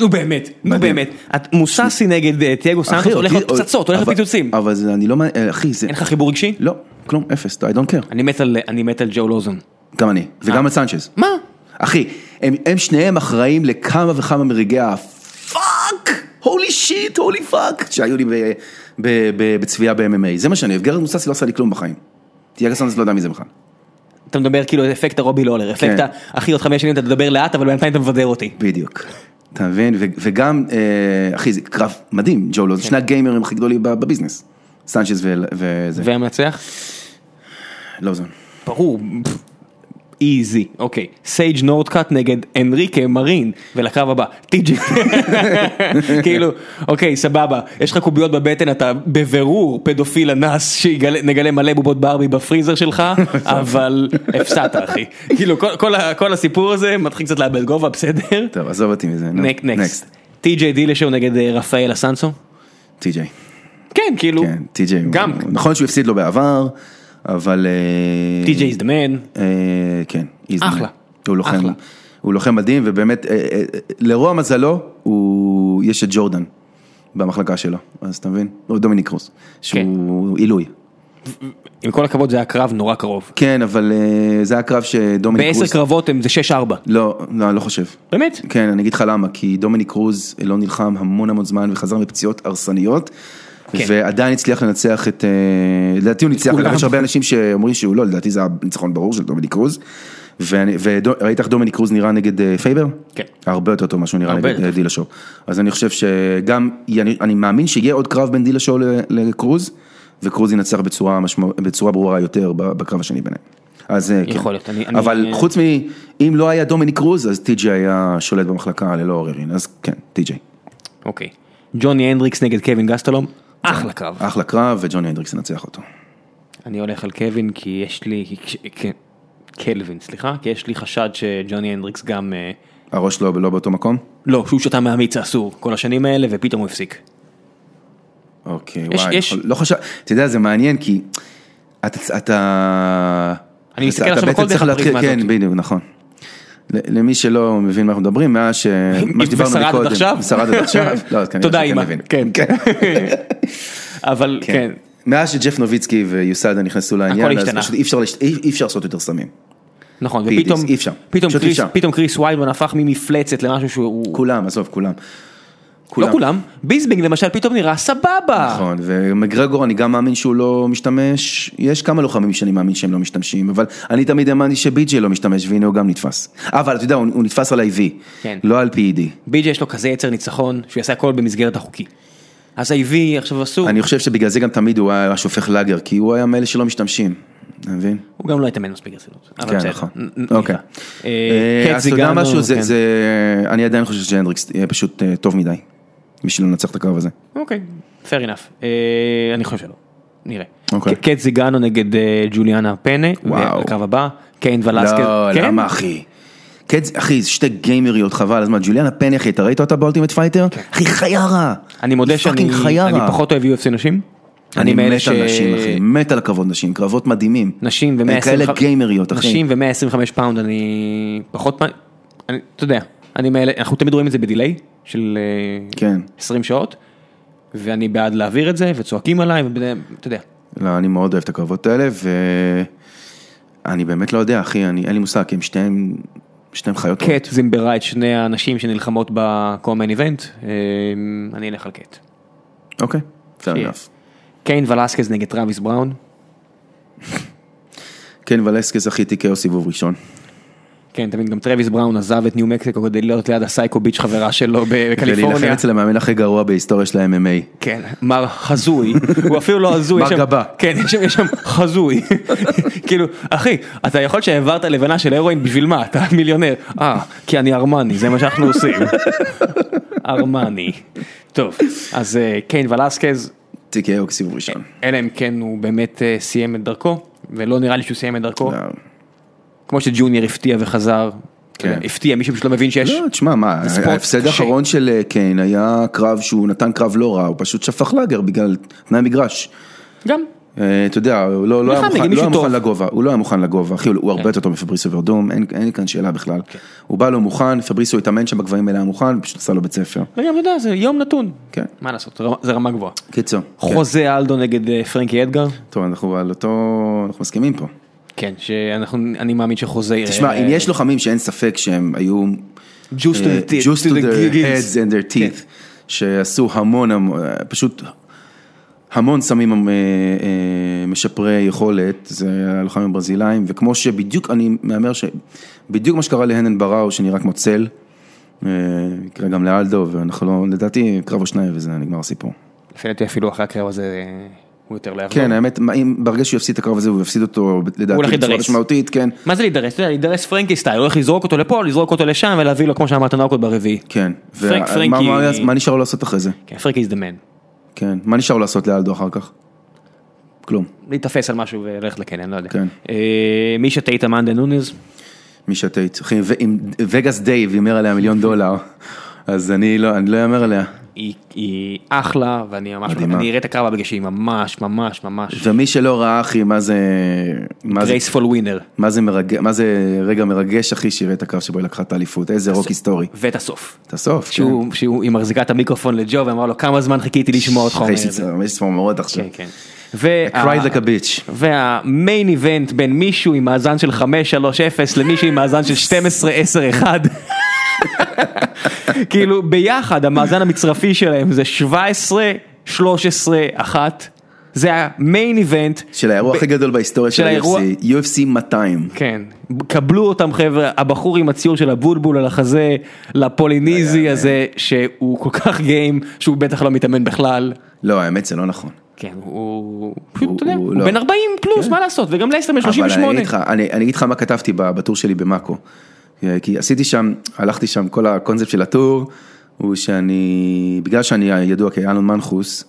[SPEAKER 3] נו באמת, נו
[SPEAKER 2] מדהים.
[SPEAKER 3] באמת. את- מוססי נגד אה, תיאגו סנטוס הולך
[SPEAKER 2] אותי-
[SPEAKER 3] לפצצות, הולך
[SPEAKER 2] אבל-
[SPEAKER 3] לפיצוצים.
[SPEAKER 2] אבל זה, אני לא, מעניין- אחי, זה,
[SPEAKER 3] אין לך חיבור רגשי?
[SPEAKER 2] לא, כלום, אפס, I don't care.
[SPEAKER 3] אני מת על- אני מת על ג'ו לוזון.
[SPEAKER 2] גם
[SPEAKER 3] אה.
[SPEAKER 2] אני, וגם על סנצ'ז.
[SPEAKER 3] מה?
[SPEAKER 2] אחי, הם, הם שניהם אחראים לכמה וכמה מרגעי הפאק, הולי שיט, הולי פאק, שהיו לי ב, ב, ב, בצביעה ב-MMA. זה מה שאני אוהב, גרד מוססי לא עשה לי כלום בחיים. תיאגה סנדס לא יודע מי זה בכלל.
[SPEAKER 3] אתה מדבר כאילו על אפקט הרובי לולר, אפקט
[SPEAKER 2] כן.
[SPEAKER 3] ה- אחי עוד חמש שנים אתה תדבר לאט אבל בינתיים אתה מבדר אותי.
[SPEAKER 2] בדיוק. אתה מבין? ו- וגם, אה, אחי, זה קרב מדהים, ג'ו
[SPEAKER 3] כן.
[SPEAKER 2] לוז, שני הגיימרים הכי גדולים בב- בביזנס. סנצ'ז ו- וזה,
[SPEAKER 3] והמנצח?
[SPEAKER 2] לוזון.
[SPEAKER 3] ברור, פפ, איזי, אוקיי. סייג' נורדקאט נגד אנריקה מרין, ולקרב הבא, טי.ג'י. כאילו, אוקיי, סבבה, יש לך קוביות בבטן, אתה בבירור פדופיל אנס שנגלה מלא בובות ברבי בפריזר שלך, אבל הפסדת אחי. כאילו, כל- כל ה- כל הסיפור הזה מתחיל קצת לאבד גובה, בסדר?
[SPEAKER 2] טוב, עזוב אותי מזה. נו.
[SPEAKER 3] נקסט. טי.ג'יי דילשו נגד אה, רפאל אסנסו?
[SPEAKER 2] טי.ג'יי.
[SPEAKER 3] כן, כאילו,
[SPEAKER 2] כן, טי.ג'יי. הוא-
[SPEAKER 3] גם.
[SPEAKER 2] נכון שהוא הפסיד לו בעבר, אבל... אה,
[SPEAKER 3] טי.ג'יי is the man.
[SPEAKER 2] אה, כן, איזמן.
[SPEAKER 3] אחלה.
[SPEAKER 2] הוא לוחם,
[SPEAKER 3] אחלה.
[SPEAKER 2] הוא לוחם מדהים, ובאמת, אה, אה, אה, לרוע מזלו, הוא, יש את ג'ורדן במחלקה שלו, אז אתה מבין? או דומיניק רוס,
[SPEAKER 3] כן.
[SPEAKER 2] שהוא עילוי.
[SPEAKER 3] עם כל הכבוד זה היה קרב נורא קרוב.
[SPEAKER 2] כן, אבל אה, זה הקרב שדומיניק
[SPEAKER 3] בעשר
[SPEAKER 2] רוס...
[SPEAKER 3] קרבות הם זה 6-4.
[SPEAKER 2] לא, לא, אני לא חושב.
[SPEAKER 3] באמת?
[SPEAKER 2] כן, אני אגיד לך למה, כי דומיניק רוז לא נלחם המון המון זמן וחזר מפציעות הרסניות,
[SPEAKER 3] כן.
[SPEAKER 2] ועדיין הצליח לנצח את, אה, לדעתי הוא ניצח,
[SPEAKER 3] כולם.
[SPEAKER 2] אבל יש הרבה אנשים שאומרים שהוא לא, לדעתי זה הניצחון ברור של דומיניק רוז, וראית איך דומיניק רוז נראה נגד אה, פייבר?
[SPEAKER 3] כן.
[SPEAKER 2] הרבה יותר טוב ממה שהוא נראה
[SPEAKER 3] הרבה
[SPEAKER 2] נגד
[SPEAKER 3] יותר.
[SPEAKER 2] אה, דילשו. אז אני חושב שגם, אני, אני מאמין שיהיה עוד קרב בין דילשו ל- לקרוז, וקרוז ינצח בצורה, משמע, בצורה ברורה יותר ב- בקרב השני ביניהם. אז אה, כן.
[SPEAKER 3] יכול להיות, אני- אני-
[SPEAKER 2] אבל חוץ מ... אם לא היה דומיניק קרוז, אז טי.ג'יי היה שולט במחלקה ללא עוררין, אז כן, טי.ג'יי.
[SPEAKER 3] אוקיי. ג'וני הנדריקס נגד קווין גסטלום, אחלה קרב.
[SPEAKER 2] אחלה קרב, וג'וני הנדריקס ינצח אותו.
[SPEAKER 3] אני הולך על קווין כי יש לי, כי- כי- כי- קלווין סליחה, כי יש לי חשד שג'וני הנדריקס גם, אה,
[SPEAKER 2] הראש לא, לא באותו מקום?
[SPEAKER 3] לא, שהוא שתה מהמיץ האסור כל השנים האלה ופתאום הוא הפסיק.
[SPEAKER 2] אוקיי,
[SPEAKER 3] יש-
[SPEAKER 2] וואי,
[SPEAKER 3] יש-
[SPEAKER 2] נכון, לא חשב... אתה יודע, זה מעניין, כי אתה... אתה...
[SPEAKER 3] אני מסתכל
[SPEAKER 2] אתה
[SPEAKER 3] עכשיו
[SPEAKER 2] בעצם
[SPEAKER 3] הכל
[SPEAKER 2] צריך
[SPEAKER 3] דרך
[SPEAKER 2] להתחיל-
[SPEAKER 3] הפריזמה הזאת.
[SPEAKER 2] כן, בדיוק, נכון. ל- למי שלא מבין מה אנחנו מדברים, מאז ש... מה שדיברנו
[SPEAKER 3] ושרד עד
[SPEAKER 2] מקודם.
[SPEAKER 3] עכשיו?
[SPEAKER 2] שרד עד עכשיו? לא, אז כנראה
[SPEAKER 3] תודה
[SPEAKER 2] שכן
[SPEAKER 3] אמא,
[SPEAKER 2] מבין.
[SPEAKER 3] כן. אבל כן,
[SPEAKER 2] מאז שג'ף נוביצקי ויוסדה נכנסו לעניין, אז
[SPEAKER 3] השתנה.
[SPEAKER 2] פשוט אי אפשר לש- אי- אי אפשר לעשות יותר סמים.
[SPEAKER 3] נכון,
[SPEAKER 2] פידיס,
[SPEAKER 3] ופתאום,
[SPEAKER 2] אי אפשר.
[SPEAKER 3] פתאום
[SPEAKER 2] פשוט אי
[SPEAKER 3] קריס-
[SPEAKER 2] אפשר.
[SPEAKER 3] פתאום קריס ויילמן הפך ממפלצת למשהו שהוא,
[SPEAKER 2] כולם, עזוב, כולם.
[SPEAKER 3] לא כולם, ביסבינג למשל פתאום נראה סבבה.
[SPEAKER 2] נכון, ומגרגור אני גם מאמין שהוא לא משתמש, יש כמה לוחמים שאני מאמין שהם לא משתמשים, אבל אני תמיד האמנתי שבי.ג'יי לא משתמש, והנה הוא גם נתפס. אבל אתה יודע, הוא, הוא נתפס על IV,
[SPEAKER 3] כן.
[SPEAKER 2] לא על PED.
[SPEAKER 3] בי.ג'יי יש לו כזה יצר ניצחון, שהוא יעשה הכל במסגרת החוקי. אז ה-IV עכשיו אסור,
[SPEAKER 2] אני חושב שבגלל זה גם תמיד הוא היה שופך לאגר, כי הוא היה מאלה שלא משתמשים, אתה מבין?
[SPEAKER 3] הוא גם לא התאמן מספיק רצינות. אבל
[SPEAKER 2] כן,
[SPEAKER 3] בסדר.
[SPEAKER 2] נכון.
[SPEAKER 3] נ- נ-
[SPEAKER 2] אוקיי.
[SPEAKER 3] נקרא. אה,
[SPEAKER 2] אה,
[SPEAKER 3] קט
[SPEAKER 2] אז אתה יודע
[SPEAKER 3] זיגנו,
[SPEAKER 2] משהו, זה-
[SPEAKER 3] כן.
[SPEAKER 2] זה- אני עדיין חושב שהנדריקס יהיה פשוט אה, טוב מדי, בשביל לנצח את הקרב הזה.
[SPEAKER 3] אוקיי, fair enough. אה, אני חושב שלא. נראה.
[SPEAKER 2] אוקיי.
[SPEAKER 3] ק- קט זיגנו נגד אה, ג'וליאנה פנה,
[SPEAKER 2] וואו.
[SPEAKER 3] לקרב הבא, קיין ולסקל.
[SPEAKER 2] לא,
[SPEAKER 3] כן?
[SPEAKER 2] למה אחי? כן, אחי, זה שתי גיימריות חבל, אז מה, ג'וליאנה פני אחי, אתה ראית אותה באולטימט פייטר? אחי, חיירה!
[SPEAKER 3] כן. אני מודה
[SPEAKER 2] היא
[SPEAKER 3] שאני
[SPEAKER 2] פאקינג חיירה.
[SPEAKER 3] אני פחות אוהב UFC נשים.
[SPEAKER 2] אני
[SPEAKER 3] מאלה
[SPEAKER 2] מת על נשים, אחי, מת על הכבוד נשים, קרבות מדהימים.
[SPEAKER 3] נשים
[SPEAKER 2] הם
[SPEAKER 3] ו-125
[SPEAKER 2] כאלה גיימריות, אחי.
[SPEAKER 3] נשים ו-125 פאונד אני פחות, פ- אני- אתה יודע, אני מאלה, אנחנו תמיד רואים את זה בדיליי של אה,
[SPEAKER 2] כן.
[SPEAKER 3] 20 שעות, ואני בעד להעביר את זה, וצועקים עליי, ואתה יודע,
[SPEAKER 2] לא, אני מאוד אוהב את הקרבות האלה, ואני באמת לא יודע, אחי, אני, אין לי מושג, כי הם שתיהם, שתיהם חיות.
[SPEAKER 3] קט זימברה את שני האנשים שנלחמות בקומן איבנט, אה, אני אלך על קט.
[SPEAKER 2] אוקיי, fair
[SPEAKER 3] שיהיה.
[SPEAKER 2] enough.
[SPEAKER 3] קיין ולסקז נגד טראביס בראון,
[SPEAKER 2] כן, ולסקס אחי TKO סיבוב ראשון.
[SPEAKER 3] כן, תמיד גם טרוויס בראון עזב את ניו מקסיקו כדי להיות ליד הסייקו ביץ' חברה שלו
[SPEAKER 2] ולהילחם
[SPEAKER 3] בקליפורניה.
[SPEAKER 2] אצל המאמן הכי גרוע בהיסטוריה של ה-MMA.
[SPEAKER 3] כן, מר חזוי, הוא אפילו לא הזוי. יש
[SPEAKER 2] מר
[SPEAKER 3] שם-
[SPEAKER 2] גבה.
[SPEAKER 3] כן, יש שם- יש שם חזוי. כאילו, אחי, אתה יכול שהעברת לבנה של הרואין בשביל מה? אתה מיליונר. אה, כי אני ארמני, זה מה שאנחנו עושים. ארמני. טוב, אז אה, קיין ולסקז,
[SPEAKER 2] TKO סיבוב ראשון.
[SPEAKER 3] אלא אם כן הוא באמת אה, סיים את דרכו, ולא נראה לי שהוא סיים את דרכו.
[SPEAKER 2] לא,
[SPEAKER 3] כמו שג'וניור הפתיע וחזר. אתה יודע, הפתיע מישהו שלא מבין שיש.
[SPEAKER 2] כן. לא, תשמע, מה,
[SPEAKER 3] זה ספורט
[SPEAKER 2] ההפסד
[SPEAKER 3] קשה.
[SPEAKER 2] האחרון של אה, קיין היה קרב שהוא נתן קרב לא רע, הוא פשוט שפך לאגר בגלל תנאי מגרש.
[SPEAKER 3] גם.
[SPEAKER 2] אה, אתה יודע, הוא לא, לא היה
[SPEAKER 3] נלחם
[SPEAKER 2] מוכן,
[SPEAKER 3] נגד
[SPEAKER 2] לא היה
[SPEAKER 3] מישהו
[SPEAKER 2] מוכן
[SPEAKER 3] טוב. כן.
[SPEAKER 2] לגובה, הוא לא היה מוכן לגובה, אחי, הוא הוא הרבה יותר טוב מפבריסו ורדום, אין, אין כאן שאלה בכלל. הוא בא לא מוכן, פבריסו התאמן שם בגבהים האלה היה מוכן, פשוט עשה לו בית ספר.
[SPEAKER 3] וגם, אתה יודע, זה יום נתון.
[SPEAKER 2] כן.
[SPEAKER 3] מה לעשות, רמה- זה רמה גבוהה.
[SPEAKER 2] קיצור. כן.
[SPEAKER 3] חוזה אלדו נגד אה, פרנקי אדגר.
[SPEAKER 2] טוב, אנחנו על אותו, אנחנו מסכימים פה.
[SPEAKER 3] כן, שאנחנו, אני מאמין שחוזה...
[SPEAKER 2] תשמע,
[SPEAKER 3] אה,
[SPEAKER 2] אם יש לוחמים שאין ספק שהם היו...
[SPEAKER 3] Juice to
[SPEAKER 2] אה,
[SPEAKER 3] the teeth,
[SPEAKER 2] Juice to
[SPEAKER 3] to the
[SPEAKER 2] their
[SPEAKER 3] giggles.
[SPEAKER 2] heads and their teeth, שעשו המון, המון, אה, פשוט המון סמים אה, אה, משפרי יכולת, זה הלוחמים הברזילאים, וכמו שבדיוק, אני מהמר שבדיוק מה שקרה להנן בראו, שנראה כמו צל, אה, יקרה גם לאלדו, ואנחנו לא, לדעתי, קרב או שניים וזה נגמר הסיפור.
[SPEAKER 3] לפי דעתי אפילו אחרי הקרב הזה אה, הוא יותר לא יחזור.
[SPEAKER 2] כן, האמת, מה, אם ברגע שהוא יפסיד את הקרב הזה, הוא יפסיד אותו,
[SPEAKER 3] הוא הולך
[SPEAKER 2] לדעתי, בצורה
[SPEAKER 3] להידרס.
[SPEAKER 2] משמעותית, כן.
[SPEAKER 3] מה זה להידרס? אתה יודע, להידרס פרנקי סטייל, הולך לזרוק אותו לפה, לזרוק אותו לשם ולהביא לו, כמו שאמרת, נוקות ברביעי.
[SPEAKER 2] כן,
[SPEAKER 3] פרנק-
[SPEAKER 2] ומה-
[SPEAKER 3] פרנקי-
[SPEAKER 2] מה- מה נשאר לו לעשות אחרי זה?
[SPEAKER 3] כן, פרנקי is the man.
[SPEAKER 2] כן, מה נשאר לו לעשות לאלדו אחר כך? כלום.
[SPEAKER 3] להיתפס על משהו וללכת לקניון, לא יודע.
[SPEAKER 2] כן.
[SPEAKER 3] אה, מי שתהית מאנדה נוניז,
[SPEAKER 2] מישה טייט, אחי, ואם וגאס דייב הימר עליה מיליון דולר, אז אני לא, אני לא אאמר עליה.
[SPEAKER 3] היא- היא אחלה, ואני ממש,
[SPEAKER 2] מדהימה.
[SPEAKER 3] אני אראה את הקרב בגלל שהיא ממש, ממש, ממש,
[SPEAKER 2] ומי שלא ראה, אחי, מה זה, מה זה,
[SPEAKER 3] גרייספול ווינר.
[SPEAKER 2] מה זה, מרג... מה זה רגע מרגש, אחי, שיראה את הקרב שבו היא לקחה את האליפות, איזה רוק היסטורי.
[SPEAKER 3] ואת הסוף.
[SPEAKER 2] את הסוף, כן.
[SPEAKER 3] שהוא, שהוא, היא מחזיקה את המיקרופון לג'ו ואמרה לו כמה זמן חיכיתי לשמוע אותך אומר
[SPEAKER 2] אחרי
[SPEAKER 3] את זה.
[SPEAKER 2] שצמא- יש צמרמורות עכשיו.
[SPEAKER 3] כן, כן. וה-
[SPEAKER 2] Cried like a bitch.
[SPEAKER 3] והמיין איבנט בין מישהו עם מאזן של 5-3-0 למישהו עם מאזן של 12-10-1. כאילו ביחד המאזן המצרפי שלהם זה 17-13-1. זה המיין איבנט.
[SPEAKER 2] של האירוע הכי גדול בהיסטוריה של
[SPEAKER 3] של האירוע-
[SPEAKER 2] ה-UFC, UFC 200.
[SPEAKER 3] כן, קבלו אותם חבר'ה, הבחור עם הציור של הבולבול על החזה, לפוליניזי הזה, שהוא כל כך גיים, שהוא בטח לא מתאמן בכלל.
[SPEAKER 2] לא, האמת זה לא נכון.
[SPEAKER 3] כן, הוא פשוט,
[SPEAKER 2] הוא-
[SPEAKER 3] אתה יודע,
[SPEAKER 2] הוא
[SPEAKER 3] הוא כן.
[SPEAKER 2] לא.
[SPEAKER 3] בן 40 פלוס, מה לעשות, וגם לסטר בן
[SPEAKER 2] אבל אני
[SPEAKER 3] 38.
[SPEAKER 2] אגיד לך, אני, אני אגיד לך מה כתבתי ב- בטור שלי במאקו. אה, כי עשיתי שם, הלכתי שם, כל הקונספט של הטור, הוא שאני, בגלל שאני ידוע כאלון מנחוס,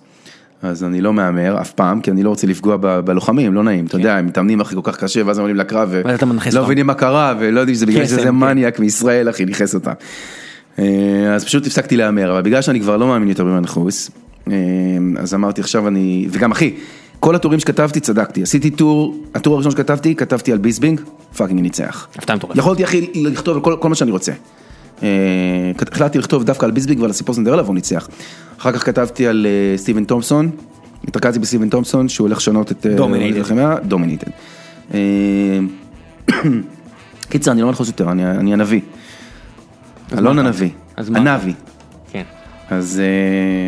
[SPEAKER 2] אז אני לא מהמר אף פעם, כי אני לא רוצה לפגוע ב- בלוחמים, לא נעים, אתה יודע, הם מתאמנים אחי כל כך קשה, ואז הם עולים לקרב,
[SPEAKER 3] כן.
[SPEAKER 2] לא
[SPEAKER 3] ואז אתה מנכס
[SPEAKER 2] ולא
[SPEAKER 3] אותם.
[SPEAKER 2] מבינים מה קרה, ולא יודעים שזה בגלל
[SPEAKER 3] קסם,
[SPEAKER 2] שזה
[SPEAKER 3] כן.
[SPEAKER 2] מניאק מישראל, אחי, ניכס אותם. אה, אז פשוט הפסקתי להמר, אבל בגלל שאני כבר לא מאמין יותר במנחוס, אה, אז אמרתי עכשיו אני, וגם אחי, כל הטורים שכתבתי צדקתי, עשיתי טור, הטור הראשון שכתבתי, כתבתי על ביסבינג, פאקינג ניצח.
[SPEAKER 3] הפתעה מטורפת.
[SPEAKER 2] יכולתי אחי לכתוב על כל, כל מה שאני רוצה. אה, כת- החלטתי לכתוב דווקא על ביסבינג ועל הסיפור סנדרלה והוא ניצח. אחר כך כתבתי על אה, סטיבן תומפסון, התרכזתי בסטיבן תומפסון שהוא הולך לשנות את...
[SPEAKER 3] Dominated.
[SPEAKER 2] דומיניטד. קיצר, אני לא מנחוס יותר, אני, אני הנביא. אלון הנביא,
[SPEAKER 3] אז מה?
[SPEAKER 2] הנביא.
[SPEAKER 3] כן.
[SPEAKER 2] אז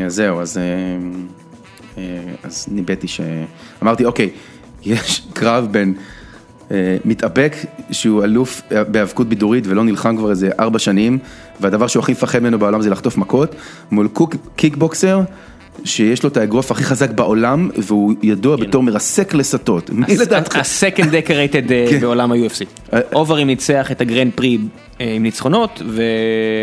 [SPEAKER 2] אה, אז זהו, אז אה, אה, אז ניבאתי ש... אמרתי, אוקיי, יש קרב בין אה, מתאבק שהוא אלוף אה, בהיאבקות בידורית ולא נלחם כבר איזה ארבע שנים, והדבר שהוא הכי מפחד ממנו בעולם זה לחטוף מכות, מול קוק, קיקבוקסר. שיש לו את האגרוף הכי חזק בעולם, והוא ידוע
[SPEAKER 3] כן.
[SPEAKER 2] בתור מרסק לסטות. מי לדעתך?
[SPEAKER 3] הסקנד דקרייטד בעולם ה-UFC.
[SPEAKER 2] אה,
[SPEAKER 3] אוברים ניצח את הגרנד פרי אה, עם ניצחונות,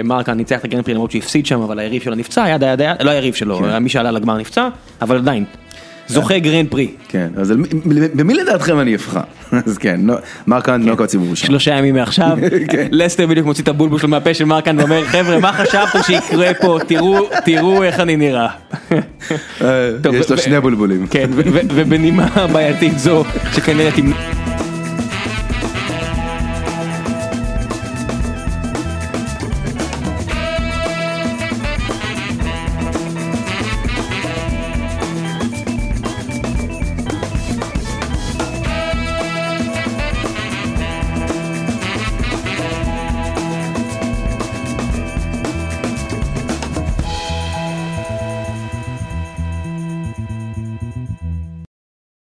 [SPEAKER 3] ומרקה ניצח את הגרנד פרי למרות שהוא הפסיד שם, אבל היריב שלו נפצע, ידה ידה ידה, לא היריב שלו, מי שעלה לגמר נפצע, אבל עדיין, זוכה גרנד פרי,
[SPEAKER 2] כן, אז על מי- במי לדעתכם אני אבחר? אז כן, נו- מרק האנד נוקאוט סיבוב ראשון.
[SPEAKER 3] שלושה ימים מעכשיו,
[SPEAKER 2] כן.
[SPEAKER 3] לסטר בדיוק מוציא את הבולבול שלו מהפה של מרקן ואומר חבר'ה מה חשבתם שיקרה פה תראו תראו איך אני נראה.
[SPEAKER 2] אה,
[SPEAKER 3] טוב,
[SPEAKER 2] יש לו
[SPEAKER 3] ו-
[SPEAKER 2] שני בולבולים.
[SPEAKER 3] כן ו- ו- ובנימה בעייתית זו שכנראה תמנע.